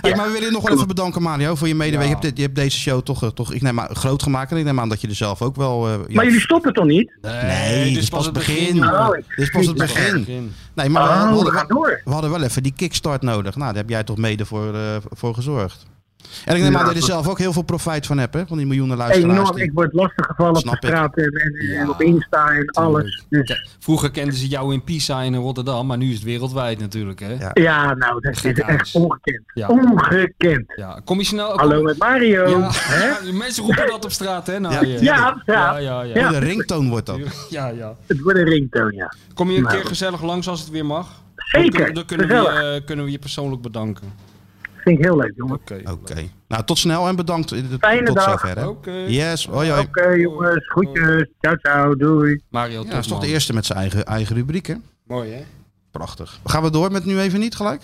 Speaker 5: hey, maar we willen je nog wel even bedanken, Mario, voor je medewerking. Je, hebt dit- je hebt deze show toch, eh, toch ik neem aan, groot gemaakt. En ik neem aan dat je er zelf ook wel... eh, ja,
Speaker 9: Maar jullie stoppen toch niet?
Speaker 7: Nee,
Speaker 5: Nee, dit is pas het begin.
Speaker 9: Oh,
Speaker 5: Dit is pas het begin. Nee, maar we,
Speaker 9: Oh, we
Speaker 5: hadden,
Speaker 9: gaan door.
Speaker 5: we hadden wel even die kickstart nodig. Nou, daar heb jij toch mede voor, eh, voor gezorgd. En ik neem aan dat je er zelf ook heel veel profijt van hebt, hè? Van die miljoenen luisteraars.
Speaker 9: Enorm,
Speaker 5: die-
Speaker 9: ik word lastiggevallen op
Speaker 5: Snap
Speaker 9: de
Speaker 5: ik.
Speaker 9: straat en, en, en op Insta en alles. Dus,
Speaker 7: Ja, Vroeger kenden ze jou in Pisa en in Rotterdam, maar nu is het wereldwijd natuurlijk. Hè?
Speaker 5: Ja.
Speaker 9: ja, nou, dat is
Speaker 7: Gekhuis.
Speaker 9: echt ongekend.
Speaker 7: Ja.
Speaker 9: Ongekend.
Speaker 7: Ja, Kom je snel...
Speaker 9: Hallo met Mario.
Speaker 7: Ja,
Speaker 9: Hè?
Speaker 7: ja, mensen roepen dat op straat, hè? naar je.
Speaker 9: Ja,
Speaker 7: ja,
Speaker 9: ja.
Speaker 7: ja, ja.
Speaker 9: Ja.
Speaker 5: De ringtoon wordt dat.
Speaker 7: Ja, ja.
Speaker 9: Het wordt een ringtoon, ja.
Speaker 7: Kom je een
Speaker 9: Nou.
Speaker 7: keer gezellig langs als het weer mag? Dan kunnen-
Speaker 9: Zeker,
Speaker 7: Dan kunnen we,
Speaker 9: gezellig.
Speaker 7: je, eh, kunnen we je persoonlijk bedanken.
Speaker 9: Vind ik heel leuk, jongen.
Speaker 7: Oké.
Speaker 5: Oké. Nou, tot snel en bedankt.
Speaker 9: Fijne
Speaker 5: tot
Speaker 9: dag.
Speaker 5: zover, hè?
Speaker 7: Oké.
Speaker 5: Yes, hoi hoi.
Speaker 9: Oké, jongens. Groetjes. Ciao, ciao. Doei.
Speaker 7: Mario,
Speaker 5: Ja,
Speaker 7: ja,
Speaker 5: dat is toch de eerste met zijn eigen, eigen rubriek, hè?
Speaker 7: Mooi, hè?
Speaker 5: Prachtig. Gaan we door met nu even niet gelijk?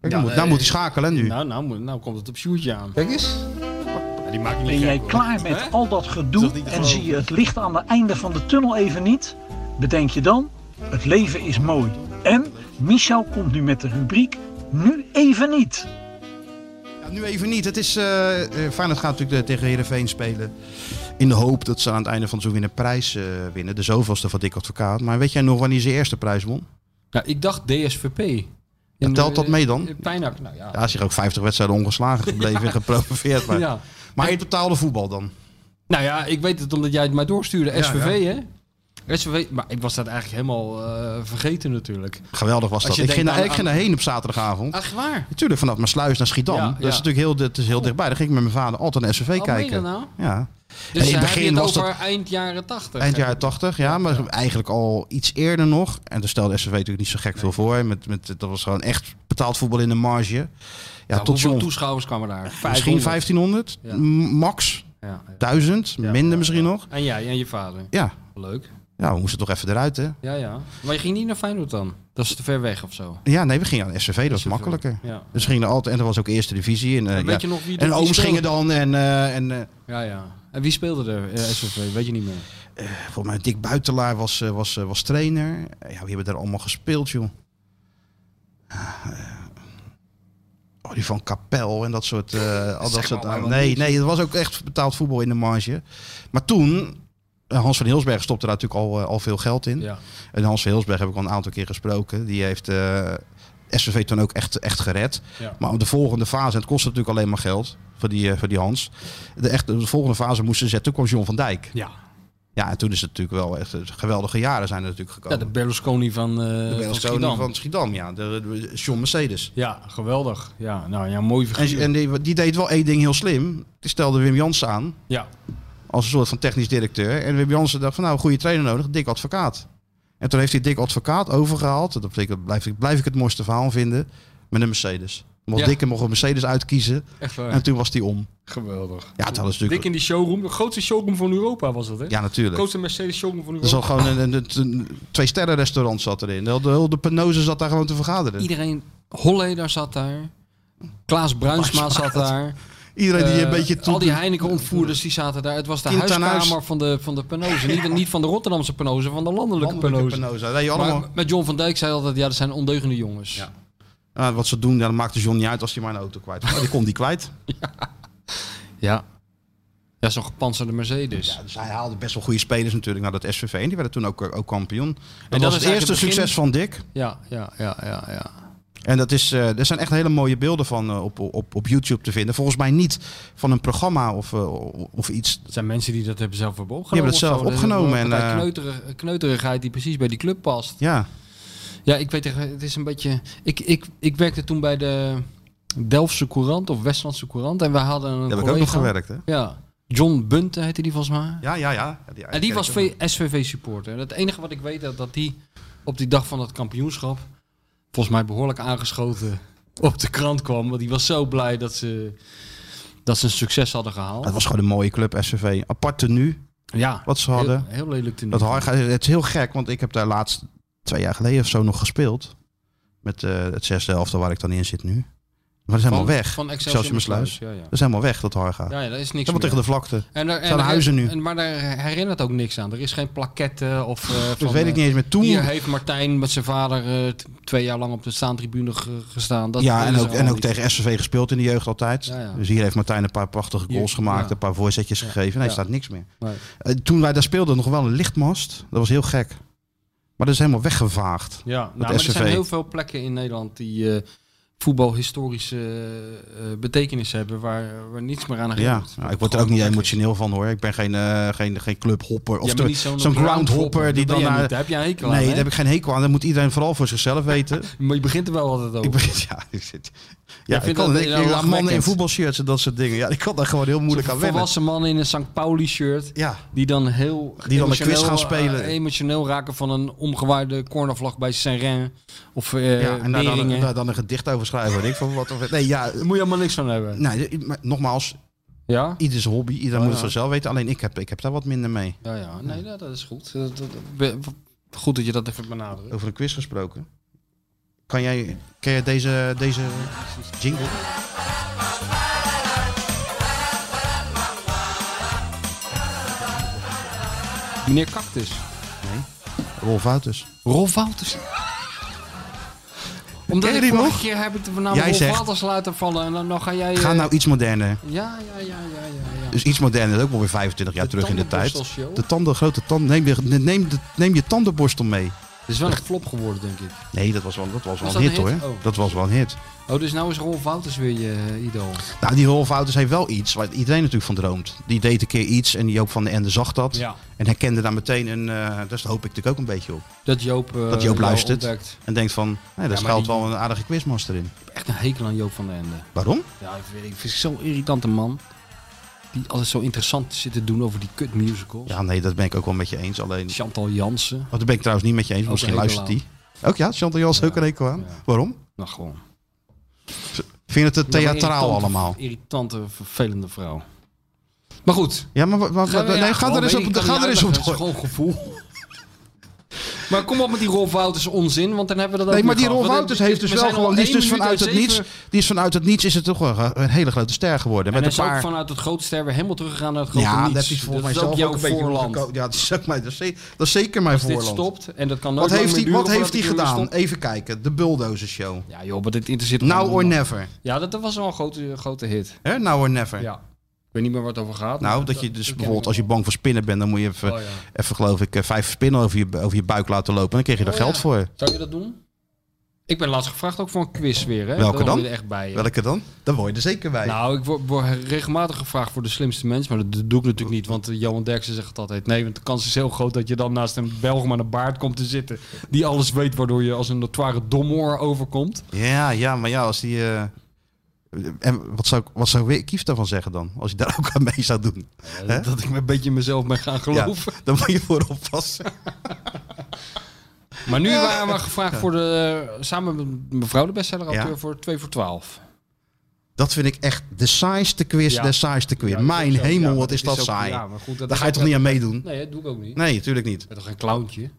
Speaker 5: Kijk,
Speaker 7: Ja,
Speaker 5: nou, moet, nou
Speaker 7: eh,
Speaker 5: moet hij schakelen, hè, nu.
Speaker 7: Nou, nou, moet- nou komt het op Sjoerdje aan.
Speaker 5: Kijk eens.
Speaker 7: Ja, die maakt niet
Speaker 10: Ben
Speaker 7: gek,
Speaker 10: jij
Speaker 7: hoor.
Speaker 10: klaar met
Speaker 7: Hè?
Speaker 10: al dat gedoe
Speaker 6: dat niet te
Speaker 10: en
Speaker 6: geloven?
Speaker 10: zie je het licht aan het einde van de tunnel even niet? Bedenk je dan, het leven is mooi. En Michel komt nu met de rubriek Nu even niet.
Speaker 5: Ja, nu even niet. Het is, eh, eh, Feyenoord gaat natuurlijk eh, tegen Heerenveen spelen. In de hoop dat ze aan het einde van het seizoen weer een prijs eh, winnen. De zoveelste van Dick Advocaat. Maar weet jij nog wanneer ze eerste prijs won?
Speaker 7: Nou, ik dacht DSVP.
Speaker 5: Ja,
Speaker 7: En,
Speaker 5: telt dat
Speaker 7: eh,
Speaker 5: mee dan?
Speaker 7: Pijnak, nou ja.
Speaker 5: Ja, hij is hier ook 50 wedstrijden ongeslagen gebleven
Speaker 7: [LAUGHS]
Speaker 5: en gepromoveerd. Maar,
Speaker 7: Ja.
Speaker 5: maar in betaalde voetbal dan.
Speaker 7: Nou ja, ik weet het omdat jij het mij doorstuurde.
Speaker 5: Ja,
Speaker 7: SVV, hè? SVV, maar ik was dat eigenlijk helemaal eh, vergeten natuurlijk.
Speaker 5: Geweldig was
Speaker 7: Als
Speaker 5: dat.
Speaker 7: je
Speaker 5: Ik
Speaker 7: denkt
Speaker 5: ging, daar,
Speaker 7: aan-
Speaker 5: ik ging daarheen op zaterdagavond.
Speaker 7: Echt waar?
Speaker 5: Natuurlijk, vanaf Maasluis naar Schiedam.
Speaker 7: Ja,
Speaker 5: dat
Speaker 7: ja.
Speaker 5: is natuurlijk heel, dat is heel dichtbij. Daar ging ik met mijn vader altijd naar SVV
Speaker 7: Oh, meen je
Speaker 5: kijken.
Speaker 7: dat nou?
Speaker 5: Ja.
Speaker 7: Dus
Speaker 5: in
Speaker 7: in
Speaker 5: het
Speaker 7: begin
Speaker 5: begin
Speaker 7: het
Speaker 5: was
Speaker 7: over eind jaren 80.
Speaker 5: Eind jaren 80, ja, maar eigenlijk al iets eerder nog. En daar stelde SVV natuurlijk niet zo gek veel voor. Met, met, dat was gewoon echt betaald voetbal in de marge. Ja,
Speaker 7: Ja,
Speaker 5: tot
Speaker 7: Nou, hoeveel
Speaker 5: zo'n
Speaker 7: toeschouwers kwamen daar?
Speaker 5: misschien
Speaker 7: 500.
Speaker 5: 1500,
Speaker 7: Ja.
Speaker 5: m- max
Speaker 7: Ja, ja.
Speaker 5: 1000, minder misschien nog.
Speaker 7: En jij en je vader.
Speaker 5: Ja.
Speaker 7: Leuk.
Speaker 5: ja, we moesten toch even eruit, hè?
Speaker 7: Ja, ja. Maar je ging niet naar Feyenoord dan? Dat is te ver weg of zo.
Speaker 5: Ja, nee, we gingen aan SVV, dat was
Speaker 7: SVV.
Speaker 5: makkelijker.
Speaker 7: Ja.
Speaker 5: Dus we gingen er altijd, en er was ook eerste divisie. En, eh,
Speaker 7: En weet
Speaker 5: ja.
Speaker 7: je nog wie
Speaker 5: en
Speaker 7: die
Speaker 5: ooms
Speaker 7: speelde?
Speaker 5: gingen dan en, eh, en eh,
Speaker 7: Ja, ja. En wie speelde er? eh, SVV, weet je niet meer.
Speaker 5: volgens mij Dick Buitelaar was, eh, was, eh, was trainer. Eh, Ja, wie hebben daar allemaal gespeeld, joh? Eh, oh, die van Kapel en dat soort...
Speaker 7: [LAUGHS]
Speaker 5: eh, al dat
Speaker 7: Zeg
Speaker 5: soort
Speaker 7: maar allemaal
Speaker 5: nee,
Speaker 7: niet.
Speaker 5: nee, het was ook echt betaald voetbal in de marge. Maar toen... eh, Hans van Hilsberg stopte daar natuurlijk al, eh, al veel geld in.
Speaker 7: Ja.
Speaker 5: En Hans van Hilsberg heb ik al een aantal keer gesproken. Die heeft eh SVV toen ook echt, echt gered.
Speaker 7: Ja.
Speaker 5: Maar op de volgende fase, en het kostte natuurlijk alleen maar geld voor die, eh, voor die Hans. De, echt, de volgende fase moesten ze zetten. Toen kwam John van Dijk.
Speaker 7: Ja.
Speaker 5: Ja, en toen is het natuurlijk wel echt eh, geweldige jaren zijn er natuurlijk
Speaker 7: ja,
Speaker 5: gekomen.
Speaker 7: de Berlusconi van, eh
Speaker 5: de
Speaker 7: van
Speaker 5: Berlusconi
Speaker 7: Schiedam.
Speaker 5: van Schiedam, ja. De, de- John Mercedes.
Speaker 7: Ja, geweldig. Ja, nou ja, mooi
Speaker 5: En,
Speaker 7: figuur.
Speaker 5: en die, die deed wel één ding heel slim. Die stelde Wim Jansen aan
Speaker 7: ja.
Speaker 5: als een soort van technisch directeur. En Wim Jansen dacht van nou, een goede trainer nodig, dik advocaat. En toen heeft hij dik advocaat overgehaald. Dat vind ik- dat blijf, ik- blijf ik het mooiste verhaal vinden. Met een Mercedes. Mocht
Speaker 7: Ja.
Speaker 5: Dikke mocht een Mercedes uitkiezen.
Speaker 7: Echt waar.
Speaker 5: En toen was die om.
Speaker 7: Geweldig.
Speaker 5: Ja, het hadden ze
Speaker 7: Dik
Speaker 5: natuurlijk.
Speaker 7: in die showroom. De grootste showroom van Europa was dat, hè?
Speaker 5: Ja,
Speaker 7: De
Speaker 5: natuurlijk.
Speaker 7: grootste Mercedes showroom van
Speaker 5: Er
Speaker 7: Europa.
Speaker 5: zat gewoon een, een, een- een twee-sterren restaurant zat erin. De, de, de penose zat daar gewoon te vergaderen.
Speaker 7: Iedereen, Holleder zat daar. Klaas Bruinsma zat daar.
Speaker 5: Iedereen [LAUGHS] die een
Speaker 7: Eh,
Speaker 5: beetje toe-
Speaker 7: al die Heineken-ontvoerders die zaten daar. Het was de
Speaker 5: Kind aan
Speaker 7: huiskamer
Speaker 5: huis.
Speaker 7: van de, van de penose. Niet, niet van de Rotterdamse penose, van de landelijke,
Speaker 5: Landelijke
Speaker 7: penose.
Speaker 5: penose. Dat je allemaal...
Speaker 7: Maar met John van Dijk zei altijd, ja, dat zijn ondeugende jongens.
Speaker 5: Ja. Ah, wat ze doen, ja, dat maakte John niet uit als hij maar een auto kwijt was. Oh, die kon die kwijt.
Speaker 7: Ja, ja zo'n gepantserde Mercedes.
Speaker 5: Ja, dus hij haalde best wel goede spelers natuurlijk naar dat SVV. En die werden toen ook, ook kampioen. Dat,
Speaker 7: dat
Speaker 5: was
Speaker 7: is
Speaker 5: het
Speaker 7: eigenlijk
Speaker 5: eerste
Speaker 7: het begin.
Speaker 5: succes van Dick.
Speaker 7: Ja, ja, ja, ja, ja.
Speaker 5: En dat is, eh, er zijn echt hele mooie beelden van eh, op, op, op YouTube te vinden. Volgens mij niet van een programma of, eh, of iets.
Speaker 7: Het zijn mensen die dat hebben zelf hebben opgenomen.
Speaker 5: hebben dat zelf
Speaker 7: of zo. is
Speaker 5: opgenomen
Speaker 7: een partij
Speaker 5: en, eh,
Speaker 7: kneuterig- kneuterigheid die precies bij die club past.
Speaker 5: Ja,
Speaker 7: Ja, ik weet echt, het is een beetje... Ik, ik, ik werkte toen bij de Delftse Courant of Westlandse Courant. En we hadden een
Speaker 5: daar heb ik
Speaker 7: collega.
Speaker 5: ook nog gewerkt. Hè?
Speaker 7: Ja, John Bunte heette die volgens mij.
Speaker 5: Ja, ja, ja. ja
Speaker 7: En die was
Speaker 5: ken ik ook
Speaker 7: SVV-supporter. Het enige wat ik weet is dat die op die dag van dat kampioenschap volgens mij behoorlijk aangeschoten op de krant kwam. Want die was zo blij dat ze, dat ze een succes hadden
Speaker 5: nog.
Speaker 7: gehaald.
Speaker 5: Het was gewoon een mooie club, SVV. Apart tenue,
Speaker 7: ja,
Speaker 5: wat ze hadden.
Speaker 7: Heel, heel lelijk te
Speaker 5: Dat hard, het is heel gek, want ik heb daar laatst twee jaar geleden of zo nog gespeeld. Met eh, het zesde elftal waar ik dan in zit nu. Maar dat is helemaal
Speaker 7: Van-
Speaker 5: weg.
Speaker 7: van Excelsior
Speaker 5: Excelsior
Speaker 7: Sluis,
Speaker 5: Sluis.
Speaker 7: ja, ja.
Speaker 5: Dat is helemaal weg, dat Harga.
Speaker 7: Ja, ja, dat is niks
Speaker 5: Helemaal
Speaker 7: meer.
Speaker 5: tegen de vlakte.
Speaker 7: En er, en
Speaker 5: Zijn
Speaker 7: er-
Speaker 5: huizen nu.
Speaker 7: En, maar daar herinnert ook niks aan. Er is geen plaquette of... eh,
Speaker 5: Dat
Speaker 7: van,
Speaker 5: Dus weet ik
Speaker 7: eh,
Speaker 5: niet eens meer. Toen-
Speaker 7: Hier heeft Martijn met zijn vader eh, t- twee jaar lang op de staantribune ge- gestaan. Dat
Speaker 5: ja, en
Speaker 7: is er
Speaker 5: ook,
Speaker 7: allemaal
Speaker 5: en ook
Speaker 7: niet.
Speaker 5: tegen SVV gespeeld in de jeugd altijd.
Speaker 7: Ja, ja.
Speaker 5: Dus hier heeft Martijn een paar prachtige goals
Speaker 7: Hier,
Speaker 5: gemaakt,
Speaker 7: ja.
Speaker 5: een paar voorzetjes gegeven. Nee,
Speaker 7: Ja.
Speaker 5: staat niks meer.
Speaker 7: Nee.
Speaker 5: Eh, toen wij daar speelden, nog wel een lichtmast. Dat was heel gek. Maar dat is helemaal weggevaagd.
Speaker 7: Ja, nou,
Speaker 5: dat
Speaker 7: maar er
Speaker 5: SCV.
Speaker 7: zijn heel veel plekken in Nederland die eh, voetbalhistorische eh, eh, betekenis hebben waar, waar niets meer aan
Speaker 5: Ja,
Speaker 7: herinnert.
Speaker 5: nou, ik word er ook niet emotioneel van hoor. Ik ben geen, eh, geen, geen clubhopper. Of
Speaker 7: Ja, maar
Speaker 5: de-
Speaker 7: niet
Speaker 5: zo'n
Speaker 7: zo'n
Speaker 5: groundhopper
Speaker 7: groundhopper.
Speaker 5: die
Speaker 7: Dat
Speaker 5: dan
Speaker 7: ben jij
Speaker 5: naar...
Speaker 7: niet. Daar heb jij een hekel aan,
Speaker 5: Nee,
Speaker 7: hè?
Speaker 5: daar heb ik geen hekel aan. Dat moet iedereen vooral voor zichzelf
Speaker 7: [LAUGHS]
Speaker 5: weten.
Speaker 7: Maar je begint er wel altijd over.
Speaker 5: ik ben, [LAUGHS] ja, ik zit...
Speaker 7: Jij
Speaker 5: Ja, ik
Speaker 7: vindt
Speaker 5: kan,
Speaker 7: dat
Speaker 5: ik,
Speaker 7: heel
Speaker 5: ik- mannen in
Speaker 7: lachwekkend.
Speaker 5: voetbalshirts en dat soort dingen. Ja, ik kan daar gewoon heel moeilijk aan
Speaker 7: Zo'n
Speaker 5: wennen.
Speaker 7: volwassen man in een St. Pauli shirt.
Speaker 5: Ja.
Speaker 7: Die dan heel
Speaker 5: Die dan een
Speaker 7: emotioneel,
Speaker 5: quiz gaan
Speaker 7: eh,
Speaker 5: spelen.
Speaker 7: emotioneel raken van een omgewaarde cornervlag bij Saint-Rein. Of eh
Speaker 5: Ja, en daar dan,
Speaker 7: Beringen.
Speaker 5: daar dan een gedicht over schrijven. En ik van wat of, nee, ja,
Speaker 7: Daar moet je allemaal niks van hebben.
Speaker 5: nee, maar nogmaals,
Speaker 7: Ja?
Speaker 5: ieders hobby, iedereen
Speaker 7: Oh, ja.
Speaker 5: moet het vanzelf weten. Alleen ik heb, ik heb daar wat minder mee.
Speaker 7: Ja, ja. Nee, dat, dat is goed. Dat- dat- be- goed dat je dat even benadrukt.
Speaker 5: Over een quiz gesproken. Kan jij, ken jij deze, deze jingle?
Speaker 7: Meneer Cactus.
Speaker 5: Rolf Wouters.
Speaker 7: Rolf Wouters. Omdat
Speaker 5: Ken je
Speaker 7: ik
Speaker 5: die
Speaker 7: vorige
Speaker 5: nog?
Speaker 7: keer heb ik de naam
Speaker 5: Jij
Speaker 7: Rolf
Speaker 5: zegt-
Speaker 7: Wouters laten vallen. En dan, dan ga jij... eh,
Speaker 5: Ga nou iets moderner.
Speaker 7: Ja, ja, ja, ja, ja. ja.
Speaker 5: Dus iets moderner, dat is ook wel weer 25 jaar
Speaker 7: De
Speaker 5: terug in de tijd.
Speaker 7: tandenborstelshow.
Speaker 5: De tanden, grote tanden. Neem, je- neem, de- neem je tandenborstel mee.
Speaker 7: Het is wel een flop geworden, denk ik.
Speaker 5: Nee, dat was wel, dat was wel
Speaker 7: Was
Speaker 5: een hit,
Speaker 7: dat een hit?
Speaker 5: hoor.
Speaker 7: Oh.
Speaker 5: Dat was wel een hit.
Speaker 7: Oh, dus nou is Rolf Wouters weer je eh, idool.
Speaker 5: Nou, die Rolf Wouters heeft wel iets waar iedereen natuurlijk van droomt. Die deed een keer iets en Joop van de Ende zag dat.
Speaker 7: Ja.
Speaker 5: En herkende daar meteen een... eh dus daar hoop ik natuurlijk ook een beetje op.
Speaker 7: Dat Joop, eh,
Speaker 5: Dat Joop
Speaker 7: jou
Speaker 5: luistert.
Speaker 7: ontdekt.
Speaker 5: En denkt van, nee, daar
Speaker 7: maar
Speaker 5: schuilt
Speaker 7: die-
Speaker 5: wel een aardige quizmaster in.
Speaker 7: Echt een hekel aan Joop van den Ende.
Speaker 5: Waarom?
Speaker 7: Ja, ik vind, ik vind het zo'n irritante man. Die altijd zo interessant zit te doen over die kut musicals.
Speaker 5: Ja, nee, dat ben ik ook wel met je eens. Alleen,
Speaker 7: Chantal Jansen.
Speaker 5: oh, dat ben ik trouwens niet met je eens.
Speaker 7: Ook
Speaker 5: Misschien
Speaker 7: een hekel
Speaker 5: luistert die. Ook ja, Chantal Jans ook een hekel aan.
Speaker 7: ja.
Speaker 5: Waarom?
Speaker 7: Nou, gewoon.
Speaker 5: Vind je het te theatraal
Speaker 7: Irritante-
Speaker 5: allemaal?
Speaker 7: Irritante, vervelende vrouw. Maar goed.
Speaker 5: Ja, maar, wa- wa- wa- nee,
Speaker 7: ja,
Speaker 5: ga er
Speaker 7: gewoon,
Speaker 5: eens
Speaker 7: weet ik,
Speaker 5: op,
Speaker 7: kan
Speaker 5: ga
Speaker 7: niet
Speaker 5: er eens op
Speaker 7: uitleggen,
Speaker 5: door.
Speaker 7: Het is gewoon gevoel. [LAUGHS] maar kom op met die Rolf Wouters onzin, want dan hebben we dat
Speaker 5: Nee,
Speaker 7: ook
Speaker 5: maar
Speaker 7: weer
Speaker 5: die Rolf
Speaker 7: gehad.
Speaker 5: Wouters
Speaker 7: Want dit-
Speaker 5: heeft
Speaker 7: dit-
Speaker 5: dus
Speaker 7: we
Speaker 5: wel
Speaker 7: zijn al
Speaker 5: gewoon... Die is
Speaker 7: één
Speaker 5: dus
Speaker 7: minuut
Speaker 5: vanuit
Speaker 7: en
Speaker 5: het
Speaker 7: zeven-
Speaker 5: niets... Die is vanuit het niets is het toch wel eh, een hele grote ster geworden.
Speaker 7: En
Speaker 5: Met
Speaker 7: hij
Speaker 5: een
Speaker 7: is ook
Speaker 5: paar...
Speaker 7: vanuit het grote ster weer helemaal teruggegaan naar het grote
Speaker 5: ja,
Speaker 7: niets.
Speaker 5: dat is volgens mij
Speaker 7: is
Speaker 5: zelf
Speaker 7: ook
Speaker 5: ook
Speaker 7: jouw
Speaker 5: een beetje
Speaker 7: voorland.
Speaker 5: doorgeko- Ja, dat is, ook mijn, dat, is zeker, dat is zeker mijn
Speaker 7: Als dit
Speaker 5: voorland.
Speaker 7: stopt en dat kan nooit
Speaker 5: Wat
Speaker 7: lang
Speaker 5: heeft
Speaker 7: meer
Speaker 5: hij wat
Speaker 7: duren
Speaker 5: heeft hij
Speaker 7: voordat het
Speaker 5: gedaan?
Speaker 7: weer stopt.
Speaker 5: Even kijken. De Bulldozer Show.
Speaker 7: Ja joh, maar dit interesseert
Speaker 5: Now
Speaker 7: gewoon
Speaker 5: or
Speaker 7: niemand.
Speaker 5: never.
Speaker 7: Ja, dat, dat was wel een grote, grote hit.
Speaker 5: Hè? Now or never.
Speaker 7: Ja. Ik weet niet meer waar het over gaat. maar
Speaker 5: Nou, dat je dus
Speaker 7: ken
Speaker 5: bijvoorbeeld
Speaker 7: ik
Speaker 5: als je
Speaker 7: wel.
Speaker 5: bang voor spinnen bent, dan moet je even,
Speaker 7: Oh, ja.
Speaker 5: even geloof ik, eh, vijf spinnen over je, over je buik laten lopen. En dan krijg je er
Speaker 7: Oh,
Speaker 5: geld
Speaker 7: ja.
Speaker 5: voor.
Speaker 7: Zou je dat doen? Ik ben laatst gevraagd ook voor een quiz weer. Hè?
Speaker 5: Welke
Speaker 7: Daar hoor je
Speaker 5: dan?
Speaker 7: er echt bij. hè?
Speaker 5: Welke dan? Dan word je er zeker bij.
Speaker 7: Nou, ik word, word regelmatig gevraagd voor de slimste mens, maar dat doe ik natuurlijk niet, want eh, Johan Derksen zegt het altijd. Nee, want de kans is heel groot dat je dan naast een Belg met een baard komt te zitten, die alles weet, waardoor je als een notoire domoor overkomt.
Speaker 5: Ja, ja, maar ja, als die... eh, en wat zou, wat zou weer Kief daarvan zeggen dan? Als je daar [LAUGHS] ook aan mee zou doen. Hè?
Speaker 7: Dat ik me een beetje in mezelf ben gaan
Speaker 5: Ja,
Speaker 7: geloven.
Speaker 5: dan moet je voor
Speaker 7: [LAUGHS]
Speaker 5: oppassen.
Speaker 7: Maar nu waren we gevraagd voor de, eh, samen met mevrouw de bestsellerauteur
Speaker 5: Ja.
Speaker 7: voor 2 voor 12.
Speaker 5: Dat vind ik echt de saaiste quiz,
Speaker 7: Ja.
Speaker 5: de saaiste quiz.
Speaker 7: Ja, dat
Speaker 5: Mijn
Speaker 7: is ook- ja,
Speaker 5: hemel,
Speaker 7: maar
Speaker 5: wat is
Speaker 7: het
Speaker 5: dat
Speaker 7: ook-
Speaker 5: saai.
Speaker 7: Ja, maar goed, dat
Speaker 5: Daar
Speaker 7: is
Speaker 5: ga je
Speaker 7: ook-
Speaker 5: toch niet aan meedoen?
Speaker 7: Nee, dat doe ik ook niet.
Speaker 5: Nee, natuurlijk niet.
Speaker 7: Ik ben toch geen clowntje.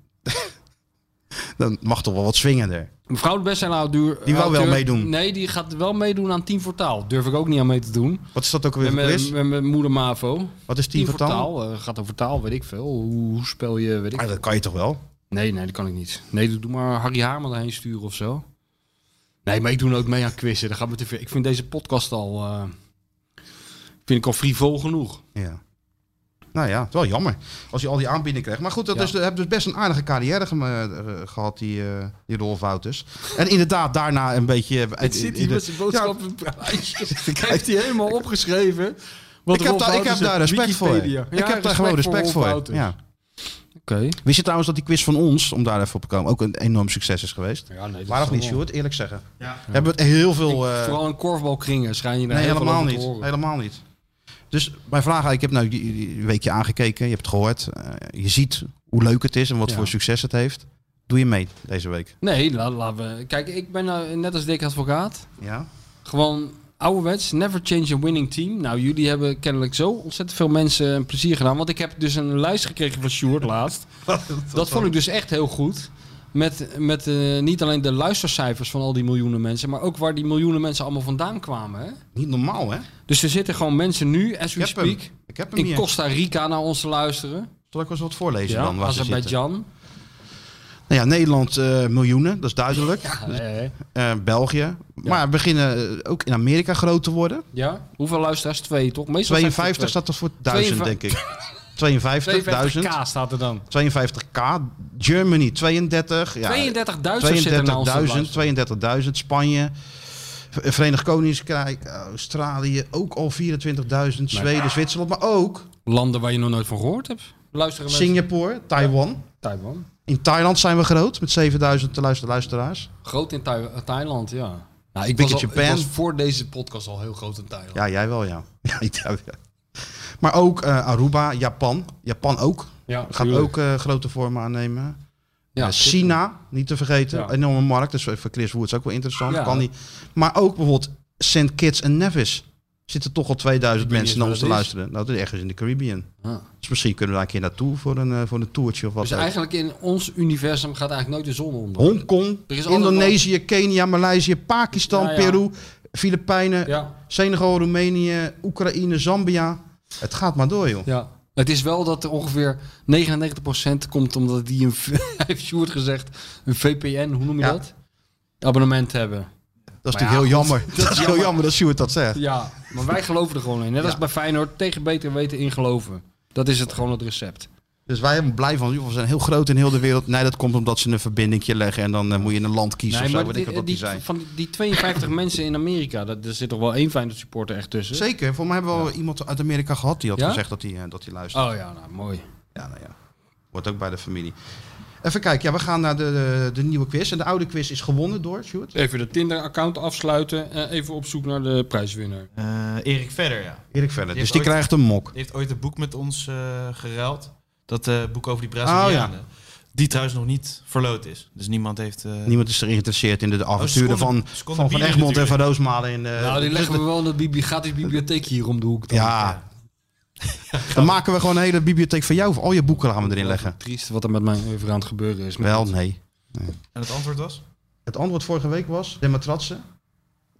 Speaker 5: Dan mag toch wel wat swingender.
Speaker 7: Mevrouw de bestsellerauteur...
Speaker 5: Die wou wel
Speaker 7: auteur-
Speaker 5: meedoen.
Speaker 7: Nee, die gaat wel meedoen aan 10 voor 12. Durf ik ook niet aan mee te doen.
Speaker 5: Wat is dat ook weer
Speaker 7: Met
Speaker 5: voor
Speaker 7: mijn-
Speaker 5: quiz?
Speaker 7: met mijn moeder Mavo.
Speaker 5: Wat is 10
Speaker 7: Tien
Speaker 5: voor
Speaker 7: voor
Speaker 5: taal?
Speaker 7: taal. eh, gaat over taal, weet ik veel. Hoe, hoe speel je, weet ik
Speaker 5: Ah,
Speaker 7: veel.
Speaker 5: dat kan je toch wel?
Speaker 7: Nee, nee, dat kan ik niet. Nee, doe- doe maar Harry Haarman daarheen sturen of zo. Nee, maar ik doe nooit mee aan quizzen. Dat gaat me te ver. Ik vind deze podcast al... eh, vind ik al frivol genoeg.
Speaker 5: Ja. Nou ja, het is wel jammer als je al die aanbiedingen krijgt. Maar goed, dat
Speaker 7: Ja.
Speaker 5: is, heb dus best een aardige carrière gema- eh, gehad, die, eh die Rolf Wouters. En inderdaad, daarna een beetje... eh,
Speaker 7: Het zit hier met zijn boodschappen. [LAUGHS] heeft hij helemaal opgeschreven.
Speaker 5: ik, heb daar, ik heb daar respect voor. ik heb daar gewoon respect voor. Ja.
Speaker 7: dus. Oké.
Speaker 5: Wist je trouwens dat die quiz van ons, om daar even op te komen, ook een enorm succes is geweest?
Speaker 7: Ja, nee, dat
Speaker 5: Waarom
Speaker 7: is
Speaker 5: niet,
Speaker 7: wel-
Speaker 5: Sjoerd? Eerlijk zeggen.
Speaker 6: Ja.
Speaker 5: Hebben we het heel veel... eh,
Speaker 7: Vooral een korfbalkringen schijn je daar
Speaker 5: Nee,
Speaker 7: heel veel
Speaker 5: helemaal
Speaker 7: over te
Speaker 5: niet.
Speaker 7: horen.
Speaker 5: Helemaal niet. Dus mijn vraag, eigenlijk, ik heb nou die- die weekje aangekeken, je hebt het gehoord. eh, je ziet hoe leuk het is en wat
Speaker 7: Ja.
Speaker 5: voor succes het heeft. Doe je mee deze week?
Speaker 7: Nee, la- laten we. Kijk, ik ben nou net als Dick Advocaat.
Speaker 5: Ja.
Speaker 7: Gewoon ouderwets, never change a winning team. Nou, jullie hebben kennelijk zo ontzettend veel mensen een
Speaker 5: [LAUGHS]
Speaker 7: plezier gedaan. Want ik heb dus een lijst gekregen van Sjoerd laatst. dat vond ik dus echt heel goed. Met, met eh, niet alleen de luistercijfers van al die miljoenen mensen, maar ook waar die miljoenen mensen allemaal vandaan kwamen. Hè?
Speaker 5: Niet normaal, hè?
Speaker 7: Dus er zitten gewoon mensen nu, as we
Speaker 5: Ik heb hem.
Speaker 7: speak,
Speaker 5: Ik heb hem
Speaker 7: in
Speaker 5: hier.
Speaker 7: Costa Rica naar ons te luisteren.
Speaker 5: Zal ik wel eens wat voorlezen
Speaker 7: Ja,
Speaker 5: dan? Waar ze zitten?
Speaker 7: Azerbeidzjan.
Speaker 5: Nou ja, Nederland eh, miljoenen, dat is duidelijk.
Speaker 7: Ja, nee.
Speaker 5: Eh, België. Maar beginnen eh, ook in Amerika groot te worden.
Speaker 7: ja, hoeveel luisteraars? Twee, toch? Meestal zijn het er
Speaker 5: 52
Speaker 7: twee.
Speaker 5: staat er
Speaker 7: [LAUGHS]
Speaker 5: voor 1000, denk ik. 52, 1000.
Speaker 7: 52k staat er dan.
Speaker 5: 52k. Germany 32. Ja,
Speaker 7: 32.000 zitten nou naar ons te
Speaker 5: 32.000.
Speaker 7: luisteren.
Speaker 5: 32.000. Spanje. V- Verenigd Koninkrijk. Australië ook al 24.000. Zweden, Zwitserland. Maar ook
Speaker 7: Landen waar je nog nooit van gehoord hebt. Luisteren mensen.
Speaker 5: Singapore, Taiwan.
Speaker 7: Taiwan.
Speaker 5: In Thailand zijn we groot met 7000 te luister- luisteraars.
Speaker 7: Groot in Thai- eh, Thailand, ja. Nou, ik,
Speaker 5: Big
Speaker 7: was al,
Speaker 5: in Japan.
Speaker 7: ik was voor deze podcast al heel groot in Thailand. Ja.
Speaker 5: Ja, jij wel, ja. [LAUGHS] ja, ik- ja, ja. Maar ook eh, Aruba, Japan. Japan ook. Gaat
Speaker 7: tuurlijk.
Speaker 5: ook eh, grote vormen aannemen.
Speaker 7: Ja,
Speaker 5: Eh, China, niet te vergeten.
Speaker 7: Ja.
Speaker 5: Enorme markt. Dus voor Chris Woods ook wel interessant.
Speaker 7: Ja.
Speaker 5: Kan die. Maar ook bijvoorbeeld St. Kitts en Nevis. Zitten toch al 2000
Speaker 7: Ik weet
Speaker 5: mensen
Speaker 7: niet
Speaker 5: naar
Speaker 7: eens
Speaker 5: ons te
Speaker 7: waar dat
Speaker 5: luisteren. Nou, dat is ergens in de Caribbean.
Speaker 7: Ah.
Speaker 5: Dus misschien kunnen we daar een keer naartoe voor een, eh, voor een toertje of wat.
Speaker 7: Dus
Speaker 5: ook.
Speaker 7: eigenlijk in ons universum gaat eigenlijk nooit de zon onder.
Speaker 5: Hongkong,
Speaker 7: Er is
Speaker 5: Indonesië, Kenia, Maleisië, Pakistan,
Speaker 7: Ja, ja.
Speaker 5: Peru, Filipijnen,
Speaker 7: Ja,
Speaker 5: Senegal, Roemenië, Oekraïne, Zambia. Het gaat maar door, joh.
Speaker 7: ja. Het is wel dat er ongeveer 99% komt omdat die een, v- [LAUGHS] heeft Sjoerd gezegd, een VPN, hoe noem je
Speaker 5: Ja.
Speaker 7: dat? Abonnement hebben.
Speaker 5: Dat is
Speaker 7: Maar
Speaker 5: natuurlijk heel
Speaker 7: ja, goed.
Speaker 5: jammer.
Speaker 7: [LAUGHS] Dat
Speaker 5: Dat
Speaker 7: is
Speaker 5: is heel
Speaker 7: jammer.
Speaker 5: jammer dat Sjoerd dat zegt.
Speaker 7: Ja, maar wij geloven er gewoon in. Net als bij Feyenoord, tegen beter weten in geloven. Dat is het gewoon het recept.
Speaker 5: Dus wij zijn blij van, joh, we zijn heel groot in heel de wereld. Nee, dat komt omdat ze een verbindingje leggen en dan eh, moet je een land kiezen of zo. Weet ik
Speaker 7: die-
Speaker 5: wat dat die
Speaker 7: die,
Speaker 5: zijn.
Speaker 7: van die 52 [LAUGHS] mensen in Amerika, dat, er zit toch wel één Feyenoord supporter echt tussen?
Speaker 5: Zeker, voor mij hebben we al iemand uit Amerika gehad die had
Speaker 7: Ja?
Speaker 5: gezegd dat hij eh, dat hij luistert.
Speaker 7: Oh ja, nou mooi.
Speaker 5: Ja, nou ja. Wordt ook bij de familie. Even kijken, ja, we gaan naar de, de, de nieuwe quiz. En de oude quiz is gewonnen door Sjoerd.
Speaker 7: Even de Tinder-account afsluiten en even op zoek naar de prijswinnaar.
Speaker 6: Eh, Erik Verder, ja.
Speaker 5: Erik verder.
Speaker 6: Die
Speaker 5: Dus
Speaker 6: heeft
Speaker 5: die
Speaker 6: ooit-
Speaker 5: krijgt een mok.
Speaker 6: Die heeft ooit een boek met ons eh, geruild. Dat eh, boek over die Brazilianen. Die trouwens nog niet verloot is. Dus niemand heeft... eh,
Speaker 5: Niemand is er geïnteresseerd
Speaker 7: Oh,
Speaker 5: in de avonturen
Speaker 6: ze konden-
Speaker 5: van,
Speaker 6: ze
Speaker 5: van,
Speaker 6: konden
Speaker 5: van
Speaker 6: bieden
Speaker 5: Egmond en van
Speaker 6: natuurlijk.
Speaker 5: Roosmalen. In, eh,
Speaker 7: nou, die
Speaker 5: dus
Speaker 7: leggen
Speaker 5: dat-
Speaker 7: we wel in de bibli gratis bibliotheek hier om de hoek. Dan.
Speaker 5: Ja. Dan maken we gewoon een hele bibliotheek van jou. Of al je boeken gaan we erin leggen.
Speaker 7: Triest wat er met mijn even aan het gebeuren is.
Speaker 5: Wel, nee.
Speaker 6: En het antwoord was?
Speaker 5: Het antwoord vorige week was Dematratse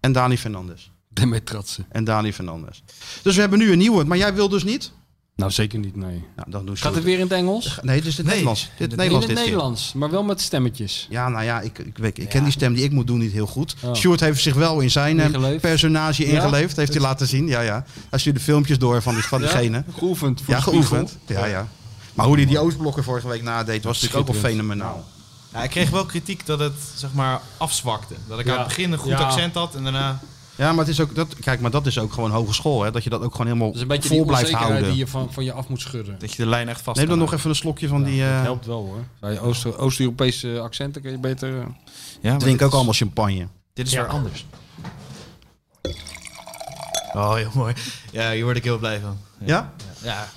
Speaker 5: en Dani Fernandes.
Speaker 7: Daarmee tratsen.
Speaker 5: En Dani Fernandes. Dus we hebben nu een nieuwe. Maar jij wil dus niet?
Speaker 7: Nou, zeker niet, nee.
Speaker 5: Nou, dan doe
Speaker 7: Gaat het weer in het Engels?
Speaker 5: Nee, dit is het Nederlands. Dit Nederlands dit
Speaker 7: in het
Speaker 5: keer.
Speaker 7: Nederlands, maar wel met stemmetjes.
Speaker 5: Ja, nou ja, ik, ik, weet- ik ken die stem die ik moet doen niet heel goed.
Speaker 7: Oh.
Speaker 5: Stuart heeft zich wel in zijn eh,
Speaker 7: Ingeleefd.
Speaker 5: personage
Speaker 7: Ja?
Speaker 5: ingeleefd. Heeft hij laten zien. Ja, ja. Hij stuurde filmpjes door van, die, van diegene.
Speaker 7: Geoefend. Voor
Speaker 5: Ja,
Speaker 7: de spiegel.
Speaker 5: geoefend. Ja, ja. Maar hoe hij die Oostblokken vorige week nadeed, was natuurlijk ook wel fenomenaal.
Speaker 6: Ja, ik kreeg wel kritiek dat het zeg maar afzwakte. Dat ik
Speaker 7: Ja.
Speaker 6: aan het begin een goed
Speaker 7: Ja.
Speaker 6: accent had en daarna...
Speaker 5: Ja, maar het is ook dat. Kijk, maar dat is ook gewoon hogeschool, hè? Dat je dat ook gewoon helemaal
Speaker 7: Dat is een beetje
Speaker 5: vol
Speaker 7: die
Speaker 5: blijft
Speaker 7: onzekerheid
Speaker 5: houden.
Speaker 7: die je van, van je af moet schudden.
Speaker 6: Dat je de lijn echt vast
Speaker 5: Neem dan
Speaker 6: kan
Speaker 5: nog even een slokje van die. eh,
Speaker 7: Dat helpt wel hoor. Bij Oost- Oost-Europese accenten kun je beter... eh,
Speaker 6: houden. Ja, maar
Speaker 5: drink
Speaker 6: dit
Speaker 5: ook
Speaker 6: is-
Speaker 5: allemaal champagne.
Speaker 6: Dit is weer anders. Oh, heel mooi. Ja, hier word ik heel blij van.
Speaker 5: Ja?
Speaker 6: Ja.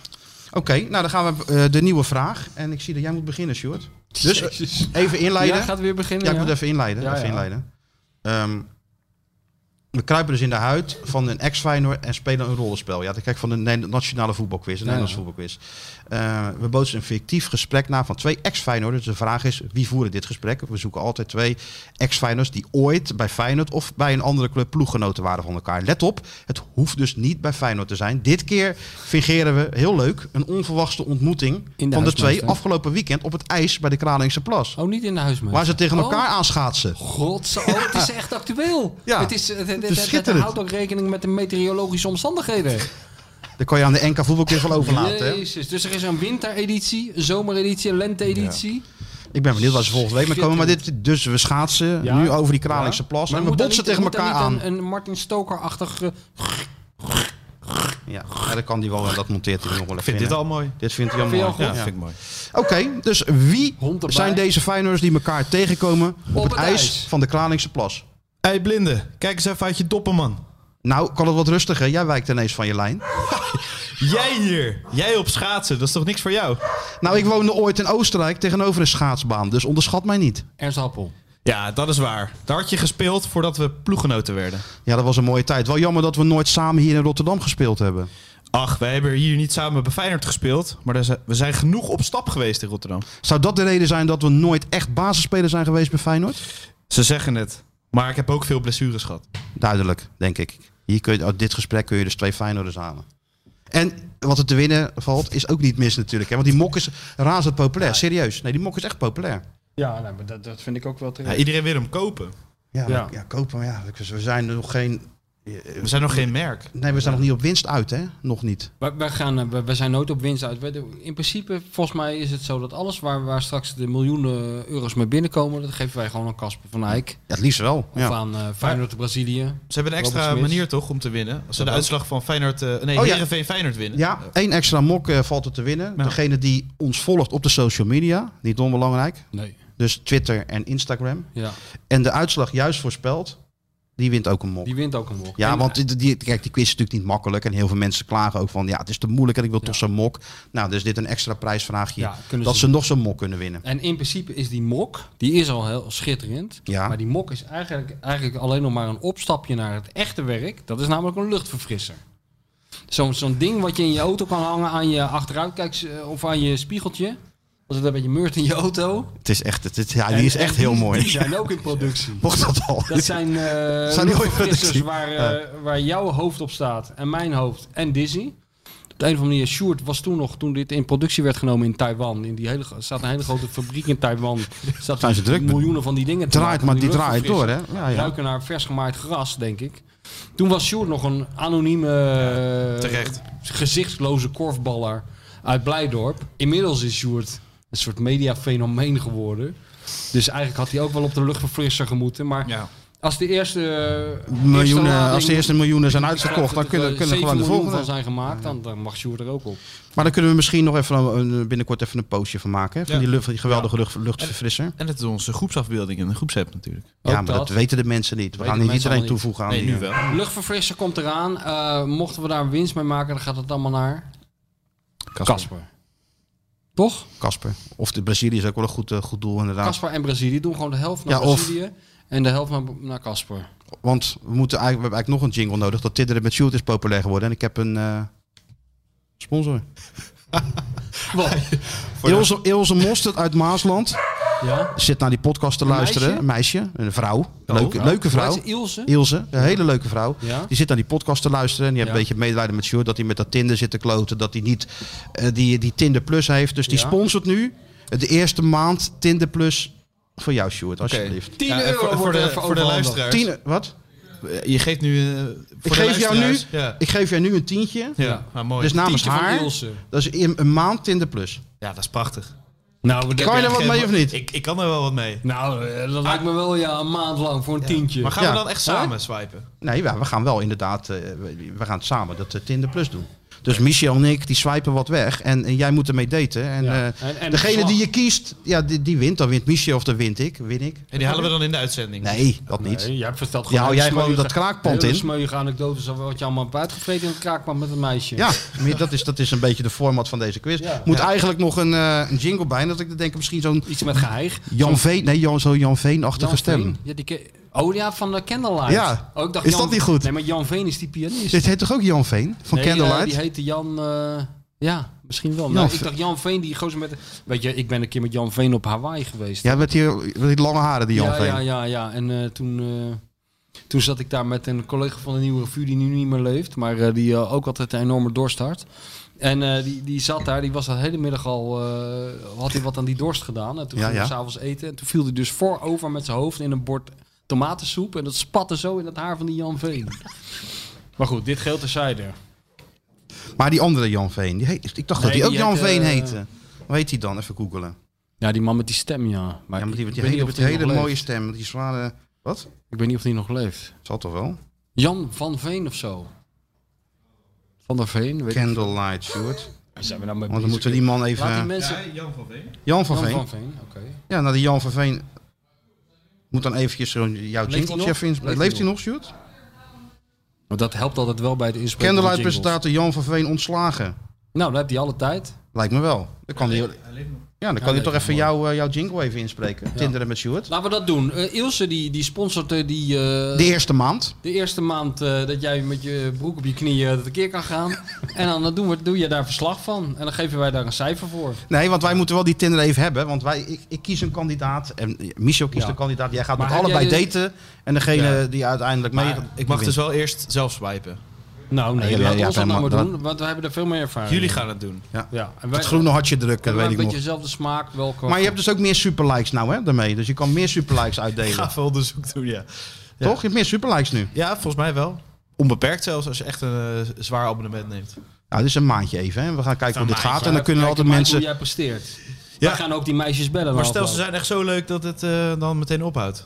Speaker 5: Oké, nou dan gaan we eh, de nieuwe vraag. En ik zie dat jij moet beginnen, Sjoerd. Dus eh,
Speaker 7: Jezus.
Speaker 5: even inleiden.
Speaker 7: Ja, gaat weer beginnen.
Speaker 5: Ja, ik moet even inleiden.
Speaker 7: Ja,
Speaker 5: even
Speaker 7: ja.
Speaker 5: inleiden. Ehm, we kruipen dus in de huid van een ex-Feyenoord en spelen een rollenspel. Ja, dat kijk ik van de Ne- nationale voetbalquiz, een
Speaker 7: Ja,
Speaker 5: Nederlands
Speaker 7: ja.
Speaker 5: voetbalquiz. Eh, we bootsen een fictief gesprek na van twee ex-Feyenoorders. De vraag is, wie voeren dit gesprek? We zoeken altijd twee ex-Feyenoorders die ooit bij Feyenoord of bij een andere club ploeggenoten waren van elkaar. Let op, het hoeft dus niet bij Feyenoord te zijn. Dit keer fingeren we, heel leuk, een onverwachte ontmoeting
Speaker 7: In de
Speaker 5: van de twee
Speaker 7: huismeester.
Speaker 5: afgelopen weekend op het ijs bij de Kralingse Plas.
Speaker 7: Oh, niet in de huismeester.
Speaker 5: Waar ze tegen elkaar
Speaker 7: Oh.
Speaker 3: [LAUGHS]
Speaker 5: aanschaatsen.
Speaker 7: God, oh, het is echt actueel.
Speaker 5: Ja,
Speaker 7: het, is, eh, het, het, het- het
Speaker 5: schitterend.
Speaker 7: houdt ook rekening met de meteorologische omstandigheden.
Speaker 5: Dan kan je aan de NK voetbalquiz wel overlaten. Hè?
Speaker 7: Jezus, dus er is een wintereditie, een zomereditie, een lenteeditie.
Speaker 5: Ik ben benieuwd waar ze volgende week mee komen. Maar dit, dus we schaatsen
Speaker 7: Ja.
Speaker 5: nu over die Kralingse plas.
Speaker 7: Maar
Speaker 5: en we
Speaker 7: moet daar
Speaker 5: botsen
Speaker 7: niet-
Speaker 5: tegen
Speaker 7: moet daar
Speaker 5: elkaar aan.
Speaker 7: niet Een, een Martin Stoker-achtig... eh,
Speaker 5: Ja, ja, dat kan die wel. en Dat monteert hij nog wel
Speaker 6: Ik
Speaker 5: even
Speaker 6: vind
Speaker 5: in,
Speaker 6: dit
Speaker 5: hè.
Speaker 6: al mooi.
Speaker 5: Dit vindt hij al
Speaker 7: Vind je
Speaker 5: mooi.
Speaker 7: al goed?
Speaker 5: Ja.
Speaker 6: vind ik mooi.
Speaker 5: Oké, dus wie
Speaker 7: Hond erbij.
Speaker 5: zijn deze Feyenoorders die elkaar tegenkomen op, het, ijs, van de Kralingse plas?
Speaker 6: hey, blinde, kijk eens even uit je doppen, man.
Speaker 5: Nou, kan het wat rustiger. Jij wijkt ineens van je lijn.
Speaker 6: Jij hier. Jij op schaatsen, dat is toch niks voor jou?
Speaker 5: Nou, ik woonde ooit in Oostenrijk tegenover een schaatsbaan. Dus onderschat mij niet.
Speaker 7: Ernst Happel.
Speaker 6: Ja, dat is waar. Daar had je gespeeld voordat we ploeggenoten werden.
Speaker 5: Ja, dat was een mooie tijd. Wel jammer dat we nooit samen hier in Rotterdam gespeeld hebben.
Speaker 6: Ach, wij hebben hier niet samen bij Feyenoord gespeeld. Maar daar zijn- we zijn genoeg op stap geweest in Rotterdam.
Speaker 5: Zou dat de reden zijn dat we nooit echt basisspeler zijn geweest bij Feyenoord?
Speaker 6: Ze zeggen het. Maar ik heb ook veel blessures gehad.
Speaker 5: Duidelijk, denk ik. Hier kun je, uit dit gesprek kun je dus twee Feyenoorders halen. En wat er te winnen valt, is ook niet mis natuurlijk. Hè? Want die mok is razend populair, serieus. Nee, die mok is echt populair.
Speaker 7: Ja, nee, maar dat, dat vind ik ook wel
Speaker 6: Ja,
Speaker 7: terecht.
Speaker 6: iedereen wil hem kopen.
Speaker 5: Ja,
Speaker 7: Ja.
Speaker 5: maar- ja. kopen, maar ja, we zijn nog geen...
Speaker 6: We zijn nog geen merk.
Speaker 5: Nee, we zijn nog niet op winst uit, hè? Nog niet.
Speaker 7: Wij, wij gaan, eh, wij- wij zijn nooit op winst uit. Wij doen- In principe, volgens mij is het zo dat alles waar, waar straks de miljoenen euro's mee binnenkomen, dat geven wij gewoon aan Casper van Eyck.
Speaker 5: Ja, het liefst wel.
Speaker 7: Of
Speaker 5: Ja.
Speaker 7: aan eh Feyenoord Brazilië.
Speaker 6: Ze hebben een extra
Speaker 7: Robert Smith.
Speaker 6: manier toch om te winnen. Als ze de
Speaker 7: Dat ook.
Speaker 6: uitslag van Feyenoord, eh, nee,
Speaker 5: Oh, ja.
Speaker 6: Heerenveen Feyenoord winnen.
Speaker 5: ja, één extra mok eh, valt er te winnen.
Speaker 6: Ja.
Speaker 5: Degene die ons volgt op de social media, niet onbelangrijk.
Speaker 7: Nee.
Speaker 5: Dus Twitter en Instagram.
Speaker 7: Ja,
Speaker 5: En de uitslag juist voorspelt, die wint ook een mok.
Speaker 7: die wint ook een mok.
Speaker 5: Ja,
Speaker 7: En-
Speaker 5: want die, die- kijk, die quiz is natuurlijk niet makkelijk. En heel veel mensen klagen ook van, ja, het is te moeilijk en ik wil toch zo'n mok. Nou, dus dit een extra prijsvraagje.
Speaker 7: Ja, kunnen
Speaker 5: dat
Speaker 7: ze-
Speaker 5: ze nog zo'n mok kunnen winnen.
Speaker 7: En in principe is die mok, die is al heel schitterend.
Speaker 5: Ja.
Speaker 7: Maar die mok is eigenlijk, eigenlijk alleen nog maar een opstapje naar het echte werk. Dat is namelijk een luchtverfrisser. Zo'n zo'n ding wat je in je auto kan hangen aan je achteruitkijks eh, of aan je spiegeltje. Als het een beetje meurt in je auto.
Speaker 5: Het is echt, het is, ja, die is
Speaker 7: En-
Speaker 5: echt
Speaker 7: en die-
Speaker 5: heel mooi.
Speaker 7: Die
Speaker 5: [LAUGHS]
Speaker 7: zijn ook in productie.
Speaker 5: Mocht dat al.
Speaker 7: Dat zijn, eh
Speaker 5: Zijn die ooit
Speaker 7: luchtverfrissers
Speaker 5: productie?
Speaker 7: waar, eh, waar jouw hoofd op staat en mijn hoofd en Dizzy. Op de een of andere manier, Sjoerd was toen nog, toen dit in productie werd genomen in Taiwan. In die hele, gro- staat een hele grote fabriek in Taiwan.
Speaker 5: [LAUGHS]
Speaker 7: Staat
Speaker 5: Zijn ze druk met-
Speaker 7: Miljoenen van die dingen te
Speaker 5: Draait,
Speaker 7: maken,
Speaker 5: maar
Speaker 7: van
Speaker 5: die draait door, hè?
Speaker 7: luchtverfrissers.
Speaker 5: Ja, ja.
Speaker 7: Ruiken naar vers gemaaid gras, denk ik. Toen was Sjoerd nog een anonieme, eh,
Speaker 6: terecht.
Speaker 7: gezichtsloze korfballer uit Blijdorp. Inmiddels is Sjoerd een soort mediafenomeen geworden. Dus eigenlijk had hij ook wel op de luchtverfrisser gemoeten. Maar
Speaker 6: Ja.
Speaker 7: als de eerste eh, eerste
Speaker 5: [LAUGHS] Miljoenen,
Speaker 7: lading-
Speaker 5: als de eerste miljoenen zijn
Speaker 7: Ik
Speaker 5: uitverkocht,
Speaker 7: geloof
Speaker 5: dan
Speaker 7: dat er,
Speaker 5: kunnen,
Speaker 7: eh,
Speaker 5: kunnen
Speaker 7: 7
Speaker 5: gewoon de
Speaker 7: miljoen
Speaker 5: volgende.
Speaker 7: van zijn gemaakt, dan, dan mag Sjoerd er ook op.
Speaker 5: Maar dan kunnen we misschien nog even een, een- binnenkort even een postje van maken. hè, Van
Speaker 6: Ja.
Speaker 5: die, lucht, die geweldige lucht, luchtverfrisser.
Speaker 6: En het is onze groepsafbeelding in de groepsapp natuurlijk.
Speaker 5: Ja,
Speaker 7: Ook
Speaker 5: maar dat,
Speaker 7: dat.
Speaker 5: weten de mensen niet. We
Speaker 7: Weten
Speaker 5: gaan niet
Speaker 7: de mensen
Speaker 5: iedereen
Speaker 7: allemaal
Speaker 5: toevoegen aan
Speaker 6: nee, nu
Speaker 5: die.
Speaker 6: wel.
Speaker 7: Luchtverfrisser komt eraan. Eh, mochten we daar een winst mee maken, dan gaat het allemaal naar Casper. Toch?
Speaker 5: Kasper. Of de Brazilië is ook wel een goed, eh, goed doel inderdaad.
Speaker 7: Casper en Brazilië doen gewoon de helft naar
Speaker 5: Ja, of-
Speaker 7: Brazilië en de helft naar, naar Casper.
Speaker 5: Want we, moeten eigenlijk, we hebben eigenlijk nog een jingle nodig. Dat titteren met Shoot is populair geworden. En ik heb een eh,
Speaker 7: [LAUGHS]
Speaker 5: sponsor. [LAUGHS] Ilse, Ilse Mostert uit Maasland.
Speaker 7: Ja?
Speaker 5: Zit naar die podcast te luisteren.
Speaker 7: meisje?
Speaker 5: Een meisje. Een vrouw. leuke,
Speaker 7: Ja.
Speaker 5: leuke
Speaker 7: Hoe
Speaker 5: vrouw.
Speaker 7: heet ze? Ilse?
Speaker 5: Ilse, een hele leuke vrouw.
Speaker 7: Ja.
Speaker 5: Die zit aan die podcast te luisteren. En die heeft
Speaker 7: Ja.
Speaker 5: een beetje medelijden met Sjoerd. Dat hij met dat Tinder zit te kloten. Dat hij niet eh, die, die Tinder Plus heeft. Dus die
Speaker 7: Ja.
Speaker 5: sponsort nu de eerste maand Tinder Plus voor jou, Sjoerd. Alsjeblieft.
Speaker 7: 10
Speaker 6: Ja, en
Speaker 7: euro
Speaker 6: voor, voor
Speaker 7: wordt
Speaker 6: de,
Speaker 7: er even
Speaker 6: voor de
Speaker 7: overhandigd.
Speaker 6: luisteraars.
Speaker 5: Tien, wat?
Speaker 6: Eh, Je geeft nu... eh, voor
Speaker 5: Ik
Speaker 6: de
Speaker 5: geef, jou nu,
Speaker 6: luisteraars. Ja,
Speaker 5: ik geef jou nu een tientje.
Speaker 6: ja.
Speaker 7: Ja.
Speaker 6: Nou, mooi.
Speaker 5: Dus namens
Speaker 7: Tientje van
Speaker 5: haar.
Speaker 7: Ilse.
Speaker 5: Dat is in een maand Tinder Plus.
Speaker 6: ja, dat is prachtig.
Speaker 7: Nou, we
Speaker 5: Kan je
Speaker 7: denken-
Speaker 5: er wat mee of niet?
Speaker 6: Ik, ik kan er wel wat mee.
Speaker 7: nou eh, dat lijkt me wel ja, een maand lang voor een tientje.
Speaker 6: Maar gaan
Speaker 5: Ja.
Speaker 6: we dan echt samen swipen?
Speaker 5: Nee, ja, we gaan wel inderdaad. eh, we we gaan samen dat eh, Tinder Plus doen. Dus Michel en ik, die swipen wat weg. En, en jij moet ermee daten. En,
Speaker 7: Ja.
Speaker 5: eh,
Speaker 7: En- en
Speaker 5: degene
Speaker 7: de
Speaker 5: die
Speaker 7: slag.
Speaker 5: je kiest, ja, die, die wint. Dan wint Michel of dan wint ik. Win ik.
Speaker 6: En die halen we dan in de uitzending.
Speaker 5: Nee, dat niet.
Speaker 7: Nee, jij vertelt
Speaker 5: Ja,
Speaker 7: gewoon.
Speaker 5: hou jij gewoon dat kraakpand in?
Speaker 7: smeuïge anekdotes over wat je allemaal hebt uitgevreten in het kraakpand met een meisje.
Speaker 5: Ja, meer- dat is, dat is een beetje de format van deze quiz.
Speaker 7: Ja.
Speaker 5: Moet eigenlijk nog een, eh, een jingle bij. En dat ik dan denk misschien zo'n
Speaker 7: Iets met geheig.
Speaker 5: Jan Veen. Nee, Jan, zo'n Jan Veen-achtige
Speaker 7: Jan
Speaker 5: stem.
Speaker 7: Veen. Ja, die ke- oh ja, van de Candlelight.
Speaker 5: Ja.
Speaker 7: Oh, ik dacht
Speaker 5: Is
Speaker 7: Jan-
Speaker 5: dat niet goed?
Speaker 7: Nee, maar Jan Veen is die pianist.
Speaker 5: Dit heet toch ook Jan Veen? Van
Speaker 7: Nee, eh,
Speaker 5: Candlelight?
Speaker 7: die heette Jan... eh, ja, misschien wel.
Speaker 5: Jan
Speaker 7: Nou, ik
Speaker 5: Veen.
Speaker 7: dacht Jan Veen, die gozer met... Weet je, ik ben een keer met Jan Veen op Hawaii geweest.
Speaker 5: Ja, met die, met die lange haren, die Jan
Speaker 7: ja,
Speaker 5: Veen.
Speaker 7: ja, ja, ja. En eh, toen, eh, toen zat ik daar met een collega van de Nieuwe Revue die nu niet meer leeft, maar eh, die eh, ook altijd een enorme dorst had. En eh, die, die zat daar, die was de hele middag al, eh, had hij wat aan die dorst gedaan. En toen
Speaker 5: Ja,
Speaker 7: ging hij
Speaker 5: ja.
Speaker 7: s'avonds eten. En toen viel hij dus voorover met zijn hoofd in een bord tomatensoep. En dat spatte zo in het haar van die Jan Veen. [LAUGHS] maar goed, dit geldt terzijde.
Speaker 5: Maar die andere Jan Veen, die heet, ik dacht dat
Speaker 7: Nee,
Speaker 5: die ook
Speaker 7: die
Speaker 5: Jan
Speaker 7: heet,
Speaker 5: Veen
Speaker 7: eh,
Speaker 5: heette. Hoe heet hij dan? Even googelen.
Speaker 7: Ja, die man met die stem, ja. Maar
Speaker 5: Ja, maar die,
Speaker 7: ik
Speaker 5: met die
Speaker 7: weet
Speaker 5: hele,
Speaker 7: niet of
Speaker 5: met die hele
Speaker 7: nog
Speaker 5: mooie
Speaker 7: leeft.
Speaker 5: stem, met die zware... Wat?
Speaker 7: Ik weet niet of die nog leeft.
Speaker 5: Zal toch wel?
Speaker 7: Jan van Veen of zo. Van der Veen, weet ik
Speaker 5: Candlelight, Stuart.
Speaker 7: Zijn we nou met
Speaker 5: Want dan moeten we eh, die man even...
Speaker 7: Laat die mensen...
Speaker 6: Jan van Veen.
Speaker 5: Jan van
Speaker 7: Jan
Speaker 5: Veen.
Speaker 7: van Veen, oké.
Speaker 5: Ja, nou die Jan van Veen... Moet dan eventjes zo'n jouw
Speaker 7: hij
Speaker 5: jingletje
Speaker 7: nog?
Speaker 5: even in...
Speaker 7: Leeft
Speaker 5: Leeft,
Speaker 7: hij
Speaker 5: hij nog, Stuart?
Speaker 7: Want dat helpt altijd wel bij het inspreken van jingles.
Speaker 5: Candlelight-presentator Jan van Veen ontslagen.
Speaker 7: Nou, dan heb je alle tijd.
Speaker 5: Lijkt me wel. Dan kan hij, ja, dan kan hij
Speaker 7: leeft
Speaker 5: toch
Speaker 7: nog
Speaker 5: even jouw, eh, jouw jingle even inspreken. Tinderen met Stuart.
Speaker 7: Laten we dat doen. Eh, Ilse die, die sponsort eh, die, eh,
Speaker 5: De eerste maand.
Speaker 7: de eerste maand eh, dat jij met je broek op je knieën de keer kan
Speaker 5: [LAUGHS]
Speaker 7: gaan. en dan eh, doen we, doe je daar verslag van. En dan geven wij daar een cijfer voor.
Speaker 5: Nee, want wij moeten wel die Tinder even hebben. Want wij, ik, ik kies een kandidaat. En Michel kiest
Speaker 7: Ja.
Speaker 5: een kandidaat. Jij gaat
Speaker 7: Maar
Speaker 5: met
Speaker 7: heb
Speaker 5: allebei
Speaker 7: jij de-
Speaker 5: daten. En degene
Speaker 6: Ja.
Speaker 5: die uiteindelijk mee.
Speaker 6: Maar ik mag dus wel eerst zelf swipen.
Speaker 7: Nou, nee,
Speaker 5: Ja, ja,
Speaker 7: laat ons
Speaker 5: ja,
Speaker 7: dat nou maar
Speaker 5: maar dat-
Speaker 7: doen. Want we hebben er veel meer ervaring.
Speaker 6: Jullie gaan het doen.
Speaker 7: Ja, en wij,
Speaker 5: Het groene hartje
Speaker 7: we
Speaker 5: drukken,
Speaker 7: hebben
Speaker 5: weet
Speaker 7: een
Speaker 5: ik
Speaker 7: beetje
Speaker 5: nog.
Speaker 7: dezelfde smaak. Wel qua-
Speaker 5: Maar je hebt dus ook meer superlikes nou, hè, daarmee. Dus je kan meer superlikes
Speaker 6: Ik
Speaker 5: uitdelen.
Speaker 6: ga veel onderzoek doen, ja. ja.
Speaker 5: Toch? Je hebt meer superlikes nu.
Speaker 6: Ja, volgens mij wel. Onbeperkt zelfs, als je echt een eh, zwaar abonnement neemt.
Speaker 5: Nou, dit is een maandje even, hè. We gaan kijken hoe dit
Speaker 7: maandje.
Speaker 5: gaat. En dan kunnen
Speaker 7: Kijk
Speaker 5: altijd
Speaker 7: maar
Speaker 5: mensen...
Speaker 7: hoe jij presteert.
Speaker 6: Ja.
Speaker 7: Wij gaan ook die meisjes bellen.
Speaker 6: Maar
Speaker 7: na
Speaker 6: stel, ze
Speaker 7: afloop.
Speaker 6: zijn echt zo leuk dat het eh, dan meteen ophoudt.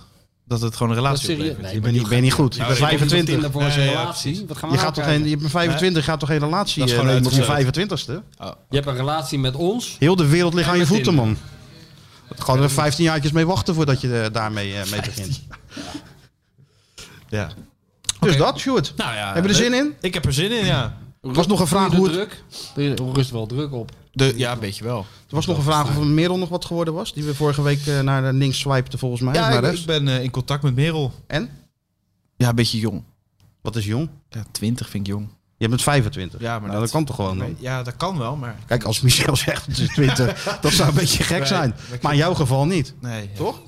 Speaker 6: Dat het gewoon een
Speaker 7: Dat is
Speaker 6: relatie
Speaker 7: serieus.
Speaker 6: oplevert.
Speaker 7: Nee,
Speaker 5: Ik
Speaker 7: maar
Speaker 5: ben, niet, ik ben niet goed. Ik ben
Speaker 6: je komt niet op
Speaker 5: 25.
Speaker 7: Tinder voor
Speaker 6: Ja,
Speaker 7: zijn
Speaker 6: ja, ja,
Speaker 7: relatie. Wat gaan we
Speaker 5: Je,
Speaker 7: nou
Speaker 5: gaat toch
Speaker 7: krijgen?
Speaker 5: geen, je bent 25, gaat toch geen relatie
Speaker 6: Dat is
Speaker 5: eh,
Speaker 6: gewoon
Speaker 5: nemen op je
Speaker 6: uitgesloten.
Speaker 5: 25ste?
Speaker 7: Je hebt een relatie met ons.
Speaker 5: Heel de wereld ligt aan je
Speaker 7: met
Speaker 5: voeten,
Speaker 7: Tinder.
Speaker 5: man. Gewoon er 15 jaartjes mee wachten voordat je eh, daarmee eh, mee begint.
Speaker 6: Ja.
Speaker 5: Dus dat, Sjoerd.
Speaker 6: Nou ja,
Speaker 5: Heb je er
Speaker 6: leuk.
Speaker 5: zin in?
Speaker 6: Ik heb er zin in, ja.
Speaker 5: Er was nog een vraag,
Speaker 7: Doe
Speaker 5: hoe
Speaker 7: je
Speaker 5: het,
Speaker 7: druk. Doe je- Rust wel druk op.
Speaker 6: De, ja, een beetje wel.
Speaker 5: er was nog een vraag of een Merel nog wat geworden was. Die we vorige week eh, naar de links swipten volgens mij. of
Speaker 6: Ja,
Speaker 5: naar
Speaker 6: ik,
Speaker 5: rechts.
Speaker 6: ik ben eh, in contact met Merel.
Speaker 5: En?
Speaker 6: Ja, een beetje jong.
Speaker 5: Wat is jong?
Speaker 6: Ja, 20 vind ik jong.
Speaker 5: Je bent 25.
Speaker 6: Ja, maar
Speaker 5: Nou, dat
Speaker 6: dat-
Speaker 5: kan toch gewoon dan?
Speaker 6: Ja, dat kan wel, maar...
Speaker 5: Kijk, als Michel [LAUGHS] zegt het is
Speaker 6: [LAUGHS]
Speaker 5: 20, dat zou een beetje gek
Speaker 6: Nee,
Speaker 5: zijn.
Speaker 6: dat klopt.
Speaker 5: Maar in jouw geval niet.
Speaker 6: Nee, ja.
Speaker 5: Toch?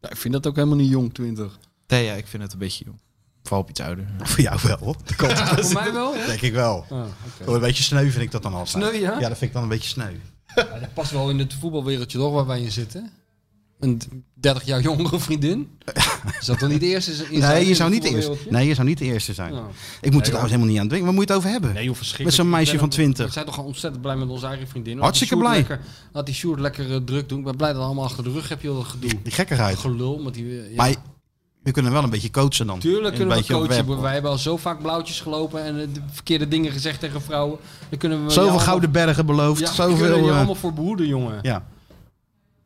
Speaker 7: Ja, ik vind dat ook helemaal niet jong, 20.
Speaker 6: Nee, ja, ik vind het een beetje jong. Vooral op iets ouder.
Speaker 5: Voor jou wel. hoor. Dat
Speaker 6: [LAUGHS]
Speaker 5: kan toch?
Speaker 7: Voor mij wel.
Speaker 5: Denk ik wel.
Speaker 7: Ah,
Speaker 5: Oh, een beetje sneu vind ik dat dan altijd.
Speaker 7: Sneu, ja?
Speaker 5: Ja, dat vind ik dan een beetje sneu.
Speaker 7: dat past wel in het voetbalwereldje toch, waar wij in zitten. Een 30 jaar jongere vriendin. Is dat toch niet de eerste? in- in
Speaker 5: Nee,
Speaker 7: zijn-
Speaker 5: je
Speaker 7: in
Speaker 5: zou
Speaker 7: het
Speaker 5: niet de eerste,
Speaker 7: voetbalwereldje?
Speaker 5: nee, je zou niet de eerste
Speaker 6: Oh.
Speaker 5: zijn.
Speaker 7: Nou.
Speaker 5: Ik moet er trouwens helemaal niet aan denken. Waar moet je het over hebben?
Speaker 7: Nee, joh,
Speaker 5: Met
Speaker 7: verschrikkelijk.
Speaker 5: zo'n meisje
Speaker 7: Ik ben
Speaker 5: van
Speaker 7: ook-
Speaker 5: 20.
Speaker 7: We zijn toch gewoon ontzettend blij met onze eigen vriendin.
Speaker 5: Hartstikke
Speaker 7: Laat die Sjoerd
Speaker 5: blij.
Speaker 7: Lekker, laat die Sjoerd lekker eh, druk doen. Ik ben blij dat we allemaal achter de rug heb je dat gedoe.
Speaker 5: Die gekkigheid.
Speaker 7: Gelul met die... eh, ja.
Speaker 5: Maar je- we kunnen wel een beetje coachen dan.
Speaker 7: Tuurlijk
Speaker 5: Een
Speaker 7: kunnen we
Speaker 5: beetje op
Speaker 7: coachen.
Speaker 5: web.
Speaker 7: maar Wij hebben al zo vaak blauwtjes gelopen en eh, de verkeerde dingen gezegd tegen vrouwen. Dan kunnen we je
Speaker 5: Zoveel
Speaker 7: allemaal-
Speaker 5: gouden bergen beloofd.
Speaker 7: Ja, we
Speaker 5: zoveel,
Speaker 7: kunnen je
Speaker 5: eh,
Speaker 7: allemaal voor behoeden, jongen.
Speaker 5: ja.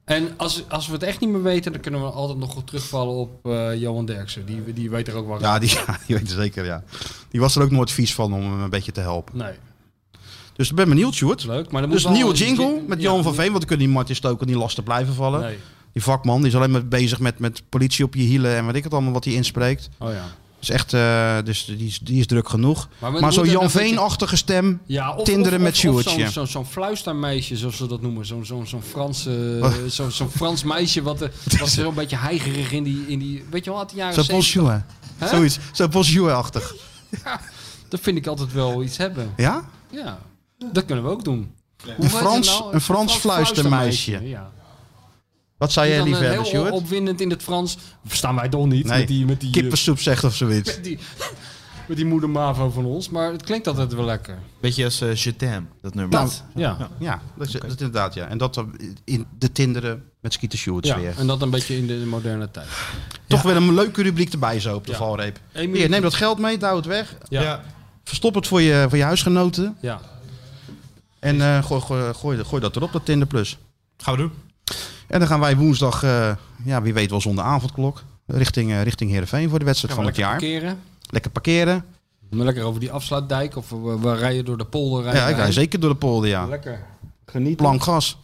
Speaker 7: En als, als we het echt niet meer weten, dan kunnen we altijd nog goed terugvallen op eh, Johan Derksen. Die, die weet er ook wel.
Speaker 5: Ja, die, [LAUGHS] ja, die weet het zeker, ja. Die was er ook nooit vies van om hem een beetje te helpen.
Speaker 7: Nee, dat
Speaker 5: Dus ik ben benieuwd,
Speaker 7: is
Speaker 5: Sjoerd.
Speaker 7: leuk. Maar dan
Speaker 5: Dus
Speaker 7: moet
Speaker 5: een nieuwe
Speaker 7: wel een
Speaker 5: jingle
Speaker 7: jin-
Speaker 5: met
Speaker 7: ja,
Speaker 5: Johan van Veen. Want dan kunnen die Martin Stoker niet lastig blijven vallen.
Speaker 7: Nee.
Speaker 5: Die vakman die is alleen maar bezig met, met politie op je hielen en weet ik het allemaal wat hij inspreekt.
Speaker 7: Oh ja.
Speaker 5: Dus echt, eh, dus die, is, die is druk genoeg.
Speaker 7: Maar
Speaker 5: Maar,
Speaker 7: we
Speaker 5: zo'n
Speaker 7: moeten
Speaker 5: Jan
Speaker 7: een beetje-
Speaker 5: Veen-achtige stem.
Speaker 7: Ja, of,
Speaker 5: Tinderen
Speaker 7: of-
Speaker 5: met
Speaker 7: of- of
Speaker 5: Sjoerdje.
Speaker 7: Zo'n zo'n zo'n fluistermeisje, zoals ze dat noemen. Zo'n zo'n zo'n Frans, eh,
Speaker 5: Wat?
Speaker 7: zo'n zo'n Frans meisje wat, eh, wat
Speaker 5: [LAUGHS]
Speaker 7: zo'n beetje heigerig in die, in die... Weet je wel, uit de jaren
Speaker 5: Zo'n
Speaker 7: 70.
Speaker 5: bonjour.
Speaker 7: Hè?
Speaker 5: Zoiets. Zo'n bonjour-achtig.
Speaker 7: Dat vind ik altijd wel iets hebben.
Speaker 5: Ja?
Speaker 7: Ja, dat kunnen we ook doen. Hoe
Speaker 5: Een
Speaker 7: heet
Speaker 5: Frans-
Speaker 7: het nou?
Speaker 5: een Frans fluistermeisje.
Speaker 7: Ja.
Speaker 5: Wat zou jij
Speaker 7: Die dan
Speaker 5: liever
Speaker 7: eh,
Speaker 5: hebben,
Speaker 7: heel
Speaker 5: Sjoerd?
Speaker 7: opwindend in het Frans. Verstaan wij toch niet?
Speaker 5: Nee,
Speaker 7: Met die, met die, eh,
Speaker 5: Kippensoep zegt of zoiets.
Speaker 7: met die, met die moeder Mavo van ons. Maar het klinkt altijd wel lekker.
Speaker 6: Beetje als eh Je t'aime, dat nummer.
Speaker 7: Nou.
Speaker 5: Dat.
Speaker 7: Ja.
Speaker 5: Nou, Ja, dat is, dat is inderdaad, ja. En dat dan in de tinderen met Skeeter Sjoerds
Speaker 7: ja.
Speaker 5: weer.
Speaker 7: En dat een beetje in de moderne tijd.
Speaker 5: Toch weer een leuke rubriek erbij zo op de
Speaker 7: Ja.
Speaker 5: valreep.
Speaker 7: Eén
Speaker 5: Hier,
Speaker 7: minuut.
Speaker 5: neem dat geld mee, douw het weg.
Speaker 7: Ja. Ja.
Speaker 6: ja.
Speaker 5: Verstop het voor je, voor je huisgenoten.
Speaker 7: ja.
Speaker 5: En eh, gooi, gooi, gooi, gooi dat erop, dat Tinder Plus.
Speaker 6: Gaan we doen.
Speaker 5: En dan gaan wij woensdag, eh, ja, wie weet wel zonder avondklok, richting, eh richting Heerenveen voor de wedstrijd van het jaar.
Speaker 7: Parkeren.
Speaker 5: Lekker parkeren.
Speaker 7: Maar lekker over die afsluitdijk. Of we, we rijden door de polder.
Speaker 5: Ja,
Speaker 7: rijden
Speaker 5: ik
Speaker 7: wij.
Speaker 5: rij zeker door de polder, ja.
Speaker 7: Lekker. Genieten.
Speaker 5: Plank gas.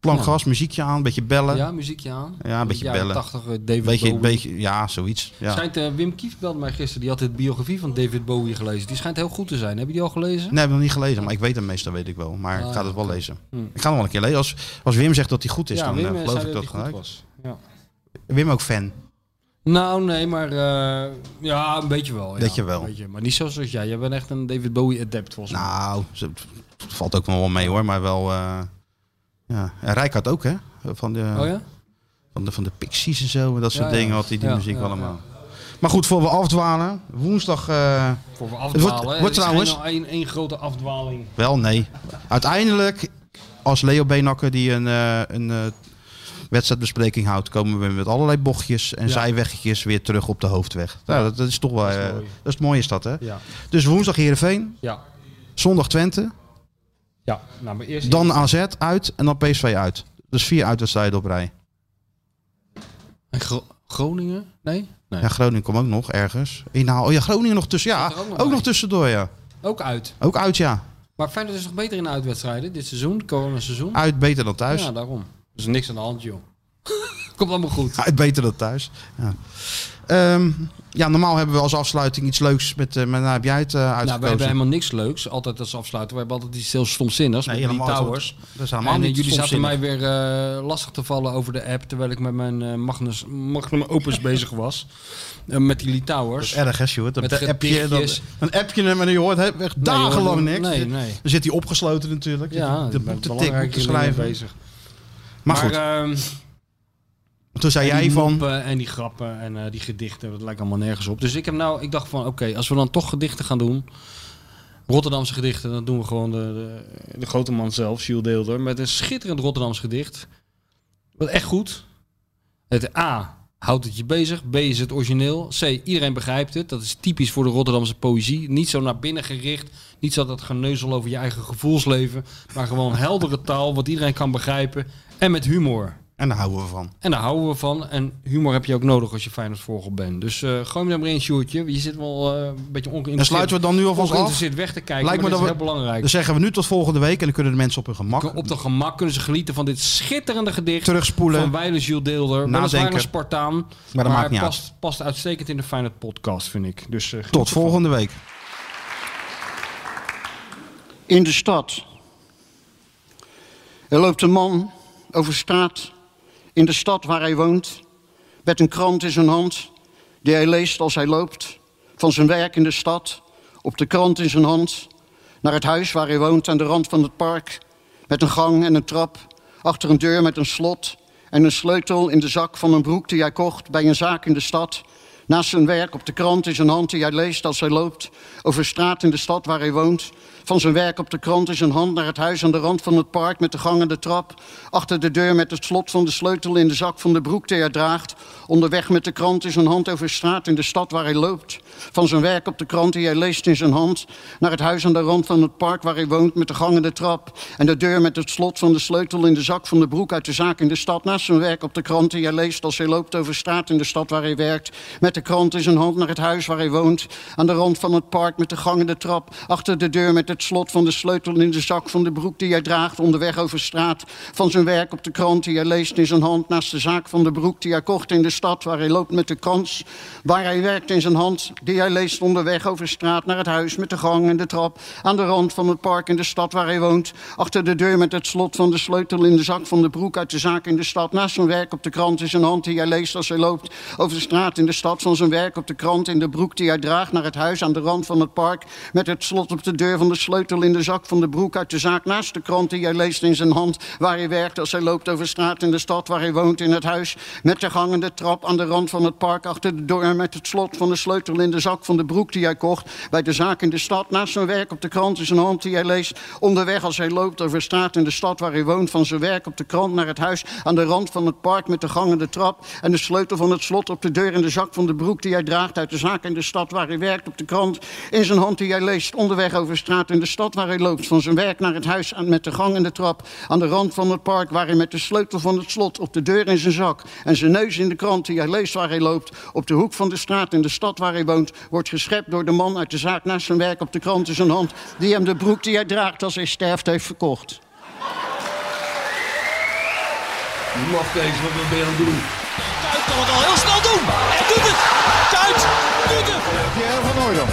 Speaker 5: Plank
Speaker 7: Ja.
Speaker 5: gas, muziekje aan, beetje bellen.
Speaker 7: Ja, muziekje aan.
Speaker 5: Ja, een beetje
Speaker 7: Jaren
Speaker 5: bellen.
Speaker 7: 80, eh, David
Speaker 5: beetje,
Speaker 7: Bowie.
Speaker 5: beetje, ja, zoiets. Ja.
Speaker 7: Schijnt, eh, Wim Kief belde mij gisteren. Die had de biografie van David Bowie gelezen. Die schijnt heel goed te zijn. Heb je die al gelezen?
Speaker 5: Nee, heb ik nog niet gelezen, maar ik weet hem meestal, weet ik wel. Maar ik ga
Speaker 7: Ah,
Speaker 5: het wel lezen.
Speaker 7: Hm.
Speaker 5: Ik ga hem wel een keer lezen. Als, als Wim zegt dat hij goed is, dan eh,
Speaker 7: eh,
Speaker 5: geloof
Speaker 7: zei
Speaker 5: ik dat
Speaker 7: hij goed
Speaker 5: gelijk.
Speaker 7: was. Ja.
Speaker 5: Wim ook fan.
Speaker 7: Nou, nee, maar eh, ja, een beetje wel. Ja.
Speaker 5: Beetje wel.
Speaker 7: Een beetje, maar niet zoals jij. Jij bent echt een David Bowie adept volgens mij.
Speaker 5: Nou, ze- het valt ook wel mee hoor, maar wel... eh, ja. En Rijkaard ook, hè? Van de,
Speaker 7: Oh ja?
Speaker 5: van, de, van de Pixies en zo, en dat soort
Speaker 7: Ja, ja.
Speaker 5: dingen had hij die
Speaker 7: Ja,
Speaker 5: muziek
Speaker 7: ja,
Speaker 5: allemaal. Maar goed, voor we afdwalen, woensdag... eh,
Speaker 7: Voor we
Speaker 5: wordt-
Speaker 7: afdwalen.
Speaker 5: wordt
Speaker 7: hè. Het is
Speaker 5: trouwens-
Speaker 7: geen- één één grote afdwaling.
Speaker 5: Wel, nee. Uiteindelijk, als Leo Beenakker die een, eh, een eh, wedstrijdbespreking houdt, komen we met allerlei bochtjes en
Speaker 7: Ja.
Speaker 5: zijweggetjes weer terug op de hoofdweg. Nou, dat, dat is toch wel. eh, Dat is,
Speaker 7: mooi.
Speaker 5: het mooie is dat, hè?
Speaker 7: Ja.
Speaker 5: Dus woensdag Heerenveen,
Speaker 7: Ja.
Speaker 5: zondag Twente,
Speaker 7: Ja. Nou, maar eerst...
Speaker 5: dan AZ uit en dan PSV uit. Dus vier uitwedstrijden op rij.
Speaker 7: En Gro- Groningen? Nee? Nee.
Speaker 5: Ja, Groningen komt ook nog ergens. Inhaal. Oh ja, Groningen nog tussen. Ja,
Speaker 7: Zit er ook nog
Speaker 5: ook nog
Speaker 7: bij.
Speaker 5: tussendoor, ja.
Speaker 7: Ook uit.
Speaker 5: Ook uit, ja.
Speaker 7: Maar Maar Feyenoord is nog beter in de uitwedstrijden dit seizoen, corona seizoen.
Speaker 5: Uit beter dan thuis.
Speaker 7: Ja, daarom. Er is niks aan de hand, joh. [LAUGHS] Komt allemaal
Speaker 5: [LAUGHS]
Speaker 7: goed.
Speaker 5: Uit beter dan thuis. Ja. Ehm, ja, normaal hebben we als afsluiting iets leuks met. eh, maar nou heb jij het eh
Speaker 7: Nou, we
Speaker 5: uitgekozen.
Speaker 7: hebben helemaal niks leuks. Altijd als afsluiten. We hebben altijd iets heel stomzinnigs
Speaker 5: Nee,
Speaker 7: met die
Speaker 5: helemaal
Speaker 7: towers.
Speaker 5: niet. Dat is helemaal
Speaker 7: En eh,
Speaker 5: niet
Speaker 7: jullie zaten mij
Speaker 5: stomzinnig.
Speaker 7: weer eh, lastig te vallen over de app. Terwijl ik met mijn eh, Magnus, Magnum
Speaker 5: [LAUGHS]
Speaker 7: Opus bezig was. Eh, met die Lee Towers.
Speaker 5: Erg hè, Sjoerd?
Speaker 7: Met
Speaker 5: Een appje, en dan,
Speaker 7: gedichtjes.
Speaker 5: een appje en je hoort he- echt dagenlang
Speaker 7: hoor,
Speaker 5: niks.
Speaker 7: nee, nee.
Speaker 5: Dan zit hij opgesloten natuurlijk.
Speaker 7: Ja,
Speaker 5: Ja, de
Speaker 7: ik ben
Speaker 5: boek te
Speaker 7: belangrijke
Speaker 5: tikken, te
Speaker 7: dingen
Speaker 5: schrijven.
Speaker 7: bezig.
Speaker 5: Maar goed,
Speaker 7: ehm,
Speaker 5: toen zei
Speaker 7: en
Speaker 5: jij
Speaker 7: die
Speaker 5: van...
Speaker 7: moppen en die grappen en eh, die gedichten, dat lijkt allemaal nergens op. Dus ik heb nou, ik dacht van, oké, als we dan toch gedichten gaan doen, Rotterdamse gedichten, dan doen we gewoon de, de, de grote man zelf, Jules Deelder, met een schitterend Rotterdams gedicht. Wat echt goed. Het A, houdt het je bezig. B, is het origineel. C, iedereen begrijpt het. Dat is typisch voor de Rotterdamse poëzie. Niet zo naar binnen gericht, niet zo dat geneuzel over je eigen gevoelsleven, maar gewoon [LAUGHS] heldere taal, wat iedereen kan begrijpen en met humor.
Speaker 5: En daar houden we van.
Speaker 7: En daar houden we van. En humor heb je ook nodig als je Feyenoord vogel bent. Dus eh gooi hem er maar in, Sjoerdje. Je zit wel eh, een beetje ongeïnteresseerd.
Speaker 5: Dan sluiten we dan nu alvast af.
Speaker 7: ongeïnteresseerd weg te kijken.
Speaker 5: Lijkt
Speaker 7: maar
Speaker 5: me
Speaker 7: dat is
Speaker 5: dat
Speaker 7: heel belangrijk.
Speaker 5: Dan zeggen we Dus- nu tot volgende week. En dan kunnen de mensen op hun gemak
Speaker 7: Op de gemak kunnen ze genieten van dit schitterende gedicht.
Speaker 5: terugspoelen.
Speaker 7: Van Weile Jules Deelder. Weliswaar
Speaker 5: Nadenken.
Speaker 7: een Spartaan. Maar,
Speaker 5: dat maakt niet
Speaker 7: past, past uitstekend in de Feyenoord podcast, vind ik. Dus, eh, geniet
Speaker 5: Tot
Speaker 7: ervan.
Speaker 5: volgende week.
Speaker 11: in de stad. Er loopt een man over straat in de stad waar hij woont, met een krant in zijn hand, die hij leest als hij loopt, van zijn werk in de stad, op de krant in zijn hand, naar het huis waar hij woont aan de rand van het park, met een gang en een trap, achter een deur met een slot en een sleutel in de zak van een broek die hij kocht bij een zaak in de stad, Naast zijn werk op de krant is een hand die hij leest als hij loopt over straat in de stad waar hij woont. Van zijn werk op de krant is een hand naar het huis aan de rand van het park met de gang en de trap. Achter de deur met het slot van de sleutel in de zak van de broek die hij draagt. Onderweg met de krant is een hand over straat in de stad waar hij loopt. Van zijn werk op de krant die hij leest in zijn hand naar het huis aan de rand van het park waar hij woont met de gang en de trap. En de deur met het slot van de sleutel in de zak van de broek uit de zaak in de stad. Naast zijn werk op de krant die hij leest als hij loopt over straat in de stad waar hij werkt. Met de krant in zijn hand naar het huis waar hij woont. Aan de rand van het park met de gang en de trap. Achter de deur met het slot van de sleutel in de zak van de broek die hij draagt. Onderweg over straat van zijn werk op de krant die hij leest in zijn hand. Naast de zaak van de broek die hij kocht in de stad waar hij loopt met de krans. Waar hij werkt in zijn hand die hij leest onderweg over straat naar het huis met de gang en de trap. Aan de rand van het park in de stad waar hij woont. Achter de deur met het slot van de sleutel in de zak van de broek uit de zaak in de stad. Naast zijn werk op de krant is een hand die hij leest als hij loopt over de straat in de stad. Van zijn werk op de krant in de broek die hij draagt naar het huis aan de rand van het park. Met het slot op de deur van de sleutel in de zak van de broek uit de zaak. Naast de krant die hij leest in zijn hand waar hij werkt als hij loopt over straat in de stad waar hij woont in het huis. Met de gang en de trap aan de rand van het park achter de deur met het slot van de sleutel in de zak van de broek die hij kocht. Bij de zaak in de stad naast zijn werk op de krant is een hand die hij leest. Onderweg als hij loopt over straat in de stad waar hij woont. Van zijn werk op de krant naar het huis aan de rand van het park met de gang en de trap. En de sleutel van het slot op de deur in de zak van de broek die hij draagt. Uit de zaak in de stad waar hij werkt op de krant. In zijn hand die hij leest. Onderweg over straat in de stad waar hij loopt. Van zijn werk naar het huis aan, met de gang en de trap. Aan de rand van het park waar hij met de sleutel van het slot op de deur in zijn zak. En zijn neus in de krant die hij leest waar hij loopt. Op de hoek van de straat in de stad waar hij woont. Wordt geschept door de man uit de zaak naast zijn werk op de krant in zijn hand. Die hem de broek die hij draagt als hij sterft heeft verkocht.
Speaker 2: Wacht eens, wat ben je aan het doen?
Speaker 3: Kuit kan het al heel snel doen. En doet het. Kuit doet het.
Speaker 4: Pierre van Hooydonk.